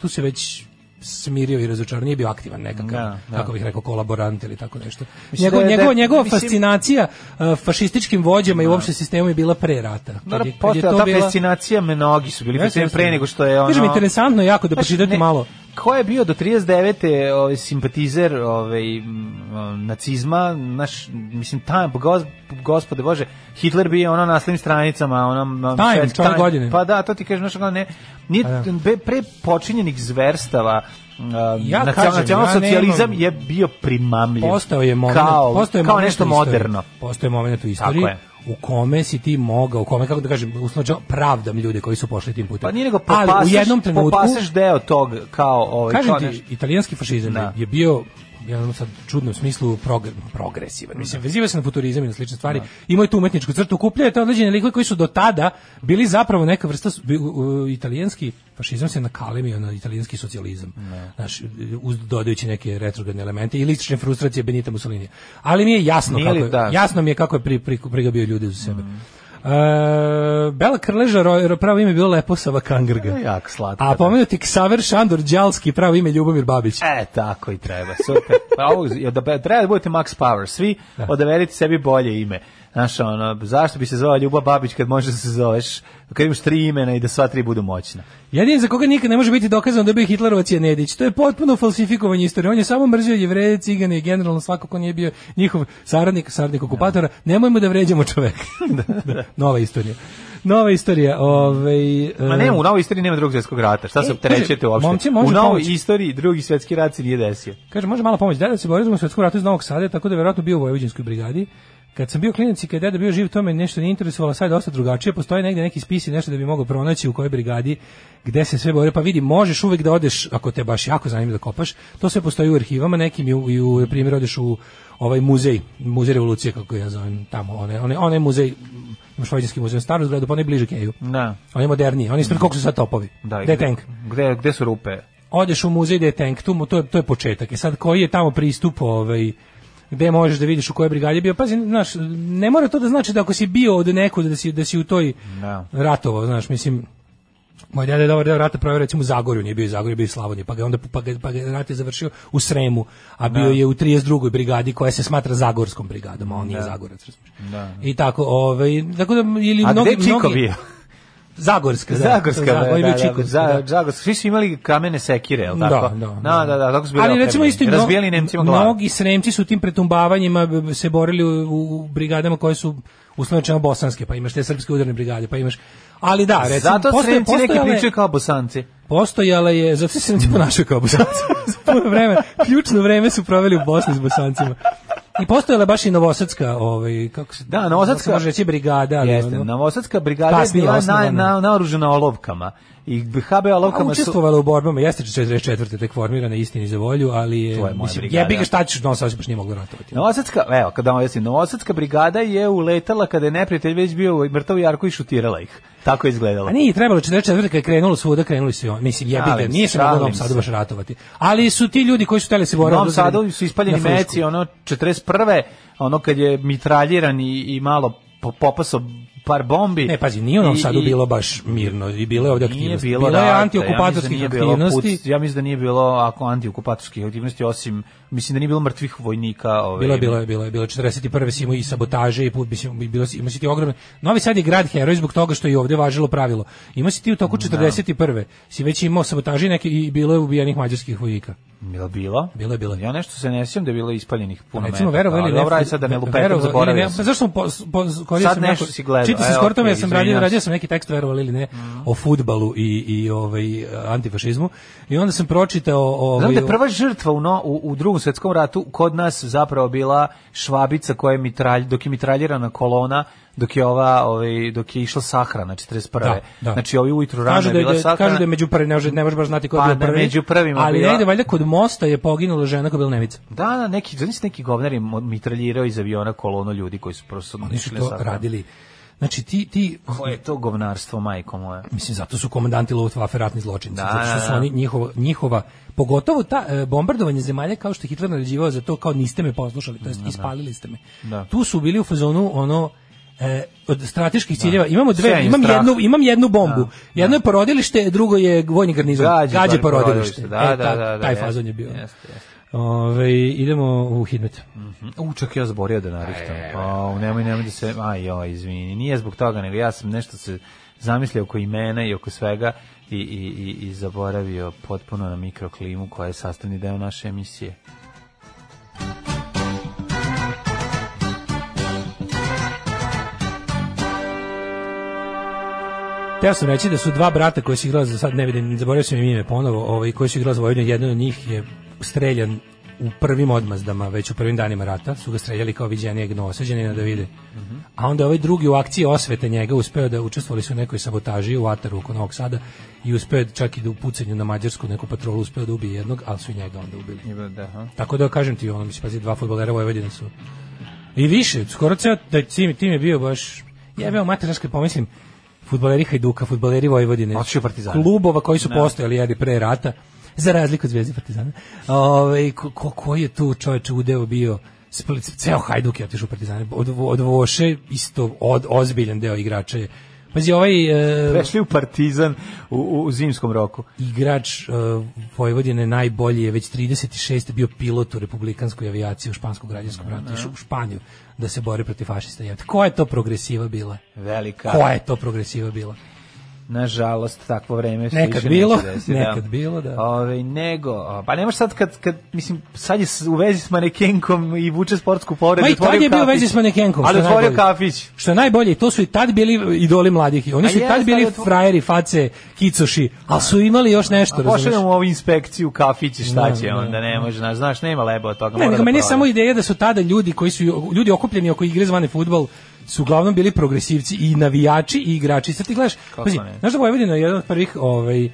[SPEAKER 7] tu se već smirio i razočaran, nije bio aktivan nekakav,
[SPEAKER 6] Da, da.
[SPEAKER 7] kako bih rekao, kolaborant ili tako nešto.
[SPEAKER 6] Mislim
[SPEAKER 7] Njegov,
[SPEAKER 6] da je- da-
[SPEAKER 7] njegova njegova
[SPEAKER 6] mislim-
[SPEAKER 7] fascinacija e, fašističkim vođama i
[SPEAKER 6] Da.
[SPEAKER 7] uopšte sistemom je bila pre rata. Kad
[SPEAKER 6] Naravno,
[SPEAKER 7] je- kad je
[SPEAKER 6] postojala
[SPEAKER 7] to
[SPEAKER 6] ta
[SPEAKER 7] bila-
[SPEAKER 6] fascinacija, mnogi su bili
[SPEAKER 7] Jeste,
[SPEAKER 6] fascinirani
[SPEAKER 7] jeste.
[SPEAKER 6] pre nego što je ono...
[SPEAKER 7] Kažem, interesantno je jako da
[SPEAKER 6] Znaš,
[SPEAKER 7] pročitate
[SPEAKER 6] Pa ne-
[SPEAKER 7] malo.
[SPEAKER 6] Ko je bio do 39. ovaj simpatizer ovaj m, nacizma, naš mislim taj gos, gospode bože, Hitler bio ono na slim stranicama, ono
[SPEAKER 7] Time,
[SPEAKER 6] šest-
[SPEAKER 7] čovjek godine.
[SPEAKER 6] Pa da, to ti kažeš, znači ne, nije
[SPEAKER 7] da.
[SPEAKER 6] be- pre počinjenih zverstava
[SPEAKER 7] Ja
[SPEAKER 6] ja
[SPEAKER 7] kažem, ja
[SPEAKER 6] nacional socijalizam
[SPEAKER 7] nemam-
[SPEAKER 6] je bio primamljiv.
[SPEAKER 7] Postao je moment,
[SPEAKER 6] kao,
[SPEAKER 7] postao je
[SPEAKER 6] kao
[SPEAKER 7] moment
[SPEAKER 6] nešto
[SPEAKER 7] u istoriji.
[SPEAKER 6] moderno.
[SPEAKER 7] Postao je moment u istoriji
[SPEAKER 6] Tako je.
[SPEAKER 7] u kome si ti mogao, u kome, kako da kažem, uslođeno, pravdam ljude koji su pošli tim putem.
[SPEAKER 6] Pa nije nego
[SPEAKER 7] Ali u
[SPEAKER 6] popaseš,
[SPEAKER 7] jednom trenutku,
[SPEAKER 6] popaseš deo tog kao ovaj
[SPEAKER 7] kažem
[SPEAKER 6] kao
[SPEAKER 7] ti,
[SPEAKER 6] nešto-
[SPEAKER 7] italijanski fašizam
[SPEAKER 6] Da.
[SPEAKER 7] je bio ja ono sad čudno u smislu progr
[SPEAKER 6] Da.
[SPEAKER 7] progresivan. Mislim, veziva se na futurizam i na slične stvari. Imao je tu umetničku crtu, kupljao je te određene likove koji su do tada bili zapravo neka vrsta, s- bi- u- u- italijanski fašizam se nakalemio na italijanski socijalizam.
[SPEAKER 6] Da.
[SPEAKER 7] Znaš, uz, dodajući neke retrogradne elemente i lične frustracije Benita Mussolini. Ali mi je jasno,
[SPEAKER 6] Nije
[SPEAKER 7] kako
[SPEAKER 6] li
[SPEAKER 7] je,
[SPEAKER 6] da? Mm.
[SPEAKER 7] jasno mi je kako je pri, pri, prigabio ljude za sebe. E, Bela Krleža, ro- ro- pravo ime je bilo Leposava Kangrga.
[SPEAKER 6] Jako slatka,
[SPEAKER 7] A
[SPEAKER 6] da.
[SPEAKER 7] pomenuti Ksaver Šandor Đalski, pravo ime Ljubomir Babić.
[SPEAKER 6] E, tako i treba. Super. Pa ovo, je da, treba da budete Max Power. Svi
[SPEAKER 7] Da.
[SPEAKER 6] odaberite sebi bolje ime. Znaš, ono, zašto bi se zvao Ljuba Babić kad možeš da se zoveš, kad imaš tri imena i da sva tri budu moćna?
[SPEAKER 7] Jedini za koga nikad ne može biti dokazano da je bio Hitlerovac je Nedić. To je potpuno falsifikovanje istorije. On je samo mrzio jevreje, cigane i generalno svako ko nije bio njihov saradnik, saradnik okupatora. Nemojmo da vređamo čoveka. Da, Nova istorija. Nova istorija. Ovaj, e,
[SPEAKER 6] Ma nema, u novoj istoriji nema drugog svjetskog rata. Šta se
[SPEAKER 7] E,
[SPEAKER 6] opterećete
[SPEAKER 7] kaže,
[SPEAKER 6] uopšte?
[SPEAKER 7] momci, može
[SPEAKER 6] u novoj
[SPEAKER 7] pomoći.
[SPEAKER 6] istoriji drugi svjetski rat se nije desio.
[SPEAKER 7] Kaže, može malo pomoći. Deda se borio u svetskom ratu iz Novog Sada, tako da je verovatno bio u Vojvođanskoj brigadi. Kad sam bio klinac i kad je deda bio živ, to me nešto nije interesovalo, sad je dosta drugačije. Postoje negde neki spisi, nešto da bi mogao pronaći u kojoj brigadi, gde se sve borio. Pa vidi, možeš uvek da odeš, ako te baš jako zanima da kopaš, to sve postoji u arhivama, nekim i u, i u primjer, odeš u ovaj muzej, muzej revolucije, kako ga ja zovem tamo, one, one, one muzej, imaš Vojvođanski muzej u staru zgradu, pa onaj bliže Keju.
[SPEAKER 6] Da.
[SPEAKER 7] On je moderniji, on je ispred koliko su sad topovi.
[SPEAKER 6] Mm. Da, i
[SPEAKER 7] Gde je
[SPEAKER 6] gde-
[SPEAKER 7] tank?
[SPEAKER 6] Gde, gde su rupe?
[SPEAKER 7] odeš u muzej Detenk, tu mu- to je, to je početak. E sad, koji je tamo pristup, ovaj, gde možeš da vidiš u kojoj brigadi je bio. Pazi, znaš, ne mora to da znači da ako si bio od nekud, da si, da si u toj
[SPEAKER 6] Da.
[SPEAKER 7] ratovo, znaš, mislim, moj deda je dobar deo rata proveo recimo u Zagorju, nije bio u Zagorju, bio u Slavoniji, pa ga je onda pa ga, pa ga rat je završio u Sremu, a
[SPEAKER 6] Da.
[SPEAKER 7] bio je u 32. brigadi koja se smatra Zagorskom brigadom, a on nije Zagorac, razumiješ. I tako, ovaj, tako da, ili
[SPEAKER 6] Da. A
[SPEAKER 7] mnogi,
[SPEAKER 6] gde je Čiko
[SPEAKER 7] mnogi-
[SPEAKER 6] bio?
[SPEAKER 7] Zagorska, da.
[SPEAKER 6] Zagorska,
[SPEAKER 7] da,
[SPEAKER 6] da,
[SPEAKER 7] on je bio
[SPEAKER 6] da,
[SPEAKER 7] Čikotska,
[SPEAKER 6] za,
[SPEAKER 7] da.
[SPEAKER 6] Zagorska. Svi su imali kamene sekire, je li tako?
[SPEAKER 7] Da, da,
[SPEAKER 6] Da, da, da, tako su bili
[SPEAKER 7] Ali recimo
[SPEAKER 6] okrepljeni.
[SPEAKER 7] isto i mno-
[SPEAKER 6] razbijali Nemcima glavu.
[SPEAKER 7] Mnogi Sremci su u tim pretumbavanjima b- b- se borili u, u brigadama koje su uslovno rečeno bosanske, pa imaš te srpske udarne brigade, pa imaš Ali da, recimo,
[SPEAKER 6] Zato
[SPEAKER 7] postoje- Da,
[SPEAKER 6] Sremci neki
[SPEAKER 7] postojala je-
[SPEAKER 6] pričaju kao bosanci.
[SPEAKER 7] Postojala je, zato se Sremci ponašaju kao Bosanci. Puno vreme, ključno vreme su proveli u Bosni s Bosancima. I postojala je baš i Novosadska, ovaj, kako se...
[SPEAKER 6] Da, Novosadska-
[SPEAKER 7] može reći brigada, ali
[SPEAKER 6] Jeste,
[SPEAKER 7] ono-
[SPEAKER 6] Novosadska brigada je
[SPEAKER 7] da, Kasnije
[SPEAKER 6] bila na,
[SPEAKER 7] osnovana.
[SPEAKER 6] na, naoružena olovkama. I HB
[SPEAKER 7] A
[SPEAKER 6] olovkama su...
[SPEAKER 7] učestvovala u borbama, jeste 44. tek formirana istini za volju, ali je,
[SPEAKER 6] To je moja
[SPEAKER 7] mislim,
[SPEAKER 6] brigada.
[SPEAKER 7] jebi ga šta ćeš, no sad baš nije moglo ratovati.
[SPEAKER 6] Novosadska, evo, kada vam jesim, Novosadska brigada je uletala kada je neprijatelj već bio mrtav u jarku i šutirala ih. Tako je izgledalo.
[SPEAKER 7] A nije trebalo 44. kad je krenulo svuda, krenuli su i oni. Mislim, jebi ga,
[SPEAKER 6] Šalim se,
[SPEAKER 7] nije se moglo u Novom
[SPEAKER 6] šalim
[SPEAKER 7] Sadu
[SPEAKER 6] se.
[SPEAKER 7] baš ratovati. Ali su ti ljudi koji su tele se
[SPEAKER 6] U
[SPEAKER 7] boriti...
[SPEAKER 6] Novom Sadu su ispaljeni
[SPEAKER 7] da na Frušku.
[SPEAKER 6] meci, ono 41. ono kad je mitraljiran i, i malo po- popaso par bombi.
[SPEAKER 7] Ne, pazi, nije u Novom
[SPEAKER 6] I-
[SPEAKER 7] Sadu
[SPEAKER 6] i-
[SPEAKER 7] bilo baš mirno i bilo je ovdje
[SPEAKER 6] Nije
[SPEAKER 7] aktivnosti.
[SPEAKER 6] bilo,
[SPEAKER 7] bilo je
[SPEAKER 6] rata, ja mislim
[SPEAKER 7] antiokupatorskih
[SPEAKER 6] da nije bilo
[SPEAKER 7] aktivnosti.
[SPEAKER 6] puc- ja mislim da nije bilo ako antiokupatorskih aktivnosti osim mislim da nije bilo mrtvih vojnika, ovaj.
[SPEAKER 7] Bilo je, bilo je, bilo je, bilo je 41. si imao i sabotaže i put, mislim, i bilo si, imao si ti ogromne. Novi Sad je grad heroj zbog toga što je i ovde važilo pravilo. Imao si ti u toku
[SPEAKER 6] Da.
[SPEAKER 7] 41. si već imao sabotaže i neke i bilo je ubijenih mađarskih vojnika.
[SPEAKER 6] Bilo je bilo.
[SPEAKER 7] Bilo je, bilo je.
[SPEAKER 6] Ja nešto se ne sjećam da je bilo ispaljenih puno
[SPEAKER 7] Recimo,
[SPEAKER 6] metaka,
[SPEAKER 7] verovali
[SPEAKER 6] ali
[SPEAKER 7] ili ne,
[SPEAKER 6] Dobro, aj sad da ne lupetam,
[SPEAKER 7] verovali ili
[SPEAKER 6] zaboravio
[SPEAKER 7] ne,
[SPEAKER 6] sam.
[SPEAKER 7] pa zašto sam po, po, korio
[SPEAKER 6] Sad
[SPEAKER 7] sam
[SPEAKER 6] nešto
[SPEAKER 7] jako-
[SPEAKER 6] si gledao,
[SPEAKER 7] Čitao sam
[SPEAKER 6] e,
[SPEAKER 7] skoro tome,
[SPEAKER 6] okej,
[SPEAKER 7] ja sam radio,
[SPEAKER 6] izvinjavam
[SPEAKER 7] radio
[SPEAKER 6] se. Mhm.
[SPEAKER 7] sam neki tekst, verovali ili ne, o fudbalu i, i ovaj, antifašizmu. I onda sam pročitao... Ovaj,
[SPEAKER 6] Znam da je prva žrtva u, no, u, u drugom svetskom ratu kod nas zapravo bila švabica koja je mitralj, dok je mitraljirana kolona, dok je ova, ovaj, dok je išla sahrana 41.
[SPEAKER 7] Da, da.
[SPEAKER 6] Znači ovi ujutru rano
[SPEAKER 7] Kažu
[SPEAKER 6] je
[SPEAKER 7] da je,
[SPEAKER 6] bila sahrana.
[SPEAKER 7] kažu da je među prvi, ne, može- ne možeš baš znati ko je
[SPEAKER 6] Pa,
[SPEAKER 7] bio
[SPEAKER 6] da,
[SPEAKER 7] prvi.
[SPEAKER 6] među prvima
[SPEAKER 7] Ali
[SPEAKER 6] bila.
[SPEAKER 7] negde, valjda kod mosta je poginula žena koja je bila nevica.
[SPEAKER 6] Da, da, neki, znači neki govnar je mo- mitraljirao iz aviona kolonu ljudi koji su prosto
[SPEAKER 7] Oni su
[SPEAKER 6] išli
[SPEAKER 7] to
[SPEAKER 6] sahranu.
[SPEAKER 7] radili. Znači ti, ti
[SPEAKER 6] Koje je to govnarstvo, majko moja?
[SPEAKER 7] mislim zato su komandanti Luftwaffe ratni zločinci,
[SPEAKER 6] Da,
[SPEAKER 7] zato što su
[SPEAKER 6] da, da.
[SPEAKER 7] oni njihova njihova pogotovo ta e, bombardovanje zemalja kao što je Hitler naređivao za to kao niste me poslušali, to jest ispalili ste me.
[SPEAKER 6] Da.
[SPEAKER 7] Tu su bili u fazonu ono e, od strateških
[SPEAKER 6] Da.
[SPEAKER 7] ciljeva imamo dve
[SPEAKER 6] Sejanje
[SPEAKER 7] imam
[SPEAKER 6] straha.
[SPEAKER 7] jednu imam jednu bombu jedno je porodilište drugo je vojni garnizon
[SPEAKER 6] Da, Gađe
[SPEAKER 7] gađe
[SPEAKER 6] porodilište,
[SPEAKER 7] porodilište
[SPEAKER 6] da,
[SPEAKER 7] E,
[SPEAKER 6] da,
[SPEAKER 7] ta-
[SPEAKER 6] da, da,
[SPEAKER 7] taj
[SPEAKER 6] jeste,
[SPEAKER 7] fazon je bio
[SPEAKER 6] jeste, jeste. Mhm.
[SPEAKER 7] Ove, idemo u Hidmet
[SPEAKER 6] U, čak ja zaborio da
[SPEAKER 7] E,
[SPEAKER 6] narištam. O, nemoj, nemoj da se... Aj, joj, izvini. Nije zbog toga, nego ja sam nešto se zamislio oko imena i oko svega i, i, i, i zaboravio potpuno na mikroklimu koja je sastavni deo naše emisije.
[SPEAKER 7] Teo sam reći da su dva brata koji su igrali za sad ne vidim, zaboravio sam im ime ponovo, ovaj koji su igrali za Vojvodinu, jedan od njih je streljan u prvim odmazdama, već u prvim danima rata, su ga streljali kao viđenijeg novosađenina da vide. A onda ovaj drugi u akciji osvete njega uspeo da učestvovali su u nekoj sabotaži u ataru oko Novog Sada i uspeo je čak i da u pucanju na mađarsku neku patrolu uspeo da ubije jednog, ali su i njega onda ubili. Tako da kažem ti, ono, mislim, pazi, dva fudbalera Vojvodine su. I više, skoro ceo taj tim, tim je bio baš... Ja bih mater, znaš kad pomislim, fudbaleri Hajduka, fudbaleri Vojvodine,
[SPEAKER 6] Otišli u Partizan.
[SPEAKER 7] klubova koji su postojali jedi pre rata, za razliku od Zvezde i Partizana. Ovaj ko, ko, koji je tu čoveče udeo bio? Split, ceo Hajduk je otišao u Partizan. Od, od Voše isto od, ozbiljan deo igrača je. Pazi, ovaj... e,
[SPEAKER 6] Prešli u Partizan u, u, u zimskom roku.
[SPEAKER 7] igrač uh, Vojvodine najbolji je već 36. bio pilot u republikanskoj avijaciji u španskom građanskom ratu išao u Španiju da se bori protiv fašista. Jebote, Koja je to progresiva bila?
[SPEAKER 6] Velika.
[SPEAKER 7] Koja je to progresiva bila?
[SPEAKER 6] Nažalost, takvo vreme se
[SPEAKER 7] Nekad
[SPEAKER 6] više
[SPEAKER 7] bilo,
[SPEAKER 6] neće desiti,
[SPEAKER 7] nekad bilo, da.
[SPEAKER 6] Ove, nego, a, pa nemaš sad kad, kad, mislim, sad je s- u vezi s manekenkom i vuče sportsku povredu.
[SPEAKER 7] Ma i
[SPEAKER 6] otvorio
[SPEAKER 7] tad je bio u
[SPEAKER 6] kafić.
[SPEAKER 7] vezi s manekenkom. što
[SPEAKER 6] Ali
[SPEAKER 7] je
[SPEAKER 6] otvorio
[SPEAKER 7] najbolje.
[SPEAKER 6] kafić.
[SPEAKER 7] Što je najbolje, i to su i tad bili idoli mladih. i Oni
[SPEAKER 6] A
[SPEAKER 7] su i
[SPEAKER 6] jest,
[SPEAKER 7] tad bili
[SPEAKER 6] ali otvo-
[SPEAKER 7] frajeri, face, kicoši, ali su imali još nešto, razumiješ?
[SPEAKER 6] Pošaljemo ovu inspekciju kafići, šta
[SPEAKER 7] Da,
[SPEAKER 6] će
[SPEAKER 7] da.
[SPEAKER 6] onda, ne može, znaš, znaš, nema lebo od toga.
[SPEAKER 7] Ne,
[SPEAKER 6] mora
[SPEAKER 7] nego
[SPEAKER 6] da
[SPEAKER 7] meni je
[SPEAKER 6] prođe.
[SPEAKER 7] samo ideja da su tada ljudi koji su ljudi okupljeni oko igre zvane fudbal su uglavnom bili progresivci i navijači i igrači. Sad ti gledaš, pazi,
[SPEAKER 6] ne?
[SPEAKER 7] znaš da Vojvodina je jedan od prvih ovaj e,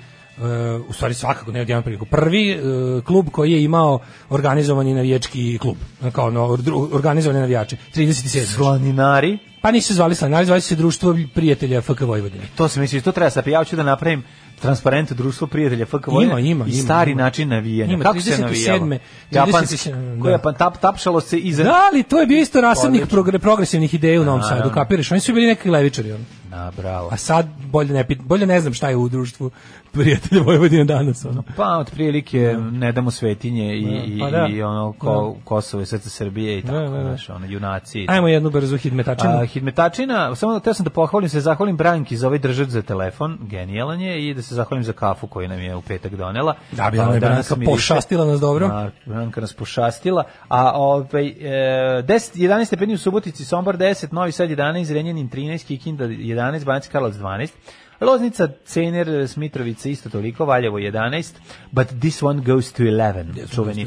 [SPEAKER 7] u stvari svakako ne od jedan priliku. Prvi e, klub koji je imao organizovani navijački klub, kao no, dru- organizovane navijače, 37.
[SPEAKER 6] Slaninari,
[SPEAKER 7] Pa nisu se zvali Slaninari, zvali su se društvo prijatelja FK Vojvodine.
[SPEAKER 6] to se misli, to treba sa ja hoću da napravim transparentno društvo prijatelja FK Vojvodine
[SPEAKER 7] Ima, ima,
[SPEAKER 6] i
[SPEAKER 7] ima,
[SPEAKER 6] stari
[SPEAKER 7] ima.
[SPEAKER 6] način navijanja.
[SPEAKER 7] Ima,
[SPEAKER 6] Kako se navijalo?
[SPEAKER 7] 37.,
[SPEAKER 6] Japanski,
[SPEAKER 7] 37.,
[SPEAKER 6] koja
[SPEAKER 7] da.
[SPEAKER 6] pa tap, tapšalo se iza...
[SPEAKER 7] Da, ali to je bio isto rasadnih
[SPEAKER 6] Odlično.
[SPEAKER 7] progre- progresivnih ideja u Novom Sadu,
[SPEAKER 6] Naravno.
[SPEAKER 7] kapiraš? Oni su bili neki levičari. Ono.
[SPEAKER 6] Na, bravo.
[SPEAKER 7] A sad bolje ne pit, bolje ne znam šta je u društvu prijatelja Vojvodine danas. Ono.
[SPEAKER 6] Pa, otprilike, ne damo svetinje i, i,
[SPEAKER 7] Pa da.
[SPEAKER 6] i ono, ko, Kosovo i srce Srbije i tako,
[SPEAKER 7] da, da.
[SPEAKER 6] znaš, ono, junaci. i
[SPEAKER 7] Ajmo jednu brzu hitmetačinu.
[SPEAKER 6] A, Hidmetačina, samo da teo sam da pohvalim se, zahvalim Branki za ovaj držač za telefon, genijalan je, i da se zahvalim za kafu koju nam je u petak donela.
[SPEAKER 7] Da, bila nam je
[SPEAKER 6] Pa, danas
[SPEAKER 7] Branka
[SPEAKER 6] miriše.
[SPEAKER 7] pošastila nas dobro.
[SPEAKER 6] Da, Branka nas pošastila. A ovaj, e, 10, 11 stepeni u Subotici, Sombor 10, Novi Sad 11, Renjanin 13, Kikinda 11, Banacki Karlovac 12, Loznica, Cener, Smitrovica isto toliko, Valjevo 11, but this one goes to 11, čuveni.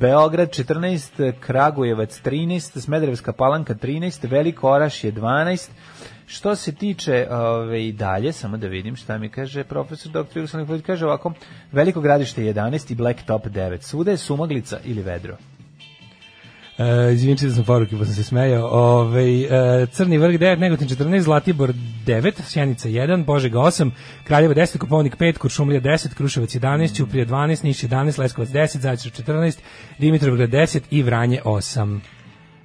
[SPEAKER 6] Beograd 14, Kragujevac 13, Smederevska palanka 13, Veliko Oraš je 12, Što se tiče ove, i dalje, samo da vidim šta mi kaže profesor dr. Jugoslav Nikolić, kaže ovako, Veliko gradište 11 i Black Top 9. Svuda je sumaglica ili vedro.
[SPEAKER 7] E, izvinite da sam poruke, pa sam se smejao. Ove, e, Crni vrh 9, Negotin 14, Zlatibor 9, Sjenica 1, Božega 8, Kraljevo 10, Kopovnik 5, Kuršumlija 10, Kruševac 11, Ćuprija 12, Niš 11, Leskovac 10, Zajčar 14, Dimitrovgrad 10 i Vranje 8.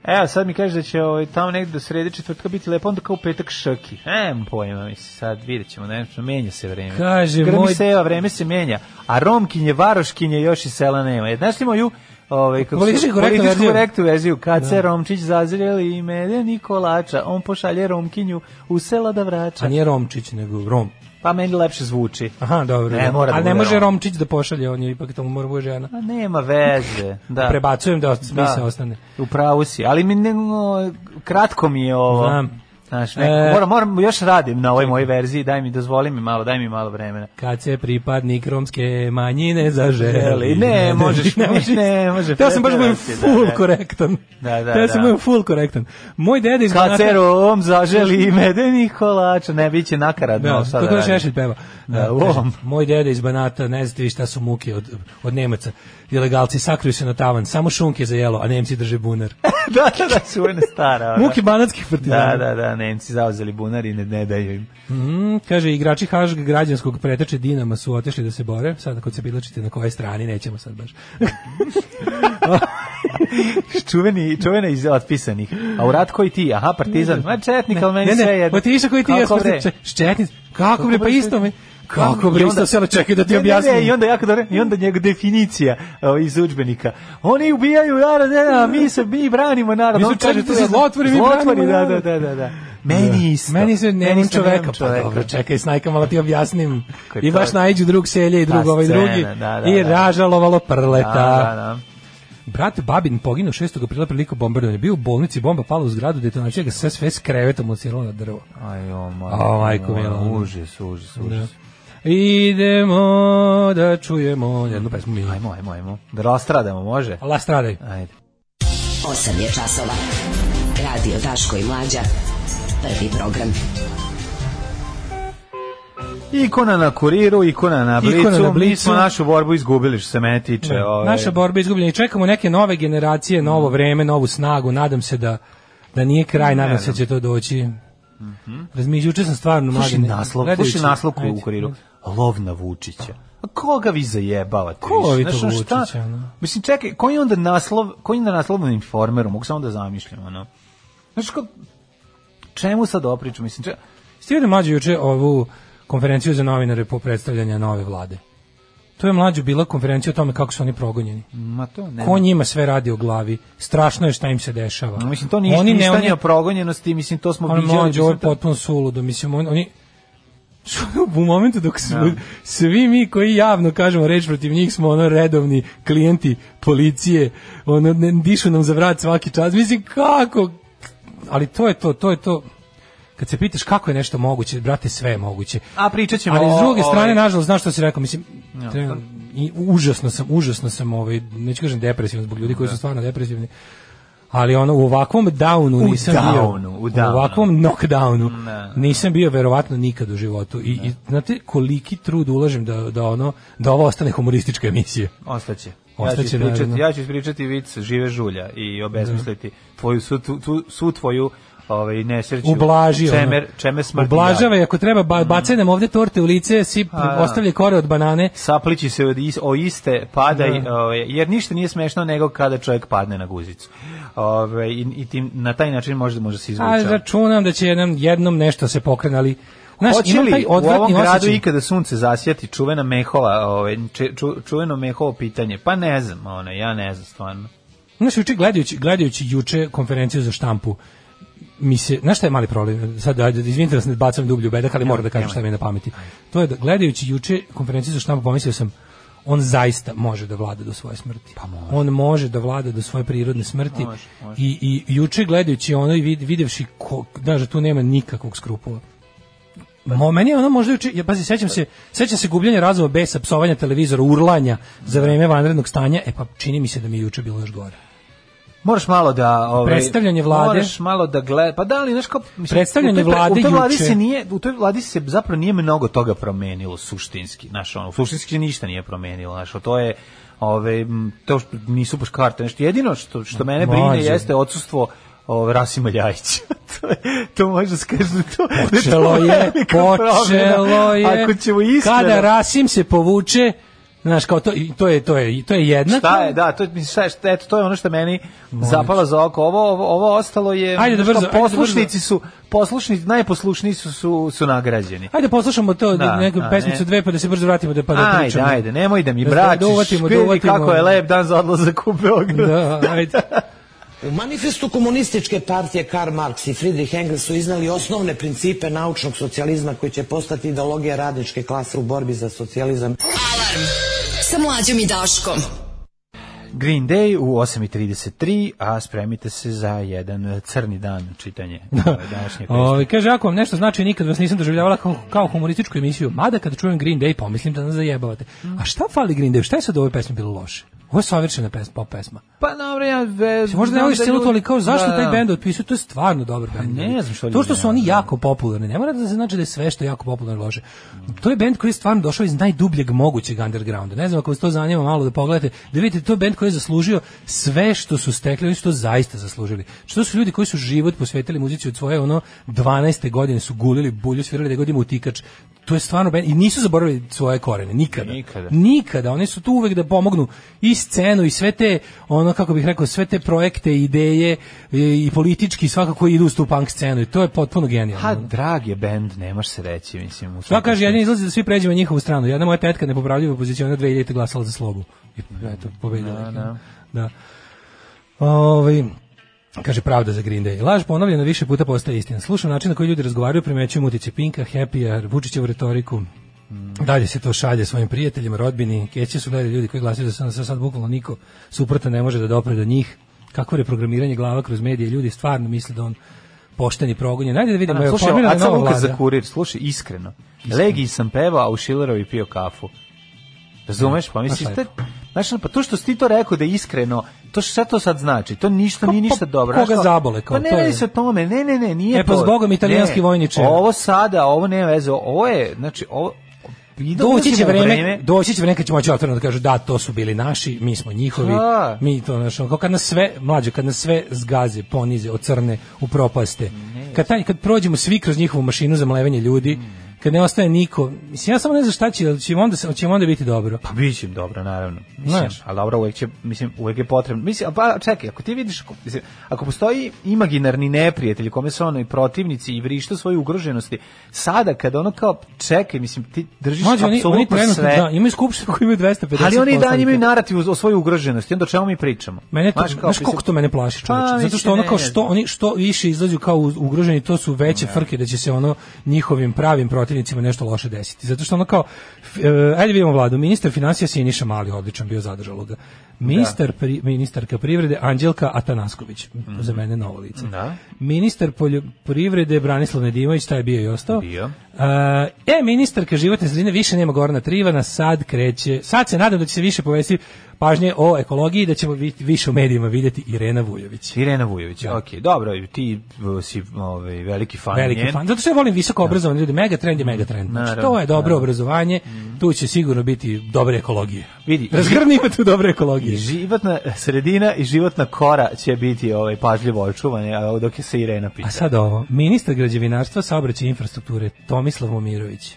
[SPEAKER 6] Evo, sad mi kaže da će ovaj, tamo negde do srede četvrtka biti lepo, onda kao u petak šaki. Em, pojma, mislim, sad vidjet ćemo, ne, menja se vreme.
[SPEAKER 7] Kaže,
[SPEAKER 6] Grmi
[SPEAKER 7] moj-
[SPEAKER 6] se, evo, vreme se menja. A Romkinje, Varoškinje još i sela nema. E, Znaš li moju Ovaj kako
[SPEAKER 7] Politički korektnu verziju. Da.
[SPEAKER 6] korektnu verziju. Kad se Romčić zazreli i mede Nikolača, on pošalje Romkinju u sela da vraća.
[SPEAKER 7] A nije Romčić, nego Rom.
[SPEAKER 6] Pa meni lepše zvuči.
[SPEAKER 7] Aha, dobro.
[SPEAKER 6] Ne,
[SPEAKER 7] dobro.
[SPEAKER 6] mora da
[SPEAKER 7] A ne
[SPEAKER 6] bude
[SPEAKER 7] može
[SPEAKER 6] Rom.
[SPEAKER 7] Romčić da pošalje, on je ipak tamo mora da bude žena.
[SPEAKER 6] Pa nema veze. Da.
[SPEAKER 7] Prebacujem da smisao ostane.
[SPEAKER 6] U pravu si, ali mi ne, no, kratko mi je ovo.
[SPEAKER 7] Znam.
[SPEAKER 6] Znaš, nekako,
[SPEAKER 7] E.
[SPEAKER 6] moram, moram, još radim na ovoj mojoj verziji, daj mi, dozvoli mi malo, daj mi malo vremena.
[SPEAKER 7] Kad se pripadnik romske manjine zaželi.
[SPEAKER 6] Želi. Ne, možeš, možeš, ne, može.
[SPEAKER 7] Teo sam baš budem
[SPEAKER 6] Preterao si,
[SPEAKER 7] full
[SPEAKER 6] da, da.
[SPEAKER 7] korektan.
[SPEAKER 6] Da, da,
[SPEAKER 7] Teo sam
[SPEAKER 6] da.
[SPEAKER 7] budem full korektan. Moj deda iz
[SPEAKER 6] Kad se
[SPEAKER 7] Banata...
[SPEAKER 6] Rom zaželi medeni kolač, ne, bit će nakaradno.
[SPEAKER 7] Da,
[SPEAKER 6] šta
[SPEAKER 7] to
[SPEAKER 6] da
[SPEAKER 7] kao
[SPEAKER 6] radim.
[SPEAKER 7] Šešelj peva.
[SPEAKER 6] Da,
[SPEAKER 7] Kaže,
[SPEAKER 6] lom.
[SPEAKER 7] Moj deda iz Banata, ne znate vi šta su muke od, od Nemaca. Ilegalci sakriju se na tavan, samo šunke za jelo, a Nemci drže bunar.
[SPEAKER 6] da, da, da, čuvena stara. ona.
[SPEAKER 7] Muke banatskih partizana.
[SPEAKER 6] Da, da, da, Nemci zauzeli bunar i ne, ne daju im.
[SPEAKER 7] Mm, kaže, igrači Hašg građanskog preteče Dinama su otešli da se bore. Sad ako se bilačite na kojoj strani, nećemo sad baš.
[SPEAKER 6] Čuveni, čuvena iz otpisanih. A u rat koji ti? Aha, partizan. Ma četnik, ali meni
[SPEAKER 7] ne,
[SPEAKER 6] sve
[SPEAKER 7] ne,
[SPEAKER 6] jedno.
[SPEAKER 7] otišao koji ti
[SPEAKER 6] Kako
[SPEAKER 7] ja smo
[SPEAKER 6] bre?
[SPEAKER 7] se ščetnic. Kako bre, pa
[SPEAKER 6] bre,
[SPEAKER 7] isto
[SPEAKER 6] što-
[SPEAKER 7] mi. Kako bre,
[SPEAKER 6] I onda-
[SPEAKER 7] isto se, ali čekaj da ti
[SPEAKER 6] Ne, ne, ne,
[SPEAKER 7] objasnim.
[SPEAKER 6] I onda jako dobro, i onda njega definicija o, iz udžbenika. Oni ubijaju narod, ne, a mi se mi branimo narod.
[SPEAKER 7] Mi su
[SPEAKER 6] On kaže,
[SPEAKER 7] četnici,
[SPEAKER 6] to je-
[SPEAKER 7] zlotvori, mi branimo
[SPEAKER 6] zlotvori, da, da,
[SPEAKER 7] narod.
[SPEAKER 6] da, da, da. Meni isto.
[SPEAKER 7] Meni se ne
[SPEAKER 6] Meni
[SPEAKER 7] Meni
[SPEAKER 6] isto
[SPEAKER 7] čoveka,
[SPEAKER 6] nemam
[SPEAKER 7] pa dobro, čekaj, snajka, malo ti objasnim.
[SPEAKER 6] Kako je
[SPEAKER 7] I
[SPEAKER 6] to?
[SPEAKER 7] baš najđu drug selje i drug
[SPEAKER 6] Ta
[SPEAKER 7] ovaj
[SPEAKER 6] scena,
[SPEAKER 7] drugi.
[SPEAKER 6] da, da,
[SPEAKER 7] I
[SPEAKER 6] da.
[SPEAKER 7] ražalovalo prleta.
[SPEAKER 6] Da, da, da.
[SPEAKER 7] Brat Babin poginuo 6. aprila prilikom bombardovanja. Bio u bolnici, bomba pala u zgradu, detonacija ga znači da sve sve s krevetom odsirala na drvo.
[SPEAKER 6] Aj, o,
[SPEAKER 7] A, majko mila.
[SPEAKER 6] Užas, užas, užas.
[SPEAKER 7] Idemo da čujemo jednu pesmu mi.
[SPEAKER 6] Ajmo, ajmo, ajmo. Da rastradamo, može?
[SPEAKER 7] Allah stradaj.
[SPEAKER 6] Ajde.
[SPEAKER 8] 8 je časova. Radio Daško i Mlađa. Prvi program.
[SPEAKER 6] Ikona na kuriru, ikona na blicu.
[SPEAKER 7] Ikona na
[SPEAKER 6] Mi
[SPEAKER 7] Blicu. Da.
[SPEAKER 6] smo našu borbu izgubili što se mene tiče. ovaj. Mm.
[SPEAKER 7] Naša borba je izgubljena i čekamo neke nove generacije, novo vreme, novu snagu. Nadam se da da nije kraj, nadam se da će to doći. Razmišljao juče sam stvarno
[SPEAKER 6] Mhm. Slušaj
[SPEAKER 7] mladen-
[SPEAKER 6] naslov,
[SPEAKER 7] gledajući-
[SPEAKER 6] slušaj naslov koji je u
[SPEAKER 7] Ajde.
[SPEAKER 6] kuriru. Lov na Vučića. A koga vi zajebavate?
[SPEAKER 7] Ko
[SPEAKER 6] više?
[SPEAKER 7] ovi
[SPEAKER 6] Znaš,
[SPEAKER 7] to
[SPEAKER 6] ono, šta-
[SPEAKER 7] Vučića, ono?
[SPEAKER 6] Mislim, čekaj, koji je onda naslov, koji je onda naslov na informeru? Mogu samo da zamišljam, ono. Znaš, ko, čemu sad opričam? Mislim, če,
[SPEAKER 7] Stigao je mlađi juče ovu konferenciju za novinare po predstavljanja nove vlade. To je mlađu bila konferencija o tome kako su oni progonjeni.
[SPEAKER 6] ma to ne.
[SPEAKER 7] Ko njima sve radi o glavi, strašno je šta im se dešava.
[SPEAKER 6] Mislim, to ništa,
[SPEAKER 7] Oni ne-
[SPEAKER 6] ništa
[SPEAKER 7] oni-
[SPEAKER 6] nije o progonjenosti, mislim, to smo
[SPEAKER 7] ono
[SPEAKER 6] viđali.
[SPEAKER 7] mlađe, ovo je
[SPEAKER 6] mislim, to-
[SPEAKER 7] potpuno suludo, mislim, on- oni, Da. Što je u momentu dok smo, svi mi koji javno kažemo reč protiv njih smo ono redovni klijenti policije, ono, ne, dišu nam za vrat svaki čas, mislim, kako, ali to je to, to je to, kad se pitaš kako je nešto moguće, brate, sve je moguće.
[SPEAKER 6] A pričat ćemo
[SPEAKER 7] Ali s
[SPEAKER 6] o-
[SPEAKER 7] druge
[SPEAKER 6] ovaj-
[SPEAKER 7] strane, nažalost, znaš što si rekao, mislim, trenutno- i užasno sam, užasno sam, ovaj, neću kažem depresivan zbog ljudi
[SPEAKER 6] Da.
[SPEAKER 7] koji su stvarno depresivni, ali ono u ovakvom downu
[SPEAKER 6] U
[SPEAKER 7] nisam bio.
[SPEAKER 6] downu, u downu. Da.
[SPEAKER 7] ovakvom knockdownu
[SPEAKER 6] Ne.
[SPEAKER 7] nisam bio verovatno nikad u životu. I,
[SPEAKER 6] Da.
[SPEAKER 7] i znate koliki trud ulažem da, da ono da ovo ostane humoristička emisija.
[SPEAKER 6] Ostaće. Ja ću,
[SPEAKER 7] Ostaće,
[SPEAKER 6] ispričati,
[SPEAKER 7] naravno. Da.
[SPEAKER 6] ja ću ispričati vic žive žulja i obesmisliti tvoju, svu, tu, tu- svu tvoju ovaj, nesreću.
[SPEAKER 7] Ublaži ono.
[SPEAKER 6] čemer, čemer smrti. Mm.
[SPEAKER 7] Ublažava je ako treba ba, bacaj nam ovde torte u lice, sip,
[SPEAKER 6] da.
[SPEAKER 7] ostavlja kore od banane.
[SPEAKER 6] saplići se od is- o iste padaj,
[SPEAKER 7] Da.
[SPEAKER 6] ovaj, jer ništa nije smešno nego kada čovjek padne na guzicu. Ovaj, i, i tim, na taj način možda može se izvući.
[SPEAKER 7] A računam da će nam jednom nešto se pokrenali Znaš,
[SPEAKER 6] Hoće
[SPEAKER 7] imam
[SPEAKER 6] li
[SPEAKER 7] taj
[SPEAKER 6] u ovom
[SPEAKER 7] odvratni
[SPEAKER 6] gradu
[SPEAKER 7] osjećaj.
[SPEAKER 6] ikada sunce zasjati čuvena mehola, ovaj, če- ču- čuveno mehovo pitanje? Pa ne znam, ono, ja ne znam stvarno.
[SPEAKER 7] Znaš, juče gledajući, gledajući juče konferenciju za štampu, mi se, znaš šta je mali problem? Sad, ajde, izvinite da se ne bacam dublju u bedak, ali moram da kažem šta mi je na pameti. To je da, gledajući juče konferenciju za štampu, pomislio sam, on zaista može da vlada do svoje smrti. Pa može. On može da vlada do svoje prirodne smrti.
[SPEAKER 6] Može, može.
[SPEAKER 7] I, I juče gledajući ono i vid, videvši, ko, znaš, da tu nema nikakvog skrupula. Mo, meni je ono možda juče, ja, pazi, sećam se, sećam se gubljenja razuma besa, psovanja televizora, urlanja za vreme vanrednog stanja, e pa čini mi se da mi je juče bilo još gore.
[SPEAKER 6] Moraš malo da ovaj
[SPEAKER 7] Predstavljanje vlade.
[SPEAKER 6] Moraš malo da gled, pa da li znaš kao mislim,
[SPEAKER 7] Predstavljanje
[SPEAKER 6] u toj pre-
[SPEAKER 7] vlade
[SPEAKER 6] u toj vladi
[SPEAKER 7] juče.
[SPEAKER 6] se nije u toj vladi se zapravo nije mnogo toga promenilo suštinski, znaš, ono suštinski se ništa nije promenilo, znaš, to je ove m, to što nisu baš karte, nešto jedino što što mene brine
[SPEAKER 7] Mlađe.
[SPEAKER 6] jeste odsustvo ovaj Rasima Ljajića. to, je, to može se kaže da to da je to
[SPEAKER 7] Počelo je,
[SPEAKER 6] velika promena.
[SPEAKER 7] počelo je.
[SPEAKER 6] Ako ćemo iskreno.
[SPEAKER 7] Kada Rasim se povuče, znaš, kao to, i to je, to je, to je jednako.
[SPEAKER 6] Šta je, da, to, je- mislim, šta je, šta, eto, to je ono što meni zapala za oko. Ovo, ovo, ovo ostalo je,
[SPEAKER 7] Ajde da
[SPEAKER 6] što
[SPEAKER 7] brzo, ajde da
[SPEAKER 6] poslušnici su, poslušnici, najposlušniji su, su, su nagrađeni.
[SPEAKER 7] Ajde poslušamo to
[SPEAKER 6] Da,
[SPEAKER 7] da, neku
[SPEAKER 6] da,
[SPEAKER 7] pesmicu
[SPEAKER 6] ne.
[SPEAKER 7] dve pa da se brzo vratimo da pa da
[SPEAKER 6] Ajde,
[SPEAKER 7] pričamo.
[SPEAKER 6] ajde, nemoj da mi
[SPEAKER 7] Da,
[SPEAKER 6] bračiš,
[SPEAKER 7] da uvatimo, da
[SPEAKER 6] vidi
[SPEAKER 7] uvatimo.
[SPEAKER 6] kako je lep dan za odlazak u Beograd.
[SPEAKER 7] Da, ajde.
[SPEAKER 10] U manifestu komunističke partije Karl Marx i Friedrich Engels su iznali osnovne principe naučnog socijalizma koji će postati ideologija radničke klase u borbi za socijalizam.
[SPEAKER 8] Alarm sa mlađom i Daškom.
[SPEAKER 6] Green Day u 8.33, a spremite se za jedan crni dan čitanje ove današnje pesme.
[SPEAKER 7] Ovaj kaže ako vam nešto znači nikad vas nisam doživljavala kao, kao humorističku emisiju, mada kad čujem Green Day pomislim da nas zajebavate. A šta fali Green Day? Šta je sad u ovoj pesmi bilo loše? Ovo je savršena pesma, pop pesma.
[SPEAKER 6] Pa dobro, ja... Ve,
[SPEAKER 7] Se možda ne
[SPEAKER 6] znam
[SPEAKER 7] voliš
[SPEAKER 6] da
[SPEAKER 7] celu
[SPEAKER 6] ljudi-
[SPEAKER 7] to, ali kao zašto
[SPEAKER 6] Da, da.
[SPEAKER 7] taj
[SPEAKER 6] Pa
[SPEAKER 7] bend otpisao, to je stvarno dobar bend.
[SPEAKER 6] ne znam što
[SPEAKER 7] To što
[SPEAKER 6] ljudi da.
[SPEAKER 7] su
[SPEAKER 6] ne
[SPEAKER 7] oni
[SPEAKER 6] vole.
[SPEAKER 7] jako popularni, ne mora da znači da je sve što je jako popularno loše. To je bend koji je stvarno došao iz najdubljeg mogućeg undergrounda. Ne znam ako vas to zanima malo da pogledate, da vidite to je bend koji je zaslužio sve što su stekli, oni su to zaista zaslužili. Što su ljudi koji su život posvetili muzici od svoje ono 12. godine su gulili bulju, svirali da godinu utikač. To je stvarno bend i nisu zaboravili svoje korene nikada.
[SPEAKER 6] Nikada.
[SPEAKER 7] Nikada, oni su tu uvek da pomognu i scenu i sve te, ono kako bih rekao, sve te projekte, ideje e, i politički svakako idu uz tu punk scenu i to je potpuno genijalno.
[SPEAKER 6] Ha, Pa, drag je bend, nemaš se reći, mislim. u
[SPEAKER 7] Šta
[SPEAKER 6] svakom
[SPEAKER 7] kaže,
[SPEAKER 6] slučaju.
[SPEAKER 7] jedan izlazi da svi pređemo na njihovu stranu. Jedna moja tetka nepopravljiva pozicionira 2000 glasala za slobu. I eto, pobedila. Da, da. da. Ovaj, kaže pravda za Green Day. Laž ponovljena više puta postaje istina. Slušam način na koji ljudi razgovaraju, primećujem utice Pinka, Happy-a, Vučićevu retoriku. Dalje se to šalje svojim prijateljima, rodbini. Keće su gledali ljudi koji glasaju da se sad bukvalno niko suprota ne može da dopre do njih. Kako reprogramiranje glava kroz medije, ljudi stvarno misle da on pošteni progonjen. Najde da vidimo,
[SPEAKER 6] Da,
[SPEAKER 7] je
[SPEAKER 6] slušaj,
[SPEAKER 7] formirana
[SPEAKER 6] Aca
[SPEAKER 7] nova
[SPEAKER 6] Lukas
[SPEAKER 7] vlada.
[SPEAKER 6] za kurir, slušaj, iskreno. Legiji sam pevao, a u Šilerovi pio kafu. Razumeš? Pa misliš,
[SPEAKER 7] Znaš
[SPEAKER 6] te, znaš, ono, pa to što si ti to rekao da je iskreno, to šta to sad znači? To ništa,
[SPEAKER 7] Pa,
[SPEAKER 6] nije ništa
[SPEAKER 7] pa,
[SPEAKER 6] dobro.
[SPEAKER 7] koga
[SPEAKER 6] Znaš,
[SPEAKER 7] zabole, kao
[SPEAKER 6] pa ne
[SPEAKER 7] to je.
[SPEAKER 6] radi se o tome, ne, ne, ne, nije
[SPEAKER 7] E, pa
[SPEAKER 6] to.
[SPEAKER 7] zbogom, italijanski
[SPEAKER 6] Ne,
[SPEAKER 7] vojniče.
[SPEAKER 6] Ovo sada, ovo nema veze, ovo je, znači, ovo... idemo
[SPEAKER 7] Doći će
[SPEAKER 6] Da ulazimo u
[SPEAKER 7] vreme, doći će vreme kad ćemo moći otvoreno da kažu da to su bili naši, mi smo njihovi,
[SPEAKER 6] Da.
[SPEAKER 7] mi to našo. Kao kad nas sve mlađe, kad nas sve zgaze, ponize, ocrne, upropaste. Kad taj, kad prođemo svi kroz njihovu mašinu za mlevenje
[SPEAKER 6] Mm.
[SPEAKER 7] ljudi, kad ne ostaje niko. Mislim ja samo ne znam šta će, ali će im onda se- će im onda biti dobro.
[SPEAKER 6] Pa bit će im dobro, naravno. Mislim,
[SPEAKER 7] Znaš.
[SPEAKER 6] ali dobro, uvek, će, mislim, uvek je potrebno. Mislim, a pa čekaj, ako ti vidiš, ako, mislim, ako postoji imaginarni neprijatelj kome su ono i protivnici i vrišta svoje ugroženosti, sada kada ono kao, čekaj, mislim, ti držiš
[SPEAKER 7] Mlađe, oni, oni
[SPEAKER 6] apsolutno
[SPEAKER 7] trenutno,
[SPEAKER 6] sve,
[SPEAKER 7] da, imaju skupštinu koji imaju 250
[SPEAKER 6] ali oni i dalje imaju
[SPEAKER 7] poslanika.
[SPEAKER 6] narativ uz- o svojoj ugroženosti, onda o čemu mi pričamo?
[SPEAKER 7] Mene to,
[SPEAKER 6] Znaš,
[SPEAKER 7] znaš,
[SPEAKER 6] kao, mislim,
[SPEAKER 7] koliko to mene plaši, čoveče.
[SPEAKER 6] Pa,
[SPEAKER 7] Zato što
[SPEAKER 6] mislim,
[SPEAKER 7] ono
[SPEAKER 6] ne
[SPEAKER 7] kao
[SPEAKER 6] znam.
[SPEAKER 7] što oni što više izlazu kao uz- ugroženi, to su veće frke da će se ono njihovim pravim protivnicima nešto loše desiti. Zato što ono kao f- e, ajde vidimo vladu, ministar financija Siniša Mali odličan bio zadržalo ga.
[SPEAKER 6] Da.
[SPEAKER 7] Ministar pri, ministarka privrede Anđelka Atanasković, za mene novo lice.
[SPEAKER 6] Mhm. Da.
[SPEAKER 7] Ministar poljoprivrede Branislav Nedimović, taj je bio i ostao.
[SPEAKER 6] Bio.
[SPEAKER 7] A, e, ministarka životne sredine više nema Gorana Trivana, sad kreće. Sad se nadam da će se više povesti pažnje o ekologiji, i da ćemo vi- više u medijima vidjeti Irena Vujović.
[SPEAKER 6] Irena Vujović,
[SPEAKER 7] Da.
[SPEAKER 6] ok, dobro, ti uh, si ovaj, veliki fan
[SPEAKER 7] Veliki
[SPEAKER 6] njen.
[SPEAKER 7] fan. Zato što ja volim visoko obrazovane ljude. Megatrend je megatrend. Znači,
[SPEAKER 6] Naravno,
[SPEAKER 7] to je dobro
[SPEAKER 6] naravno.
[SPEAKER 7] obrazovanje, tu će sigurno biti dobre ekologije.
[SPEAKER 6] Vidi,
[SPEAKER 7] Razgrni ima tu dobre
[SPEAKER 6] I
[SPEAKER 7] ekologije.
[SPEAKER 6] životna sredina i životna kora će biti ovaj pažljivo očuvane a dok je se Irena pita.
[SPEAKER 7] A sad ovo, ministar građevinarstva, saobraćaja i infrastrukture Tomislav Momirović.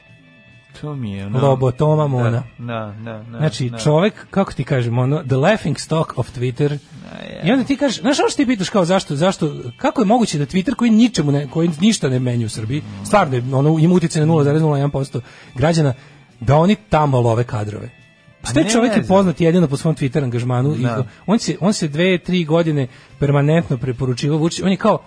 [SPEAKER 6] Lobotomija. no.
[SPEAKER 7] Lobotoma Mona.
[SPEAKER 6] Da, da, da.
[SPEAKER 7] Znači,
[SPEAKER 6] da.
[SPEAKER 7] čovek, kako ti kažem, ono, the laughing stock of Twitter. I onda ti kažeš, znaš ono što ti pitaš kao zašto, zašto, kako je moguće da Twitter koji ničemu ne, koji ništa ne menja u Srbiji, stvarno je, ono, ima utjecaj na 0,01% građana, da oni tamo love kadrove. Pa taj
[SPEAKER 6] ne
[SPEAKER 7] čovjek je
[SPEAKER 6] znam.
[SPEAKER 7] poznat jedino po svom Twitter angažmanu. i
[SPEAKER 6] Da.
[SPEAKER 7] on, se, on se dve, tri godine permanentno preporučivao Vučić. On je kao,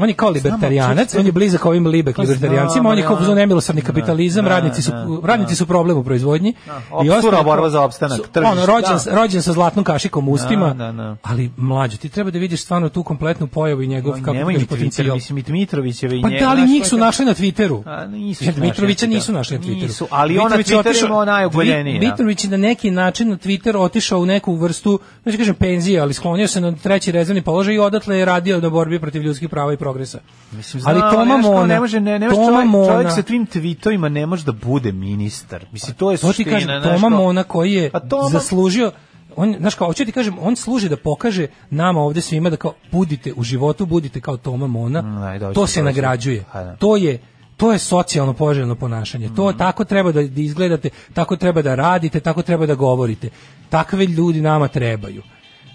[SPEAKER 7] on je kao libertarijanac,
[SPEAKER 6] čekaj,
[SPEAKER 7] on je blizak ovim libek
[SPEAKER 6] Pa
[SPEAKER 7] libertarijancima,
[SPEAKER 6] znam,
[SPEAKER 7] on je kao
[SPEAKER 6] da.
[SPEAKER 7] u zonu nemilosrdni kapitalizam,
[SPEAKER 6] Da,
[SPEAKER 7] radnici su,
[SPEAKER 6] da,
[SPEAKER 7] radnici su problem u proizvodnji.
[SPEAKER 6] opstura,
[SPEAKER 7] ostali-
[SPEAKER 6] borba za opstanak,
[SPEAKER 7] su-
[SPEAKER 6] tržište,
[SPEAKER 7] Ono, rođen,
[SPEAKER 6] da.
[SPEAKER 7] rođen sa zlatnom kašikom u ustima,
[SPEAKER 6] da, da.
[SPEAKER 7] ali mlađo, ti treba da vidiš stvarno tu kompletnu pojavu i njegov kako ti
[SPEAKER 6] Nemoj
[SPEAKER 7] kažeš,
[SPEAKER 6] mi Twitter,
[SPEAKER 7] potencijal.
[SPEAKER 6] mislim i Dmitrovićeve i
[SPEAKER 7] Pa
[SPEAKER 6] njega,
[SPEAKER 7] da, ali
[SPEAKER 6] znaš,
[SPEAKER 7] njih
[SPEAKER 6] to
[SPEAKER 7] su
[SPEAKER 6] je kako-
[SPEAKER 7] našli na Twitteru.
[SPEAKER 6] A, nisu
[SPEAKER 7] Jer
[SPEAKER 6] ih našli
[SPEAKER 7] Mitrovića
[SPEAKER 6] na Twitteru. da.
[SPEAKER 7] nisu našli na Twitteru.
[SPEAKER 6] Nisu, ali on na
[SPEAKER 7] Mitrović je
[SPEAKER 6] Twitteru
[SPEAKER 7] otišao-
[SPEAKER 6] imao najogoljeniji, da.
[SPEAKER 7] Mitrović je na neki način na Twitter otišao u neku vrstu, znači kažem penzije, ali sklonio se na treći rezervni položaj i odatle je radio na borbi protiv ljudskih prava i progresa.
[SPEAKER 6] Mislim,
[SPEAKER 7] ali
[SPEAKER 6] znam,
[SPEAKER 7] Toma
[SPEAKER 6] znaš kao,
[SPEAKER 7] Mona,
[SPEAKER 6] ne može, ne, ne može
[SPEAKER 7] Toma
[SPEAKER 6] čovjek, čovjek
[SPEAKER 7] Mona-
[SPEAKER 6] sa tvim tweetovima ne može da bude ministar. Mislim, to je
[SPEAKER 7] To ti
[SPEAKER 6] suština.
[SPEAKER 7] kažem,
[SPEAKER 6] znaš,
[SPEAKER 7] Toma
[SPEAKER 6] kao-
[SPEAKER 7] Mona koji je
[SPEAKER 6] Pa Toma-
[SPEAKER 7] zaslužio on znaš kao hoću ti kažem on služi da pokaže nama ovdje svima da kao budite u životu budite kao Toma Mona
[SPEAKER 6] aj, Mm, dođi,
[SPEAKER 7] to se
[SPEAKER 6] dođi.
[SPEAKER 7] nagrađuje
[SPEAKER 6] Pa da.
[SPEAKER 7] to je to je socijalno poželjno ponašanje to
[SPEAKER 6] Mm-hmm.
[SPEAKER 7] tako treba da, da izgledate tako treba da radite tako treba da govorite takve ljudi nama trebaju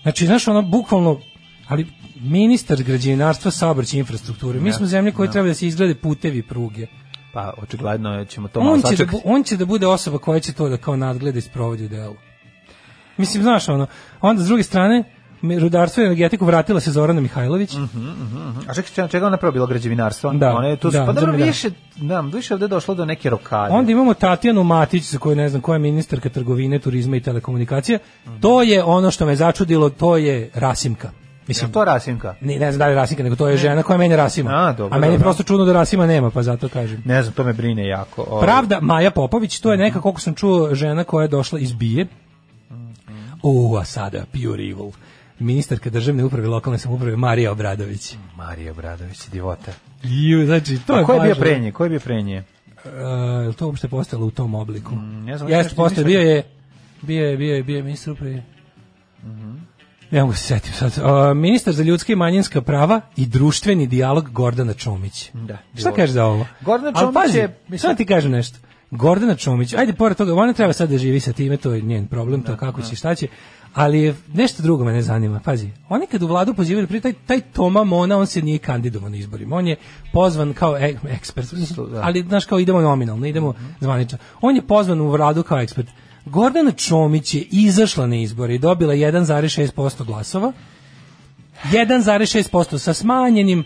[SPEAKER 7] znači znaš ono bukvalno ali ministar građevinarstva saobraćaja i infrastrukture mi smo zemlja koja treba da se izglede putevi pruge
[SPEAKER 6] Pa, očigledno je, ćemo to malo
[SPEAKER 7] on će, da,
[SPEAKER 6] sačekati.
[SPEAKER 7] bu- on će da bude osoba koja će to da kao nadgleda i sprovodi u delu. Mislim, znaš, ono, onda s druge strane, me- rudarstvo i energetiku vratila se Zorana Mihajlović,
[SPEAKER 6] Mhm. A čekaj, čega, čega ona prvo bilo građevinarstvo?
[SPEAKER 7] Da,
[SPEAKER 6] ona je tu, da,
[SPEAKER 7] da,
[SPEAKER 6] pa dobro,
[SPEAKER 7] dobro, da.
[SPEAKER 6] više, da, više ovde je došlo do neke rokade.
[SPEAKER 7] onda imamo Tatjanu Matić, za koju ne znam koja je ministarka trgovine, turizma i telekomunikacija,
[SPEAKER 6] Mhm.
[SPEAKER 7] to je ono što me začudilo, to je Rasimka. Mislim,
[SPEAKER 6] Jel to Rasimka?
[SPEAKER 7] ne, ne znam da li je Rasimka, nego to je žena koja meni Rasima.
[SPEAKER 6] A, dobro,
[SPEAKER 7] meni je
[SPEAKER 6] dobro.
[SPEAKER 7] prosto čudno da Rasima nema, pa zato kažem.
[SPEAKER 6] Ne znam, to me brine jako. Ovaj,
[SPEAKER 7] Pravda, Maja Popović, to je neka, koliko sam čuo, žena koja je došla iz Bije. U, a sada, pure evil. Ministarka državne uprave i lokalne samouprave Marija Obradović.
[SPEAKER 6] Marija Bradović, divota.
[SPEAKER 7] Ju, znači, to
[SPEAKER 6] A
[SPEAKER 7] je
[SPEAKER 6] ko je bio
[SPEAKER 7] baš-
[SPEAKER 6] prenje? Ko je bio prenje?
[SPEAKER 7] E, je li to uopšte postalo u tom obliku?
[SPEAKER 6] ne znam,
[SPEAKER 7] Jeste,
[SPEAKER 6] Mm, nešto da-
[SPEAKER 7] postao, bio
[SPEAKER 6] mišljam.
[SPEAKER 7] je, bio je, bio je, bio je ministar uprave.
[SPEAKER 6] Mhm.
[SPEAKER 7] Ne mogu se setim sad. E, ministar za ljudska i manjinska prava i društveni dijalog Gordana Čomić.
[SPEAKER 6] Da,
[SPEAKER 7] Šta
[SPEAKER 6] dijalog.
[SPEAKER 7] kažeš za ovo?
[SPEAKER 6] Gordana
[SPEAKER 7] Ali
[SPEAKER 6] Čomić
[SPEAKER 7] pazi,
[SPEAKER 6] je-
[SPEAKER 7] Mislim, sad ti kažem nešto. Gordana Čomić, ajde pored toga, ona treba sad da živi sa time, to je njen problem,
[SPEAKER 6] Da,
[SPEAKER 7] to kako će, šta će, ali je nešto drugo mene zanima, pazi, oni kad u vladu pozivali, prije taj, taj Toma Mona, on se nije kandidovan na izborima, on je pozvan kao e- ekspert,
[SPEAKER 6] da.
[SPEAKER 7] ali znaš kao idemo nominalno, idemo
[SPEAKER 6] Mhm.
[SPEAKER 7] zvanično, on je pozvan u vladu kao ekspert, Gordana Čomić je izašla na izbore i dobila 1,6% glasova, 1,6% sa smanjenim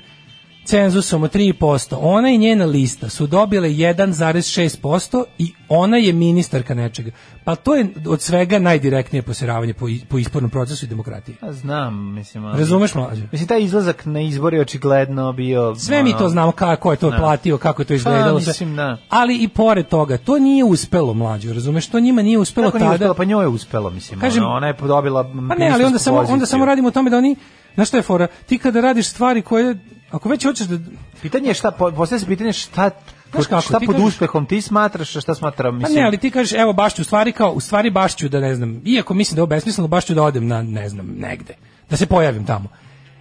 [SPEAKER 7] cenzusom od 3%. Ona i njena lista su dobile 1,6% i ona je ministarka nečega. Pa to je od svega najdirektnije posiravanje po, i- po izbornom procesu i demokratiji.
[SPEAKER 6] Ja znam, mislim. ali-
[SPEAKER 7] Razumeš mlađe?
[SPEAKER 6] Mislim, taj izlazak na izbor je očigledno bio...
[SPEAKER 7] Sve mi to znamo kako je to platio, kako je to izgledalo.
[SPEAKER 6] Da.
[SPEAKER 7] sve.
[SPEAKER 6] Pa, mislim, da.
[SPEAKER 7] Ali i pored toga, to nije uspelo mlađe, razumeš? To njima nije uspelo
[SPEAKER 6] Kako nije
[SPEAKER 7] tada.
[SPEAKER 6] uspelo, pa njoj je uspelo, mislim.
[SPEAKER 7] Kažem-
[SPEAKER 6] ono, ona je podobila
[SPEAKER 7] Pa ne, ali onda samo, onda samo
[SPEAKER 6] radi...
[SPEAKER 7] radimo o tome da oni... Znaš što je fora? Ti kada radiš stvari koje... Ako već hoćeš da...
[SPEAKER 6] Pitanje je šta, po- postavlja se pitanje šta...
[SPEAKER 7] Znaš kako,
[SPEAKER 6] šta
[SPEAKER 7] ti
[SPEAKER 6] pod
[SPEAKER 7] kažeš-
[SPEAKER 6] uspehom ti smatraš, a šta smatram,
[SPEAKER 7] Pa
[SPEAKER 6] mislim.
[SPEAKER 7] ne, ali ti kažeš, evo baš ću, u stvari kao, u stvari baš ću da ne znam, iako mislim da je ovo besmisleno, baš ću da odem na, ne znam, negde, da se pojavim tamo.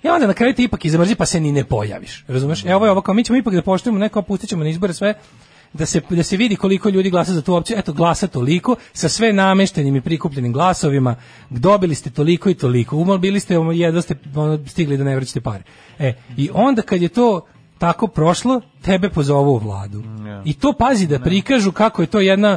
[SPEAKER 7] I onda na kraju ti ipak izmrzi pa se ni ne pojaviš, razumeš? Evo je ovo kao, mi ćemo ipak da poštujemo neko, pustit ćemo na izbore sve, da se, da se vidi koliko ljudi glasa za tu opciju, eto glasa toliko, sa sve nameštenim i prikupljenim glasovima, dobili ste toliko i toliko, umal bili ste, ono, jedva ste ono, stigli da ne vraćate pare. E, i onda kad je to tako prošlo, tebe pozovu u vladu. I to pazi da prikažu kako je to jedna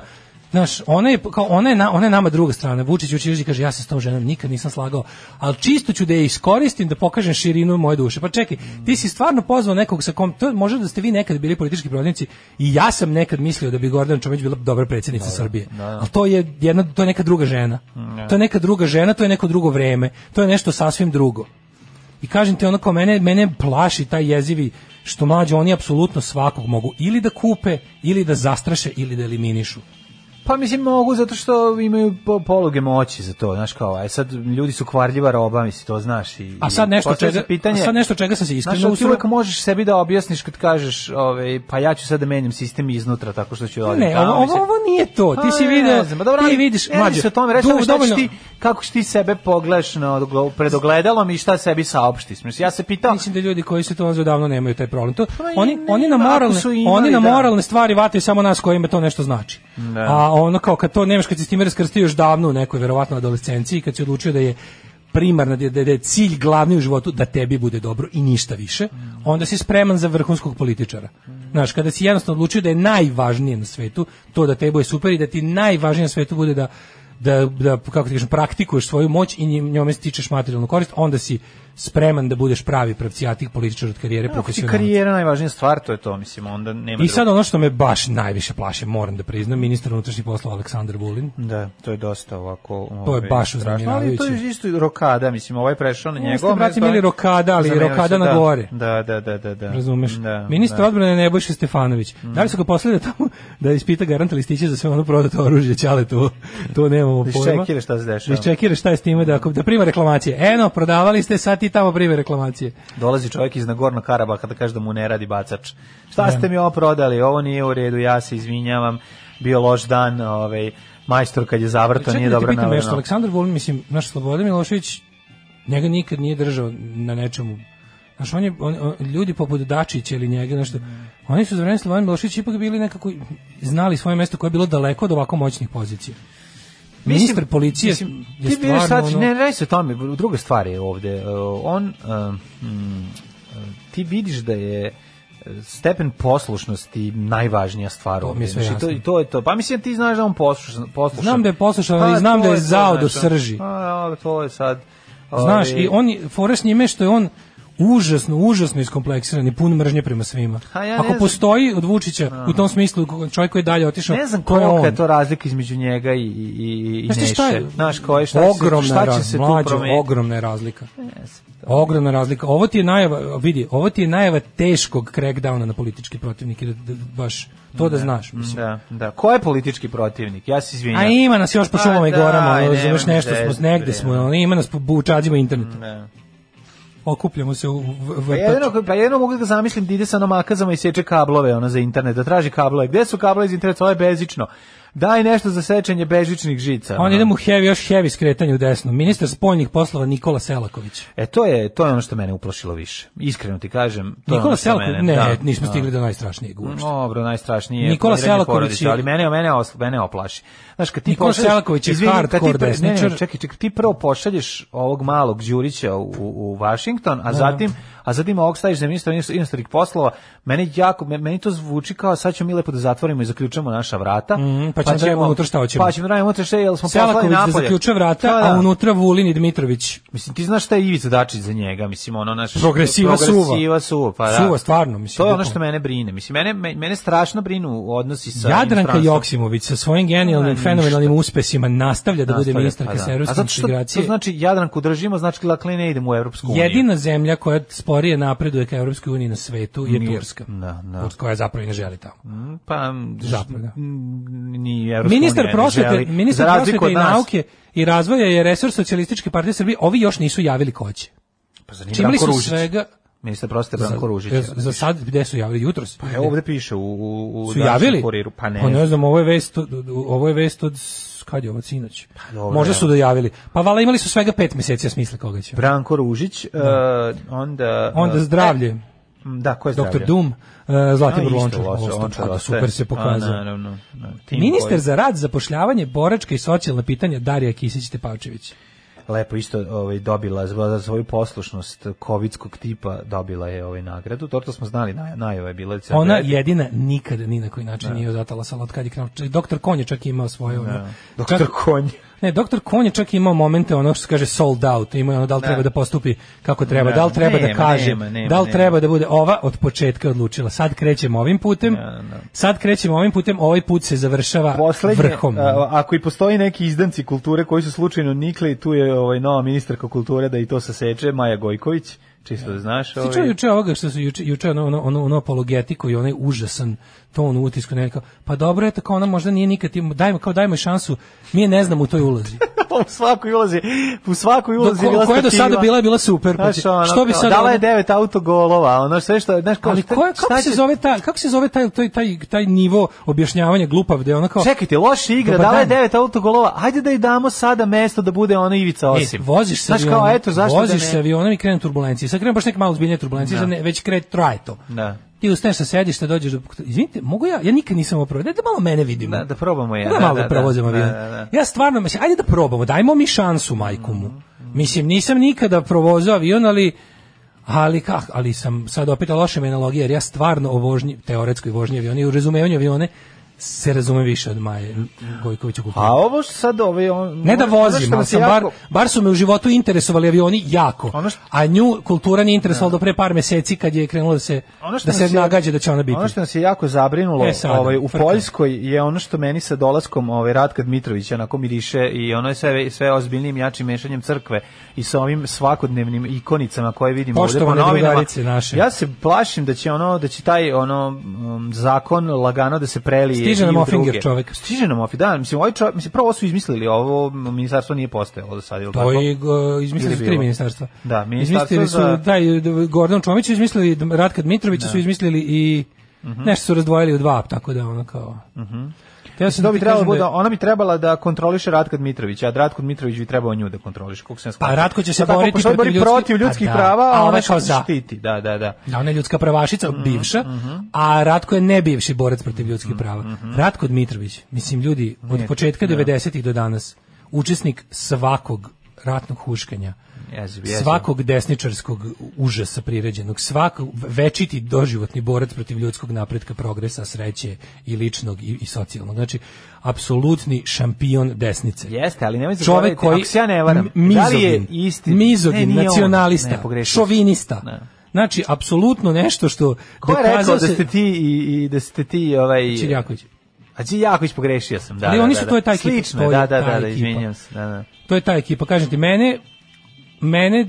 [SPEAKER 7] Znaš, ona je, kao, ona, je na- ona je nama druga strana. Vučić učiš i kaže, ja se s tom ženom nikad nisam slagao, ali čisto ću da je iskoristim da pokažem širinu moje duše. Pa čekaj, ti si stvarno pozvao nekog sa kom, to možda da ste vi nekad bili politički protivnici i ja sam nekad mislio da bi Gordana Čomić bila dobra predsjednica Srbije. Ali to je, jedna, to je neka druga žena. To je neka druga žena, to je neko drugo vreme. To je nešto sasvim drugo. I kažem ti ono kao mene, mene plaši taj jezivi što mlađe oni apsolutno svakog mogu ili da kupe, ili da zastraše, ili da eliminišu.
[SPEAKER 6] Pa mislim mogu zato što imaju po- poluge moći za to, znaš kao, aj sad ljudi su kvarljiva roba, misli to znaš i
[SPEAKER 7] A sad nešto
[SPEAKER 6] Mm, postavlja se
[SPEAKER 7] čega, a sad nešto čega sam se
[SPEAKER 6] Znaš,
[SPEAKER 7] iskreno
[SPEAKER 6] ali ti
[SPEAKER 7] usro.
[SPEAKER 6] uvek možeš sebi da objasniš kad kažeš, ovaj, pa ja ću sad da menjam sistem iznutra tako što ću da odim
[SPEAKER 7] Ne,
[SPEAKER 6] tamo,
[SPEAKER 7] ovo, ovo,
[SPEAKER 6] mislim.
[SPEAKER 7] ovo nije to. Ti
[SPEAKER 6] A,
[SPEAKER 7] si
[SPEAKER 6] ne
[SPEAKER 7] video,
[SPEAKER 6] znam, pa dobro,
[SPEAKER 7] ti
[SPEAKER 6] ali
[SPEAKER 7] vidiš,
[SPEAKER 6] ne radi
[SPEAKER 7] mlađe.
[SPEAKER 6] se o tome, reći
[SPEAKER 7] du-
[SPEAKER 6] samo šta ćeš
[SPEAKER 7] dovoljno-
[SPEAKER 6] ti, kako ćeš ti sebe pogledaš na oglo- pred ogledalom i šta sebi saopštiš. Mislim, ja se pitao,
[SPEAKER 7] Mislim da ljudi koji su to nazvali davno nemaju taj problem. To,
[SPEAKER 6] Pa i
[SPEAKER 7] oni,
[SPEAKER 6] ne,
[SPEAKER 7] oni na
[SPEAKER 6] ako
[SPEAKER 7] moralne,
[SPEAKER 6] su imali,
[SPEAKER 7] oni na
[SPEAKER 6] da.
[SPEAKER 7] moralne stvari vataju samo nas kojima to nešto znači. A ono kao kad to nemaš, kad si s time raskrstio još davno u nekoj verovatno adolescenciji, kad si odlučio da je primarna, da je, da je cilj glavni u životu da tebi bude dobro i ništa više, onda si spreman za vrhunskog političara. Znaš, kada si jednostavno odlučio da je najvažnije na svetu to da tebi bude super i da ti najvažnije na svetu bude da da, da kako ti kažem, praktikuješ svoju moć i njim- njome stičeš materijalnu korist, onda si spreman da budeš pravi pravcijatik političar od karijere
[SPEAKER 6] ako ti
[SPEAKER 7] profesionalno.
[SPEAKER 6] karijera najvažnija stvar, to je to, mislim, onda nema
[SPEAKER 7] I sad ono što me baš najviše plaši, moram da priznam, ministar unutrašnjih poslova Aleksandar Vulin.
[SPEAKER 6] Da, to je dosta ovako...
[SPEAKER 7] To je
[SPEAKER 6] ovaj,
[SPEAKER 7] baš
[SPEAKER 6] strašno, Ali
[SPEAKER 7] uznemiravajuće.
[SPEAKER 6] to je isto i rokada, mislim, ovaj je prešao na
[SPEAKER 7] Jeste,
[SPEAKER 6] njegovo
[SPEAKER 7] brate,
[SPEAKER 6] mesto,
[SPEAKER 7] mili,
[SPEAKER 6] ovaj-
[SPEAKER 7] rokada, ali
[SPEAKER 6] zamenio
[SPEAKER 7] rokada
[SPEAKER 6] se,
[SPEAKER 7] na
[SPEAKER 6] da.
[SPEAKER 7] gore.
[SPEAKER 6] Da, da, da, da. da.
[SPEAKER 7] Razumeš?
[SPEAKER 6] Da,
[SPEAKER 7] Ministar
[SPEAKER 6] da. Mhm.
[SPEAKER 7] odbrane Nebojša Stefanović. Da li su ga poslali da tamo da ispita garanta listića za sve ono prodato oružje, ćale to, to nemamo
[SPEAKER 6] Da
[SPEAKER 7] pojma.
[SPEAKER 6] iščekira šta se
[SPEAKER 7] Da
[SPEAKER 6] dešava.
[SPEAKER 7] iščekira šta je s time, da, ako- da prima reklamacije. Eno, prodavali ste, sad ti tamo prime reklamacije.
[SPEAKER 6] Dolazi čovjek iz Nagorno Karabaha da kaže da mu ne radi bacač.
[SPEAKER 7] Da.
[SPEAKER 6] Šta ste mi ovo prodali? Ovo nije u redu, ja se izvinjavam. Bio loš dan, ovaj majstor kad je zavrtao,
[SPEAKER 7] Čekaj
[SPEAKER 6] Pa nije
[SPEAKER 7] da te
[SPEAKER 6] dobro
[SPEAKER 7] pitam nešto,
[SPEAKER 6] navrno.
[SPEAKER 7] Aleksandar Vulin, mislim, naš Slobodan Milošević, njega nikad nije držao na nečemu. Znaš, on je, on, on- ljudi poput Dačića ili njega, nešto, oni su za vreme Slobodan Milošević ipak bili nekako, znali svoje mesto koje je bilo daleko od ovako moćnih pozicija. Ministar policije
[SPEAKER 6] Mislim,
[SPEAKER 7] je
[SPEAKER 6] ti vidiš
[SPEAKER 7] stvarno...
[SPEAKER 6] sad,
[SPEAKER 7] ono-
[SPEAKER 6] ne radi se o tome, druga stvar je ovde. Uh, On, uh, mm, uh, ti vidiš da je uh, stepen poslušnosti najvažnija stvar
[SPEAKER 7] To mi je
[SPEAKER 6] ovde.
[SPEAKER 7] sve
[SPEAKER 6] Znači, to,
[SPEAKER 7] jasno.
[SPEAKER 6] i to je to. Pa mislim, ti znaš da je on poslušan. poslušan.
[SPEAKER 7] Znam da je poslušan, ali
[SPEAKER 6] Pa,
[SPEAKER 7] znam
[SPEAKER 6] to
[SPEAKER 7] da je
[SPEAKER 6] to,
[SPEAKER 7] zao do
[SPEAKER 6] znaš, ono.
[SPEAKER 7] srži.
[SPEAKER 6] Pa, to je sad...
[SPEAKER 7] Znaš,
[SPEAKER 6] ovaj,
[SPEAKER 7] i on, je- fora s njime je što je on užasno, užasno iskompleksiran i pun mržnje prema svima.
[SPEAKER 6] A ja ne
[SPEAKER 7] Ako
[SPEAKER 6] znam.
[SPEAKER 7] postoji od Vučića u tom smislu ko- čovjek koji je dalje otišao,
[SPEAKER 6] Ne znam
[SPEAKER 7] to je
[SPEAKER 6] kolika
[SPEAKER 7] on.
[SPEAKER 6] je to razlika između njega i, i, i, i
[SPEAKER 7] Znaš ti šta je?
[SPEAKER 6] Neše. Znaš, koje, šta, će se,
[SPEAKER 7] Ogromna
[SPEAKER 6] šta će
[SPEAKER 7] raz-
[SPEAKER 6] se tu
[SPEAKER 7] mlađo,
[SPEAKER 6] promeniti?
[SPEAKER 7] Ogromna je razlika. Ogromna razlika. Ovo ti je najava, vidi, ovo ti je najava teškog crackdowna na političke protivnike, da, da- baš to da znaš, mislim.
[SPEAKER 6] Da, da. Ko je politički protivnik? Ja se izvinjam.
[SPEAKER 7] A ima nas još po
[SPEAKER 6] Pa
[SPEAKER 7] šumama i
[SPEAKER 6] da,
[SPEAKER 7] gorama, ono,
[SPEAKER 6] nema
[SPEAKER 7] razumeš,
[SPEAKER 6] mi
[SPEAKER 7] nešto
[SPEAKER 6] veze,
[SPEAKER 7] smo, negde
[SPEAKER 6] bre.
[SPEAKER 7] smo, ono, ima nas po bučađima interneta.
[SPEAKER 6] Da.
[SPEAKER 7] Okupljamo se u u- u-
[SPEAKER 6] Pa jedino, pa jedino mogu da ga zamislim da ide sa onom akazama i seče kablove ono, za internet, da traži kablove. Gde su kablove iz interneta? Ovo je bezično. Daj nešto za sečenje bežičnih žica.
[SPEAKER 7] A
[SPEAKER 6] ono.
[SPEAKER 7] onda idemo u heavy, još heavy skretanje u desno. Ministar spoljnih poslova Nikola Selaković.
[SPEAKER 6] E, to je, to je ono što mene uplašilo više. Iskreno ti kažem. To je ono
[SPEAKER 7] Nikola
[SPEAKER 6] što
[SPEAKER 7] Selaković,
[SPEAKER 6] mene-
[SPEAKER 7] ne,
[SPEAKER 6] da,
[SPEAKER 7] nismo
[SPEAKER 6] da.
[SPEAKER 7] stigli do najstrašnijeg uopšte.
[SPEAKER 6] Dobro, najstrašnije.
[SPEAKER 7] Nikola
[SPEAKER 6] planiranje
[SPEAKER 7] Selaković
[SPEAKER 6] porodice,
[SPEAKER 7] je-
[SPEAKER 6] ali mene mene os- mene oplaši. Znaš kad ti
[SPEAKER 7] Nikola
[SPEAKER 6] pošalješ-
[SPEAKER 7] Selaković je
[SPEAKER 6] Izvini, kad ti
[SPEAKER 7] hardcore
[SPEAKER 6] pre- ne, ne,
[SPEAKER 7] desničar.
[SPEAKER 6] Čekaj, čekaj, ti prvo pošalješ ovog malog Đurića u, u, u Washington,
[SPEAKER 7] Da.
[SPEAKER 6] a zatim a zatim ovog staviš za ministra ino- inostranih poslova. Mene jako me- meni to zvuči kao sad ćemo mi lepo da zatvorimo i zaključamo naša vrata.
[SPEAKER 7] Mhm, pa ćemo da radimo unutra šta hoćemo.
[SPEAKER 6] Pa ćemo da radimo unutra šta jel smo poslali
[SPEAKER 7] Selaković da
[SPEAKER 6] napolje.
[SPEAKER 7] zaključuje
[SPEAKER 6] Pa
[SPEAKER 7] vrata,
[SPEAKER 6] da.
[SPEAKER 7] a unutra Vulin i Dmitrović.
[SPEAKER 6] Mislim ti znaš šta je Ivica Dačić za njega, mislim ono naš
[SPEAKER 7] Progresiva suva.
[SPEAKER 6] progresiva suva, pa da.
[SPEAKER 7] Suva, stvarno, mislim,
[SPEAKER 6] To je ono
[SPEAKER 7] bukvalno.
[SPEAKER 6] što mene brine. Mislim mene me- mene strašno brinu odnosi sa
[SPEAKER 7] Jadranka
[SPEAKER 6] inostranstvom.
[SPEAKER 7] Joksimović sa svojim genijalnim,
[SPEAKER 6] Ne,
[SPEAKER 7] fenomenalnim uspesima nastavlja da bude
[SPEAKER 6] Nastavlja,
[SPEAKER 7] ministarka
[SPEAKER 6] pa da.
[SPEAKER 7] servisne
[SPEAKER 6] A zato što
[SPEAKER 7] integracije.
[SPEAKER 6] To znači Jadranku držimo, znači dakle ne idemo u Evropsku uniju.
[SPEAKER 7] Jedina zemlja koja sporije napreduje ka Evropskoj uniji na svetu je
[SPEAKER 6] Nije.
[SPEAKER 7] Turska.
[SPEAKER 6] Da, da.
[SPEAKER 7] Turska koja zapravo i ne želi tamo.
[SPEAKER 6] pa
[SPEAKER 7] Zapravo, da.
[SPEAKER 6] ni Evropska
[SPEAKER 7] Ministar
[SPEAKER 6] unija ne
[SPEAKER 7] prosvete,
[SPEAKER 6] želi.
[SPEAKER 7] ministar
[SPEAKER 6] Za razliku
[SPEAKER 7] prosvete i
[SPEAKER 6] od nas.
[SPEAKER 7] nauke i razvoja je resor socijalističke partije Srbije. Ovi još nisu javili ko će.
[SPEAKER 6] Pa zar nije
[SPEAKER 7] Čimali
[SPEAKER 6] Branko
[SPEAKER 7] su
[SPEAKER 6] Ružić?
[SPEAKER 7] svega
[SPEAKER 6] Ministar prosvete Branko Ružić.
[SPEAKER 7] Za, za sad gde su javili jutros?
[SPEAKER 6] Pa evo ovde piše u u u
[SPEAKER 7] su
[SPEAKER 6] današnjem
[SPEAKER 7] javili?
[SPEAKER 6] kuriru, pa ne.
[SPEAKER 7] Pa ne znam, ovo je vest, od- od- ovo je vest od s- kad je ovo sinoć.
[SPEAKER 6] Pa dobro,
[SPEAKER 7] Možda
[SPEAKER 6] evo.
[SPEAKER 7] su dojavili. Pa valjda imali su svega pet meseci da smisle koga će.
[SPEAKER 6] Branko Ružić, e, onda
[SPEAKER 7] Da. Onda
[SPEAKER 6] e,
[SPEAKER 7] zdravlje,
[SPEAKER 6] da, ko je
[SPEAKER 7] doktor
[SPEAKER 6] zdravlje?
[SPEAKER 7] Doom, e,
[SPEAKER 6] A,
[SPEAKER 7] Zlatibor
[SPEAKER 6] isto,
[SPEAKER 7] Lončar.
[SPEAKER 6] Lončar,
[SPEAKER 7] Ovo,
[SPEAKER 6] Lončar
[SPEAKER 7] kako
[SPEAKER 6] ostaje.
[SPEAKER 7] Super se
[SPEAKER 6] A,
[SPEAKER 7] pokazao.
[SPEAKER 6] naravno, da, tim
[SPEAKER 7] Ministar
[SPEAKER 6] koji-
[SPEAKER 7] za rad, zapošljavanje, boračka i socijalna pitanja Darija Kisić-Tepavčević.
[SPEAKER 6] lepo isto ovaj dobila za- za svoju poslušnost kovidskog tipa dobila je ovaj nagradu. To to smo znali, naj, najava je bila. Cel-
[SPEAKER 7] Ona jedina nikada ni na koji
[SPEAKER 6] Da.
[SPEAKER 7] način nije zatala sa od kad je krenuo. Čak Doktor Konje čak je imao svoje ono.
[SPEAKER 6] Doktor
[SPEAKER 7] čak-
[SPEAKER 6] Konj.
[SPEAKER 7] Ne, doktor Kon je čak imao momente ono što se kaže sold out, ima ono da li treba da postupi kako treba,
[SPEAKER 6] Da,
[SPEAKER 7] da li treba da
[SPEAKER 6] nema,
[SPEAKER 7] kaže,
[SPEAKER 6] nema, nema,
[SPEAKER 7] da li
[SPEAKER 6] nema.
[SPEAKER 7] treba da bude ova od početka odlučila. Sad krećemo ovim putem.
[SPEAKER 6] Da.
[SPEAKER 7] Sad krećemo ovim putem, ovaj put se završava
[SPEAKER 6] Poslednje,
[SPEAKER 7] vrhom.
[SPEAKER 6] a, ako i postoji neki izdanci kulture koji su slučajno nikli, tu je ovaj nova ministarka kulture da i to saseče, Maja Gojković. čisto da znaš.
[SPEAKER 7] Ti čuo juče ovoga što su juče, juče ono, ono, ono, ono apologetiku i onaj užasan ton u utisku nekako, pa dobro je tako, ona možda nije nikad, tim- dajmo, kao dajmo joj šansu, mi je ne znamo u toj ulozi.
[SPEAKER 6] u svakoj ulazi, u svakoj
[SPEAKER 7] Do,
[SPEAKER 6] ulazi
[SPEAKER 7] ko, koja je do sada bila, je bila super. Pa,
[SPEAKER 6] Znaš, ono,
[SPEAKER 7] što bi sad...
[SPEAKER 6] dala
[SPEAKER 7] ono-
[SPEAKER 6] je devet autogolova, ono sve što, znaš, kao,
[SPEAKER 7] ali
[SPEAKER 6] šta-
[SPEAKER 7] ko je, kako
[SPEAKER 6] šta
[SPEAKER 7] se
[SPEAKER 6] će-
[SPEAKER 7] zove taj kako se zove taj taj taj taj nivo objašnjavanja glupav gde ona kao
[SPEAKER 6] Čekajte, loša igra,
[SPEAKER 7] Dobar
[SPEAKER 6] dala je
[SPEAKER 7] dan.
[SPEAKER 6] devet autogolova, ajde da joj damo sada mesto da bude ona Ivica
[SPEAKER 7] E,
[SPEAKER 6] Osim.
[SPEAKER 7] voziš se
[SPEAKER 6] Znaš kao,
[SPEAKER 7] avionom,
[SPEAKER 6] eto, zašto
[SPEAKER 7] voziš
[SPEAKER 6] da ne?
[SPEAKER 7] se avionom i krenu turbulencije. Sad krenu baš neke malo zbiljnije turbulencije, sad ne, već kre traje to.
[SPEAKER 6] Da.
[SPEAKER 7] Ti ustaješ sa sedišta, dođeš do... Izvinite, mogu ja? Ja nikad nisam opravo. Dajte malo mene vidimo.
[SPEAKER 6] Da, da probamo je.
[SPEAKER 7] Da, malo da, provozimo avion. Ja stvarno, mislim, ajde da probamo, dajmo mi šansu majku mu. Mislim, nisam nikada provozao avion, ali ali kak, ali sam sad opet loša mi je analogija, jer ja stvarno o vožnji, teoretskoj vožnji aviona i u razumevanju avione se razume više od Maje Gojkovića Kupina.
[SPEAKER 6] A ovo što sad ove... On,
[SPEAKER 7] Ne da
[SPEAKER 6] ono- ono
[SPEAKER 7] vozim,
[SPEAKER 6] što
[SPEAKER 7] ali
[SPEAKER 6] nas
[SPEAKER 7] sam
[SPEAKER 6] je
[SPEAKER 7] bar,
[SPEAKER 6] jako-
[SPEAKER 7] bar su me u životu interesovali avioni jako.
[SPEAKER 6] Ono što- Da.
[SPEAKER 7] A nju kultura nije interesovala do pre par meseci kad je krenula da se,
[SPEAKER 6] Ono što
[SPEAKER 7] da se
[SPEAKER 6] nas je-
[SPEAKER 7] nagađa da će ona biti.
[SPEAKER 6] Ono što nas je jako zabrinulo
[SPEAKER 7] E, sada,
[SPEAKER 6] ovaj, u
[SPEAKER 7] frka.
[SPEAKER 6] Poljskoj je ono što meni sa dolaskom ovaj, Ratka Dmitrovića onako miriše i ono je sve, sve ozbiljnijim jačim mešanjem crkve i sa ovim svakodnevnim ikonicama koje vidimo ovde po
[SPEAKER 7] Poštovane
[SPEAKER 6] novinama.
[SPEAKER 7] drugarice naše.
[SPEAKER 6] Ja se plašim da će ono da će taj ono um, zakon lagano da se prelije
[SPEAKER 7] Stiže nam
[SPEAKER 6] i u
[SPEAKER 7] Offinger
[SPEAKER 6] druge.
[SPEAKER 7] čovek.
[SPEAKER 6] Stiže nam Offinger, da, mislim, ovaj čovek, mislim, prvo ovo su izmislili, ovo ministarstvo nije postojalo do sada, ili
[SPEAKER 7] To
[SPEAKER 6] tako?
[SPEAKER 7] je go- izmislili
[SPEAKER 6] Ili
[SPEAKER 7] su
[SPEAKER 6] bilo?
[SPEAKER 7] tri ministarstva.
[SPEAKER 6] Da, ministarstvo
[SPEAKER 7] izmislili su
[SPEAKER 6] za- Da.
[SPEAKER 7] taj d- Gordon Čomić su izmislili d- Ratka Dmitrovića su izmislili i
[SPEAKER 6] Mhm.
[SPEAKER 7] nešto su razdvojili u dva, tako da ono kao. Mhm. Ja sam
[SPEAKER 6] To
[SPEAKER 7] da
[SPEAKER 6] bi
[SPEAKER 7] ti
[SPEAKER 6] trebalo
[SPEAKER 7] kažem
[SPEAKER 6] bude,
[SPEAKER 7] da
[SPEAKER 6] ona bi trebala da kontroliše Ratka Dmitrovića, a Ratko Dmitrović bi trebao nju da kontroliše. Kako se
[SPEAKER 7] Pa Ratko će se
[SPEAKER 6] Tako,
[SPEAKER 7] boriti
[SPEAKER 6] pošto on bori
[SPEAKER 7] protiv ljudskih-
[SPEAKER 6] protiv ljudskih
[SPEAKER 7] Pa da,
[SPEAKER 6] prava, a
[SPEAKER 7] a
[SPEAKER 6] ona
[SPEAKER 7] ovaj
[SPEAKER 6] će
[SPEAKER 7] kao
[SPEAKER 6] se
[SPEAKER 7] za.
[SPEAKER 6] štiti. Da, da, da.
[SPEAKER 7] da ona je ljudska pravašica, bivša, a Ratko je nebivši borac protiv ljudskih prava. Ratko Dmitrović, mislim ljudi, od početka 90-ih do danas, učesnik svakog ratnog huškanja,
[SPEAKER 6] Jeziv, jeziv.
[SPEAKER 7] svakog desničarskog užasa priređenog, svakog večiti doživotni borac protiv ljudskog napretka, progresa, sreće i ličnog i, i socijalnog. Znači, apsolutni šampion desnice.
[SPEAKER 6] Jeste, ali nemoj zaboraviti,
[SPEAKER 7] Čovek koji
[SPEAKER 6] ako se ja ne varam,
[SPEAKER 7] m- mizogin,
[SPEAKER 6] da li je isti- Ne,
[SPEAKER 7] mizogin,
[SPEAKER 6] nije on,
[SPEAKER 7] nacionalista,
[SPEAKER 6] ne, pogrešio si.
[SPEAKER 7] šovinista.
[SPEAKER 6] Ne.
[SPEAKER 7] Znači, apsolutno nešto što
[SPEAKER 6] Ko je rekao
[SPEAKER 7] dokazao
[SPEAKER 6] da
[SPEAKER 7] se-
[SPEAKER 6] ste ti i, i da ste ti ovaj
[SPEAKER 7] Čirjaković.
[SPEAKER 6] A ti Jaković pogrešio sam, da.
[SPEAKER 7] Ali
[SPEAKER 6] da,
[SPEAKER 7] oni
[SPEAKER 6] da,
[SPEAKER 7] su-
[SPEAKER 6] da.
[SPEAKER 7] to je ta ekipa,
[SPEAKER 6] Slično,
[SPEAKER 7] to je
[SPEAKER 6] da, da,
[SPEAKER 7] ta
[SPEAKER 6] da, da,
[SPEAKER 7] ekipa.
[SPEAKER 6] izvinjam se, da, da.
[SPEAKER 7] To je ta ekipa, kažem ti, mene, mene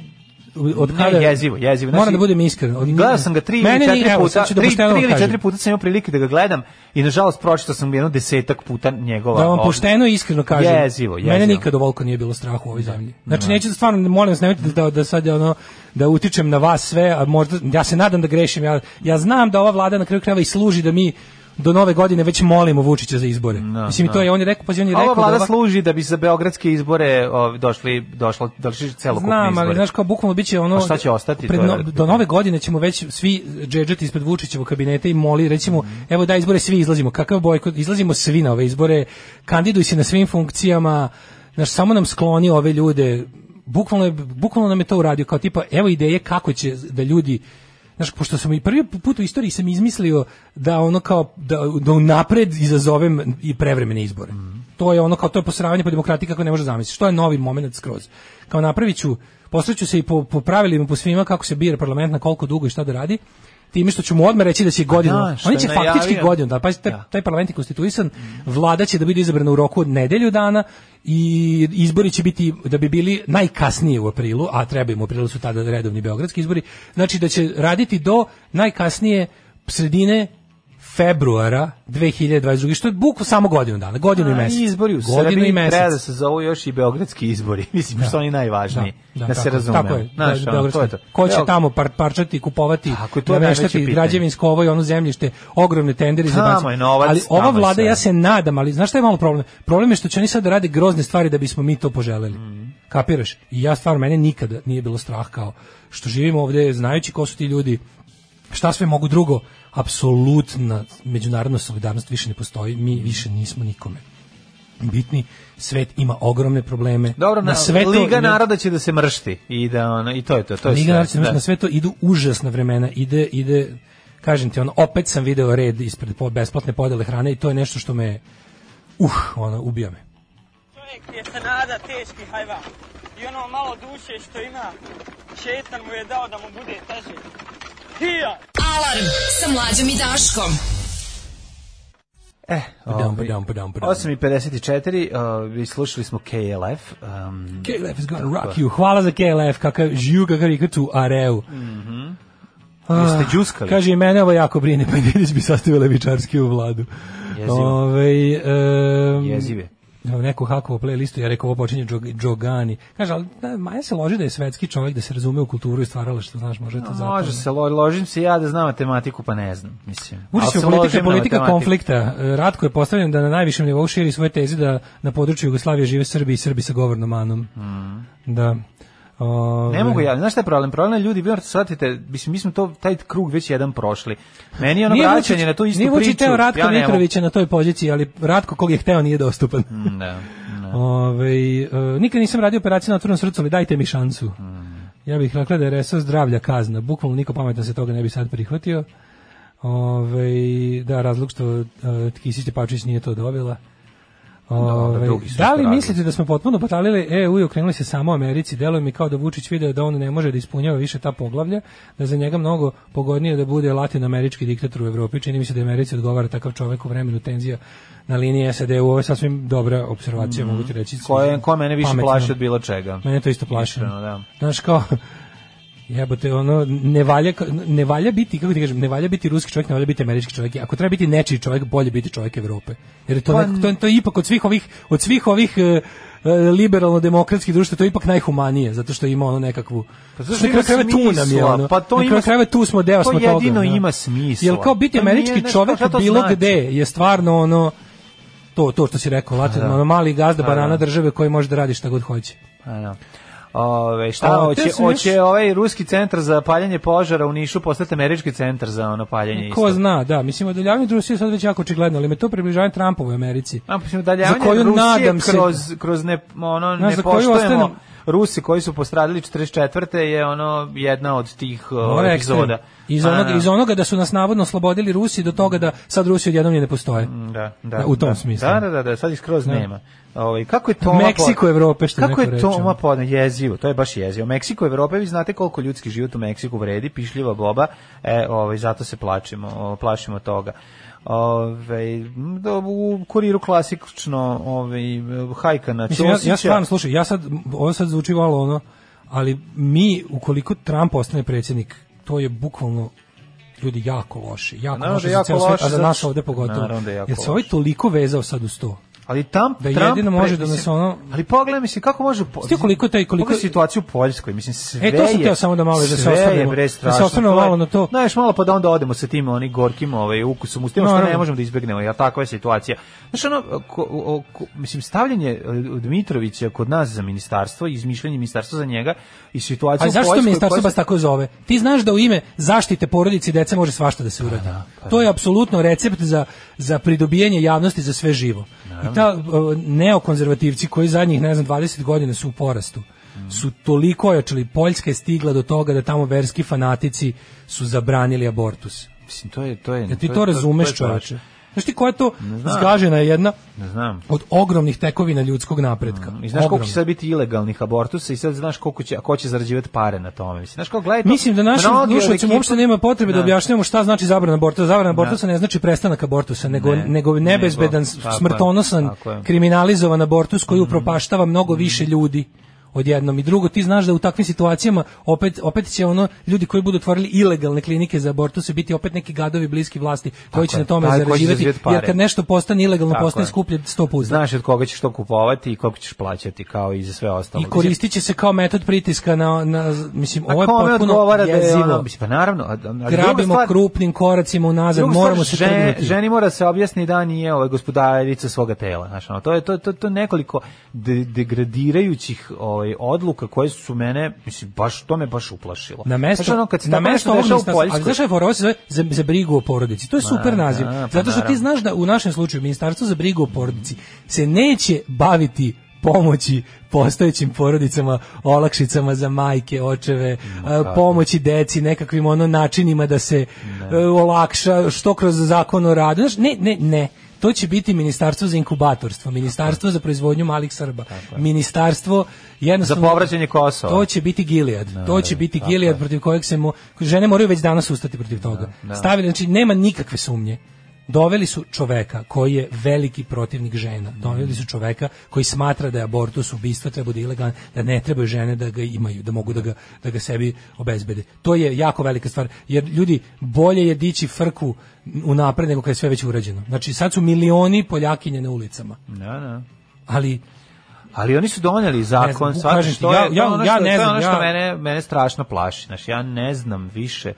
[SPEAKER 7] od
[SPEAKER 6] Ne,
[SPEAKER 7] kada...
[SPEAKER 6] jezivo, jezivo.
[SPEAKER 7] Moram
[SPEAKER 6] Znači,
[SPEAKER 7] da budem iskren. Od,
[SPEAKER 6] Gledao sam ga tri ili
[SPEAKER 7] Mene
[SPEAKER 6] četiri
[SPEAKER 7] ni- evo,
[SPEAKER 6] puta,
[SPEAKER 7] sad ću da
[SPEAKER 6] tri,
[SPEAKER 7] pošteno
[SPEAKER 6] tri ili
[SPEAKER 7] kažem.
[SPEAKER 6] četiri puta sam imao prilike da ga gledam i nažalost pročitao sam jedno desetak puta njegova.
[SPEAKER 7] Da vam
[SPEAKER 6] ovog-
[SPEAKER 7] pošteno i iskreno kažem.
[SPEAKER 6] Jezivo, jezivo.
[SPEAKER 7] Mene nikad ovoliko nije bilo straha u ovoj zemlji. Znači neću da stvarno molim vas nemojte da da sad ono da utičem na vas sve, a možda ja se nadam da grešim. Ja ja znam da ova vlada na kraju krajeva i služi da mi do nove godine već molimo Vučića za izbore. Mislim i to je on je rekao, pa on je
[SPEAKER 6] Da, A
[SPEAKER 7] rekao
[SPEAKER 6] ova vlada
[SPEAKER 7] da ova-
[SPEAKER 6] služi da bi za beogradske izbore ov, došli, došlo, došli celokupni
[SPEAKER 7] Znam,
[SPEAKER 6] izbori.
[SPEAKER 7] ali znaš kao bukvalno biće ono
[SPEAKER 6] A šta će ostati,
[SPEAKER 7] pred
[SPEAKER 6] to je
[SPEAKER 7] no-
[SPEAKER 6] veliko
[SPEAKER 7] do nove godine ćemo već svi džedžati ispred Vučićevog kabineta i moli recimo evo da izbore svi izlazimo. Kakav bojkot? Izlazimo svi na ove izbore. Kandiduj se na svim funkcijama. Znaš, samo nam skloni ove ljude. Bukvalno je- bukvalno nam je to uradio kao tipa evo ideje kako će da ljudi Znaš, pošto sam i prvi put u istoriji sam izmislio da ono kao, da, da unapred izazovem i prevremene izbore. To je ono kao, to je posravanje po demokratiji kako ne može zamisliti. Što je novi moment skroz? Kao napravit ću, postavit ću se i po, po pravilima, po svima kako se bira parlament, na koliko dugo i šta da radi, time što ću mu odmah reći da će godinu,
[SPEAKER 6] da, što
[SPEAKER 7] oni će
[SPEAKER 6] je najavio.
[SPEAKER 7] faktički godinu, da, pa taj, taj parlament je konstituisan, vlada će da bude izabrana u roku od nedelju dana i izbori će biti, da bi bili najkasnije u aprilu, a treba im u aprilu su tada redovni beogradski izbori, znači da će raditi do najkasnije sredine februara 2022. Što je buku samo godinu dana, godinu i
[SPEAKER 6] A,
[SPEAKER 7] mesec.
[SPEAKER 6] Izbori u
[SPEAKER 7] godinu i
[SPEAKER 6] Srbiji
[SPEAKER 7] mesec.
[SPEAKER 6] treba da se zovu još i beogradski izbori. Mislim, što oni najvažniji. Da, se
[SPEAKER 7] Da. tako je,
[SPEAKER 6] razumemo.
[SPEAKER 7] Tako je,
[SPEAKER 6] Znaš,
[SPEAKER 7] da,
[SPEAKER 6] ono,
[SPEAKER 7] Beogradski.
[SPEAKER 6] to je to.
[SPEAKER 7] Ko će
[SPEAKER 6] Beog-
[SPEAKER 7] tamo par, parčati, kupovati,
[SPEAKER 6] Tako je, to je najveće
[SPEAKER 7] nameštati
[SPEAKER 6] pitanje.
[SPEAKER 7] građevinsko ovo i ono zemljište, ogromne tendere
[SPEAKER 6] Tamo
[SPEAKER 7] izbacu.
[SPEAKER 6] je novac,
[SPEAKER 7] ali
[SPEAKER 6] tamo
[SPEAKER 7] ova
[SPEAKER 6] je
[SPEAKER 7] vlada,
[SPEAKER 6] sve.
[SPEAKER 7] ja se nadam, ali znaš šta je malo problem? Problem je što će oni sad da rade grozne stvari da bismo mi to poželeli.
[SPEAKER 6] Mm.
[SPEAKER 7] Kapiraš? I ja stvarno, mene nikada nije bilo strah kao što živimo ovde, znajući ko su ti ljudi, šta sve mogu drugo, apsolutna međunarodna solidarnost više ne postoji, mi više nismo nikome bitni, svet ima ogromne probleme.
[SPEAKER 6] Dobro, na,
[SPEAKER 7] sve to
[SPEAKER 6] Liga
[SPEAKER 7] ne-
[SPEAKER 6] naroda će da se mršti. I, da, ono, i to je to. to je
[SPEAKER 7] Liga
[SPEAKER 6] sve,
[SPEAKER 7] naroda će
[SPEAKER 6] da.
[SPEAKER 7] na sve to idu užasna vremena, ide, ide, kažem ti, ono, opet sam video red ispred po, besplatne podele hrane i to je nešto što me, uh, ono, ubija me.
[SPEAKER 11] Čovjek je se nada teški hajvan. I ono malo duše što ima, šetan mu je dao da mu bude teže. Hija!
[SPEAKER 8] Alarm sa mlađom i Daškom.
[SPEAKER 6] Eh,
[SPEAKER 7] Padam,
[SPEAKER 6] ovaj,
[SPEAKER 7] padam, padam, padam.
[SPEAKER 6] 8.54, uh, vi slušali smo KLF. Um,
[SPEAKER 7] KLF is gonna rock you. Hvala za KLF, kakav žiju, kakav rika tu areu.
[SPEAKER 6] Jeste
[SPEAKER 7] Ah,
[SPEAKER 6] džuskali?
[SPEAKER 7] Kaže, i mene ovo jako brine, pa Dedić bi sastavila Vičarski u vladu.
[SPEAKER 6] Jezivo.
[SPEAKER 7] Ovaj, em,
[SPEAKER 6] Jezive.
[SPEAKER 7] Evo, neko hakovo playlistu, ja rekao, ovo počinje Džog- Džogani. Kaže, ali da, Maja se loži da je svetski čovjek, da se razume u kulturu i stvarala što znaš, može to zato.
[SPEAKER 6] Može se, lo, ložim se ja da znam matematiku, pa ne znam. Mislim. Ali
[SPEAKER 7] Vučićeva
[SPEAKER 6] se ložim
[SPEAKER 7] politika je
[SPEAKER 6] na
[SPEAKER 7] politika
[SPEAKER 6] matematiku.
[SPEAKER 7] konflikta. E, Ratko je postavljen da na najvišem nivou širi svoje teze da na području Jugoslavije žive Srbi i Srbi sa govornomanom. Da. Ove,
[SPEAKER 6] Hmm. Ne mogu ja, znaš šta je problem? Problem je ljudi, vi morate shvatite, mislim, mi smo to, taj krug već jedan prošli. Meni je ono vraćanje na tu istu
[SPEAKER 7] Ovaj, nije
[SPEAKER 6] priču.
[SPEAKER 7] Vučić teo Ratko
[SPEAKER 6] ja ne mogu.
[SPEAKER 7] Mitrovića na toj poziciji, ali Ratko kog je hteo nije dostupan.
[SPEAKER 6] Da, da.
[SPEAKER 7] Ovaj, e, nikad nisam radio operaciju na otvornom srcu, ali dajte mi šansu. Ja bih rekla da je resor zdravlja kazna. Bukvalno niko pametan se toga ne bi sad prihvatio. Ove, da, razlog što e, Kisić Tepavčić nije to dobila. Ove,
[SPEAKER 6] drugi su
[SPEAKER 7] da li
[SPEAKER 6] ispravili.
[SPEAKER 7] mislite da smo potpuno potalili EU i okrenuli se samo Americi? Deluje mi kao da Vučić video da on ne može da ispunjava više ta poglavlja, da je za njega mnogo pogodnije da bude latinoamerički diktator u Evropi. Čini mi se da je Americi odgovara takav čovek u vremenu tenzija na liniji SAD. Ovo je sasvim dobra observacija, mogu ti reći.
[SPEAKER 6] Ko, Mhm. je, ko mene više
[SPEAKER 7] Pametno.
[SPEAKER 6] plaši od bilo čega?
[SPEAKER 7] Mene to isto plaši.
[SPEAKER 6] Iskreno, da.
[SPEAKER 7] Znaš kao, jebote, ono, ne valja, ne valja biti, kako ti kažem, ne valja biti ruski čovjek, ne valja biti američki čovjek. Ako treba biti nečiji čovjek, bolje biti čovjek Evrope. Jer je to,
[SPEAKER 6] Pa
[SPEAKER 7] nekako- to, je- to je ipak od svih ovih, od svih ovih e, e, liberalno-demokratskih društva, to je ipak najhumanije, zato što ima ono nekakvu...
[SPEAKER 6] Pa zato što
[SPEAKER 7] što na kraju
[SPEAKER 6] ima
[SPEAKER 7] krajeva tu nam je
[SPEAKER 6] smisla,
[SPEAKER 7] ono.
[SPEAKER 6] pa to
[SPEAKER 7] na kraju
[SPEAKER 6] ima-
[SPEAKER 7] krajeva tu smo deo
[SPEAKER 6] to
[SPEAKER 7] smo toga.
[SPEAKER 6] jedino
[SPEAKER 7] ono.
[SPEAKER 6] ima smisla.
[SPEAKER 7] Jer kao biti
[SPEAKER 6] To nije
[SPEAKER 7] američki
[SPEAKER 6] nešto-
[SPEAKER 7] čovjek
[SPEAKER 6] šta to
[SPEAKER 7] bilo
[SPEAKER 6] znači?
[SPEAKER 7] gde je stvarno ono to to što si rekao, latin,
[SPEAKER 6] Da.
[SPEAKER 7] ono, mali gazda banana države koji može da radi šta god hoće.
[SPEAKER 6] A, da. Ove, šta
[SPEAKER 7] A,
[SPEAKER 6] hoće,
[SPEAKER 7] te sam
[SPEAKER 6] hoće
[SPEAKER 7] još-
[SPEAKER 6] ovaj ruski centar za paljanje požara u Nišu postati američki centar za ono paljanje isto.
[SPEAKER 7] Ko zna, da, mislim odaljavanje od Rusije je sad već jako očigledno, ali me to približavanje Trumpovoj Americi.
[SPEAKER 6] A, mislim, udaljavanje
[SPEAKER 7] Za koju
[SPEAKER 6] Rusije
[SPEAKER 7] nadam se-
[SPEAKER 6] kroz, kroz ne, ono,
[SPEAKER 7] Znaš,
[SPEAKER 6] ne
[SPEAKER 7] za koju
[SPEAKER 6] poštojemo
[SPEAKER 7] ostanem-
[SPEAKER 6] Rusi koji su postradili 44. je ono jedna od tih o,
[SPEAKER 7] Ovo je ekstrem.
[SPEAKER 6] epizoda.
[SPEAKER 7] Iz,
[SPEAKER 6] A,
[SPEAKER 7] onog,
[SPEAKER 6] da.
[SPEAKER 7] iz onoga da su nas navodno oslobodili Rusi do toga da sad Rusi odjednom ni ne postoje.
[SPEAKER 6] Da, da,
[SPEAKER 7] U tom
[SPEAKER 6] da.
[SPEAKER 7] smislu.
[SPEAKER 6] Da, da, da, da, sad ih skroz
[SPEAKER 7] Da.
[SPEAKER 6] nema. Ovaj kako je to
[SPEAKER 7] Meksiko Evrope, što je
[SPEAKER 6] Kako
[SPEAKER 7] neko
[SPEAKER 6] je
[SPEAKER 7] reče.
[SPEAKER 6] to podne jezivo, to je baš jezivo. Meksiko Evrope, vi znate koliko ljudski život u Meksiku vredi, pišljiva boba. E, ovaj zato se plačimo, o, plašimo toga. Ovaj m, da, u kuriru klasično ovaj hajka na
[SPEAKER 7] Mislim, ja, ja
[SPEAKER 6] Ćosića.
[SPEAKER 7] stvarno, slušaj, ja sad, ovo sad zvuči malo ono, ali mi, ukoliko Trump ostane predsjednik, to je bukvalno ljudi jako loše, jako
[SPEAKER 6] Naravno
[SPEAKER 7] loše
[SPEAKER 6] da je
[SPEAKER 7] za
[SPEAKER 6] jako
[SPEAKER 7] ceo svet, a
[SPEAKER 6] loše,
[SPEAKER 7] za nas
[SPEAKER 6] zato-
[SPEAKER 7] ovde pogotovo.
[SPEAKER 6] Naravno da je jako
[SPEAKER 7] Jer se ovaj
[SPEAKER 6] loše.
[SPEAKER 7] toliko vezao sad uz to.
[SPEAKER 6] ali tam
[SPEAKER 7] Da
[SPEAKER 6] Trump
[SPEAKER 7] jedino može da nas
[SPEAKER 6] mislim,
[SPEAKER 7] ono-
[SPEAKER 6] Ali pogledaj mi se kako može po,
[SPEAKER 7] Sti koliko taj- koliko-
[SPEAKER 6] pogledaj situaciju u Poljskoj, mislim sve
[SPEAKER 7] E, to sam
[SPEAKER 6] je-
[SPEAKER 7] teo samo da malo- da se
[SPEAKER 6] sve je,
[SPEAKER 7] osvrnemo-
[SPEAKER 6] bre,
[SPEAKER 7] da se
[SPEAKER 6] strašno.
[SPEAKER 7] osvrnemo
[SPEAKER 6] je-
[SPEAKER 7] malo na to.
[SPEAKER 6] Znaš, malo pa da onda odemo sa tim oni gorkim ovaj ukusom, s tim što
[SPEAKER 7] Naravno.
[SPEAKER 6] ne možemo da izbegnemo, jer takva je situacija. Znaš, ono, ko, o- ko- mislim, stavljanje e, Dmitrovića kod nas za ministarstvo, izmišljanje ministarstva za njega i situaciju
[SPEAKER 7] Ali
[SPEAKER 6] u
[SPEAKER 7] Pa zašto
[SPEAKER 6] Poljskoj,
[SPEAKER 7] ministarstvo
[SPEAKER 6] koja-
[SPEAKER 7] baš tako zove? Ti znaš da u ime zaštite porodice i dece može svašta da se uradi.
[SPEAKER 6] pa
[SPEAKER 7] To je apsolutno recept za, za pridobijanje javnosti za sve živo. I ta e, neokonzervativci koji zadnjih, ne znam, 20 godina su u porastu,
[SPEAKER 6] Mm.
[SPEAKER 7] su toliko ojačali. Poljska je stigla do toga da tamo verski fanatici su zabranili abortus.
[SPEAKER 6] Mislim, to je, to je...
[SPEAKER 7] Da ti
[SPEAKER 6] je-
[SPEAKER 7] to
[SPEAKER 6] je-
[SPEAKER 7] razumeš,
[SPEAKER 6] je strašno.
[SPEAKER 7] čoveče. Znaš ti koja je to
[SPEAKER 6] znam.
[SPEAKER 7] zgažena je jedna
[SPEAKER 6] Ne znam. Mm.
[SPEAKER 7] od ogromnih tekovina ljudskog napretka.
[SPEAKER 6] I znaš koliko
[SPEAKER 7] Ogromnih.
[SPEAKER 6] će sad biti ilegalnih abortusa i sad znaš koliko će, a ko će zarađivati pare na tome. Mislim, znaš kao, gledaj to,
[SPEAKER 7] Mislim da našim
[SPEAKER 6] mnogi od
[SPEAKER 7] slušalcima
[SPEAKER 6] ekipa-
[SPEAKER 7] uopšte nema potrebe da
[SPEAKER 6] Da.
[SPEAKER 7] objašnjavamo šta znači zabrana abortusa. Zabrana abortusa ne znači prestanak abortusa, nego,
[SPEAKER 6] Ne,
[SPEAKER 7] nego
[SPEAKER 6] nego-
[SPEAKER 7] nebezbedan,
[SPEAKER 6] tako je,
[SPEAKER 7] smrtonosan,
[SPEAKER 6] tako je. Mhm.
[SPEAKER 7] kriminalizovan abortus koji upropaštava mnogo više ljudi odjednom i drugo ti znaš da u takvim situacijama opet opet će ono ljudi koji budu otvorili ilegalne klinike za abortuse biti opet neki gadovi bliski vlasti koji će
[SPEAKER 6] je,
[SPEAKER 7] na tome
[SPEAKER 6] taj koji će
[SPEAKER 7] zarađivati
[SPEAKER 6] zarađivati pare.
[SPEAKER 7] jer kad nešto postane ilegalno
[SPEAKER 6] Tako
[SPEAKER 7] postane
[SPEAKER 6] je.
[SPEAKER 7] skuplje 100 puta
[SPEAKER 6] Znaš od koga ćeš to kupovati i koliko ćeš plaćati, kao i za sve ostalo.
[SPEAKER 7] i koristit će se kao metod pritiska na, na mislim
[SPEAKER 6] A
[SPEAKER 7] ovo je
[SPEAKER 6] kome
[SPEAKER 7] potpuno
[SPEAKER 6] odgovara da je
[SPEAKER 7] jezivo.
[SPEAKER 6] ono, mislim, pa naravno, a- a- ali druga
[SPEAKER 7] grabimo
[SPEAKER 6] stvar-
[SPEAKER 7] krupnim koracima unazad,
[SPEAKER 6] druga
[SPEAKER 7] moramo se
[SPEAKER 6] stvar, žen-
[SPEAKER 7] trgnuti.
[SPEAKER 6] Ženi mora se objasni da nije ovaj gospodarica svoga tela, znaš, ono, to je to, to, to je nekoliko de- degradirajućih ovaj, odluka koje su mene, mislim, baš, to me baš uplašilo.
[SPEAKER 7] Na mesto,
[SPEAKER 6] Znaš, ono, kad se
[SPEAKER 7] na
[SPEAKER 6] tako
[SPEAKER 7] mesto
[SPEAKER 6] nešto
[SPEAKER 7] ovog
[SPEAKER 6] dešava u
[SPEAKER 7] ministarstva, ali
[SPEAKER 6] Poljskoj-
[SPEAKER 7] znaš šta je fora, ovo se zove za, za brigu o porodici, to je super naziv,
[SPEAKER 6] da, pa
[SPEAKER 7] zato što ti
[SPEAKER 6] naravno.
[SPEAKER 7] znaš da u našem slučaju ministarstvo za brigu o porodici se neće baviti pomoći postojećim porodicama, olakšicama za majke, očeve, e, pomoći deci, nekakvim ono načinima da se e, olakša, što kroz zakon o radu, znaš, ne, ne, ne, to će biti ministarstvo za inkubatorstvo, ministarstvo za proizvodnju malih Srba, ministarstvo jednostavno...
[SPEAKER 6] Za povraćanje Kosova.
[SPEAKER 7] To će biti Gilead. to će biti Gilead protiv kojeg se mo, žene moraju već danas ustati protiv toga. Stavili, znači nema nikakve sumnje Doveli su čoveka koji je veliki protivnik žena. Doveli su čoveka koji smatra da je abortus ubistvo treba da je ilegalan, da ne trebaju žene da ga imaju, da mogu da ga, da ga sebi obezbede. To je jako velika stvar, jer ljudi bolje je dići frku u napred nego kad je sve već urađeno. Znači sad su milioni Poljakinje na ulicama.
[SPEAKER 6] Da, da.
[SPEAKER 7] Ali
[SPEAKER 6] Ali oni su doneli zakon,
[SPEAKER 7] znam,
[SPEAKER 6] svači
[SPEAKER 7] kažem ti,
[SPEAKER 6] što
[SPEAKER 7] ja-
[SPEAKER 6] je, to je
[SPEAKER 7] ja-
[SPEAKER 6] ono
[SPEAKER 7] ja
[SPEAKER 6] što,
[SPEAKER 7] ne
[SPEAKER 6] to je
[SPEAKER 7] znam,
[SPEAKER 6] ono što
[SPEAKER 7] ja-
[SPEAKER 6] mene, mene strašno plaši. Znači, ja ne znam više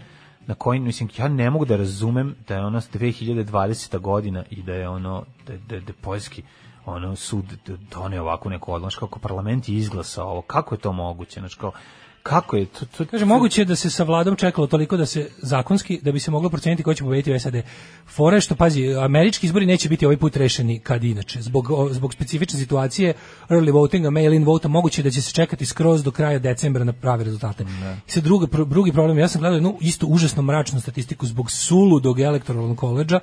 [SPEAKER 6] na koji, mislim, ja ne mogu da razumem da je ono 2020. godina i da je ono, da, da, da je poljski ono sud d- doneo ovakvu neku odluku, kako parlament je izglasao ovo, kako je to moguće, znači kao, kako je to, to
[SPEAKER 7] Kaže, moguće je da se sa vladom čekalo toliko da se zakonski, da bi se moglo proceniti ko će pobediti u SAD. Fore što, pazi, američki izbori neće biti ovaj put rešeni kad inače. Zbog, o, zbog specifične situacije early votinga, mail-in vota, moguće je da će se čekati skroz do kraja decembra na prave rezultate. I sad druga, pro- drugi problem, ja sam gledao jednu isto užasno mračnu statistiku zbog suludog elektoralnog koleđa,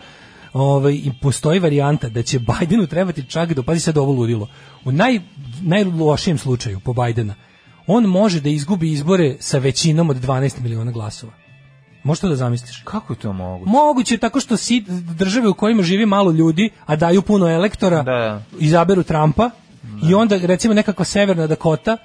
[SPEAKER 7] Ovaj i postoji varijanta da će Bajdenu trebati čak do pazi sad ovo ludilo. U naj najlošijem slučaju po Bajdena on može da izgubi izbore sa većinom od 12 miliona glasova. Možeš to da zamisliš?
[SPEAKER 6] Kako je to moguće?
[SPEAKER 7] Moguće je tako što si države u kojima živi malo ljudi, a daju puno elektora,
[SPEAKER 6] Da, da.
[SPEAKER 7] izaberu Trumpa i onda recimo nekakva severna Dakota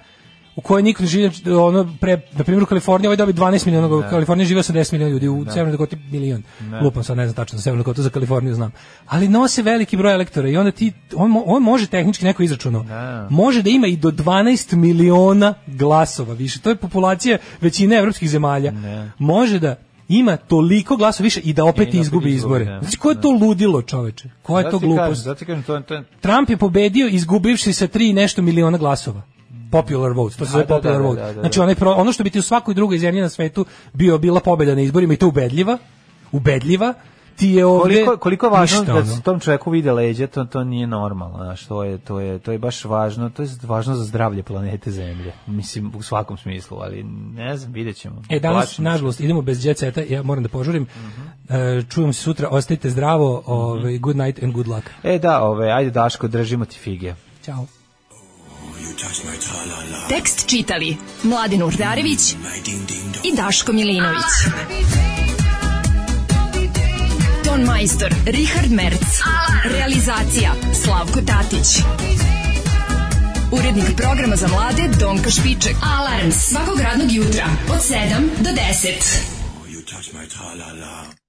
[SPEAKER 7] u kojoj niko ne živi, ono, pre, na primjer u Kaliforniji, ovaj dobi 12 miliona,
[SPEAKER 6] Da.
[SPEAKER 7] u Kaliforniji živi 80 miliona ljudi, u Severnoj Dakoti milion, lupam sad, ne znam tačno, za Severnu Dakotu, za Kaliforniju znam, ali nose veliki broj elektora i onda ti, on, mo- on može tehnički neko izračunao, može da ima i do 12 miliona glasova više, to je populacija većine evropskih zemalja, može da ima toliko glasova više i da opet
[SPEAKER 6] opet
[SPEAKER 7] izgubi
[SPEAKER 6] izgubi,
[SPEAKER 7] izbore.
[SPEAKER 6] da.
[SPEAKER 7] Znači, ko je to ludilo, čoveče? Ko je to glupost?
[SPEAKER 6] Zato Da ti kažem, to, to, to,
[SPEAKER 7] Trump je pobedio izgubivši sa tri i nešto miliona glasova. Popular vote, to se zove
[SPEAKER 6] da,
[SPEAKER 7] popular
[SPEAKER 6] da, da,
[SPEAKER 7] vote.
[SPEAKER 6] da, da, da.
[SPEAKER 7] Znači onaj pro- ono što bi ti u svakoj drugoj zemlji na svetu bio bila pobeda na izborima i to ubedljiva, ubedljiva, ti je ovdje
[SPEAKER 6] koliko koliko je važno
[SPEAKER 7] ništa,
[SPEAKER 6] da
[SPEAKER 7] ono.
[SPEAKER 6] se tom čovjeku vide leđa, to to nije normalno, znači to je to je to je baš važno, to je važno za zdravlje planete Zemlje. Mislim u svakom smislu, ali ne znam, videćemo.
[SPEAKER 7] E, danas,
[SPEAKER 6] Plašim se.
[SPEAKER 7] nažalost, idemo bez jet seta, ja moram da požurim.
[SPEAKER 6] Mhm.
[SPEAKER 7] E, čujemo se sutra, ostajte zdravo, ovaj, good night and good luck.
[SPEAKER 6] E da, ove, ajde Daško, držimo ti fige.
[SPEAKER 7] Ćao.
[SPEAKER 12] Tekst čitali Mladin Urdarević i Daško Milinović. Ton majstor Richard Merc. Realizacija Slavko Tatić. Urednik programa za mlade Donka Špiček. Alarms svakog radnog jutra od 7 do 10.
[SPEAKER 4] You touch my tra-la-la.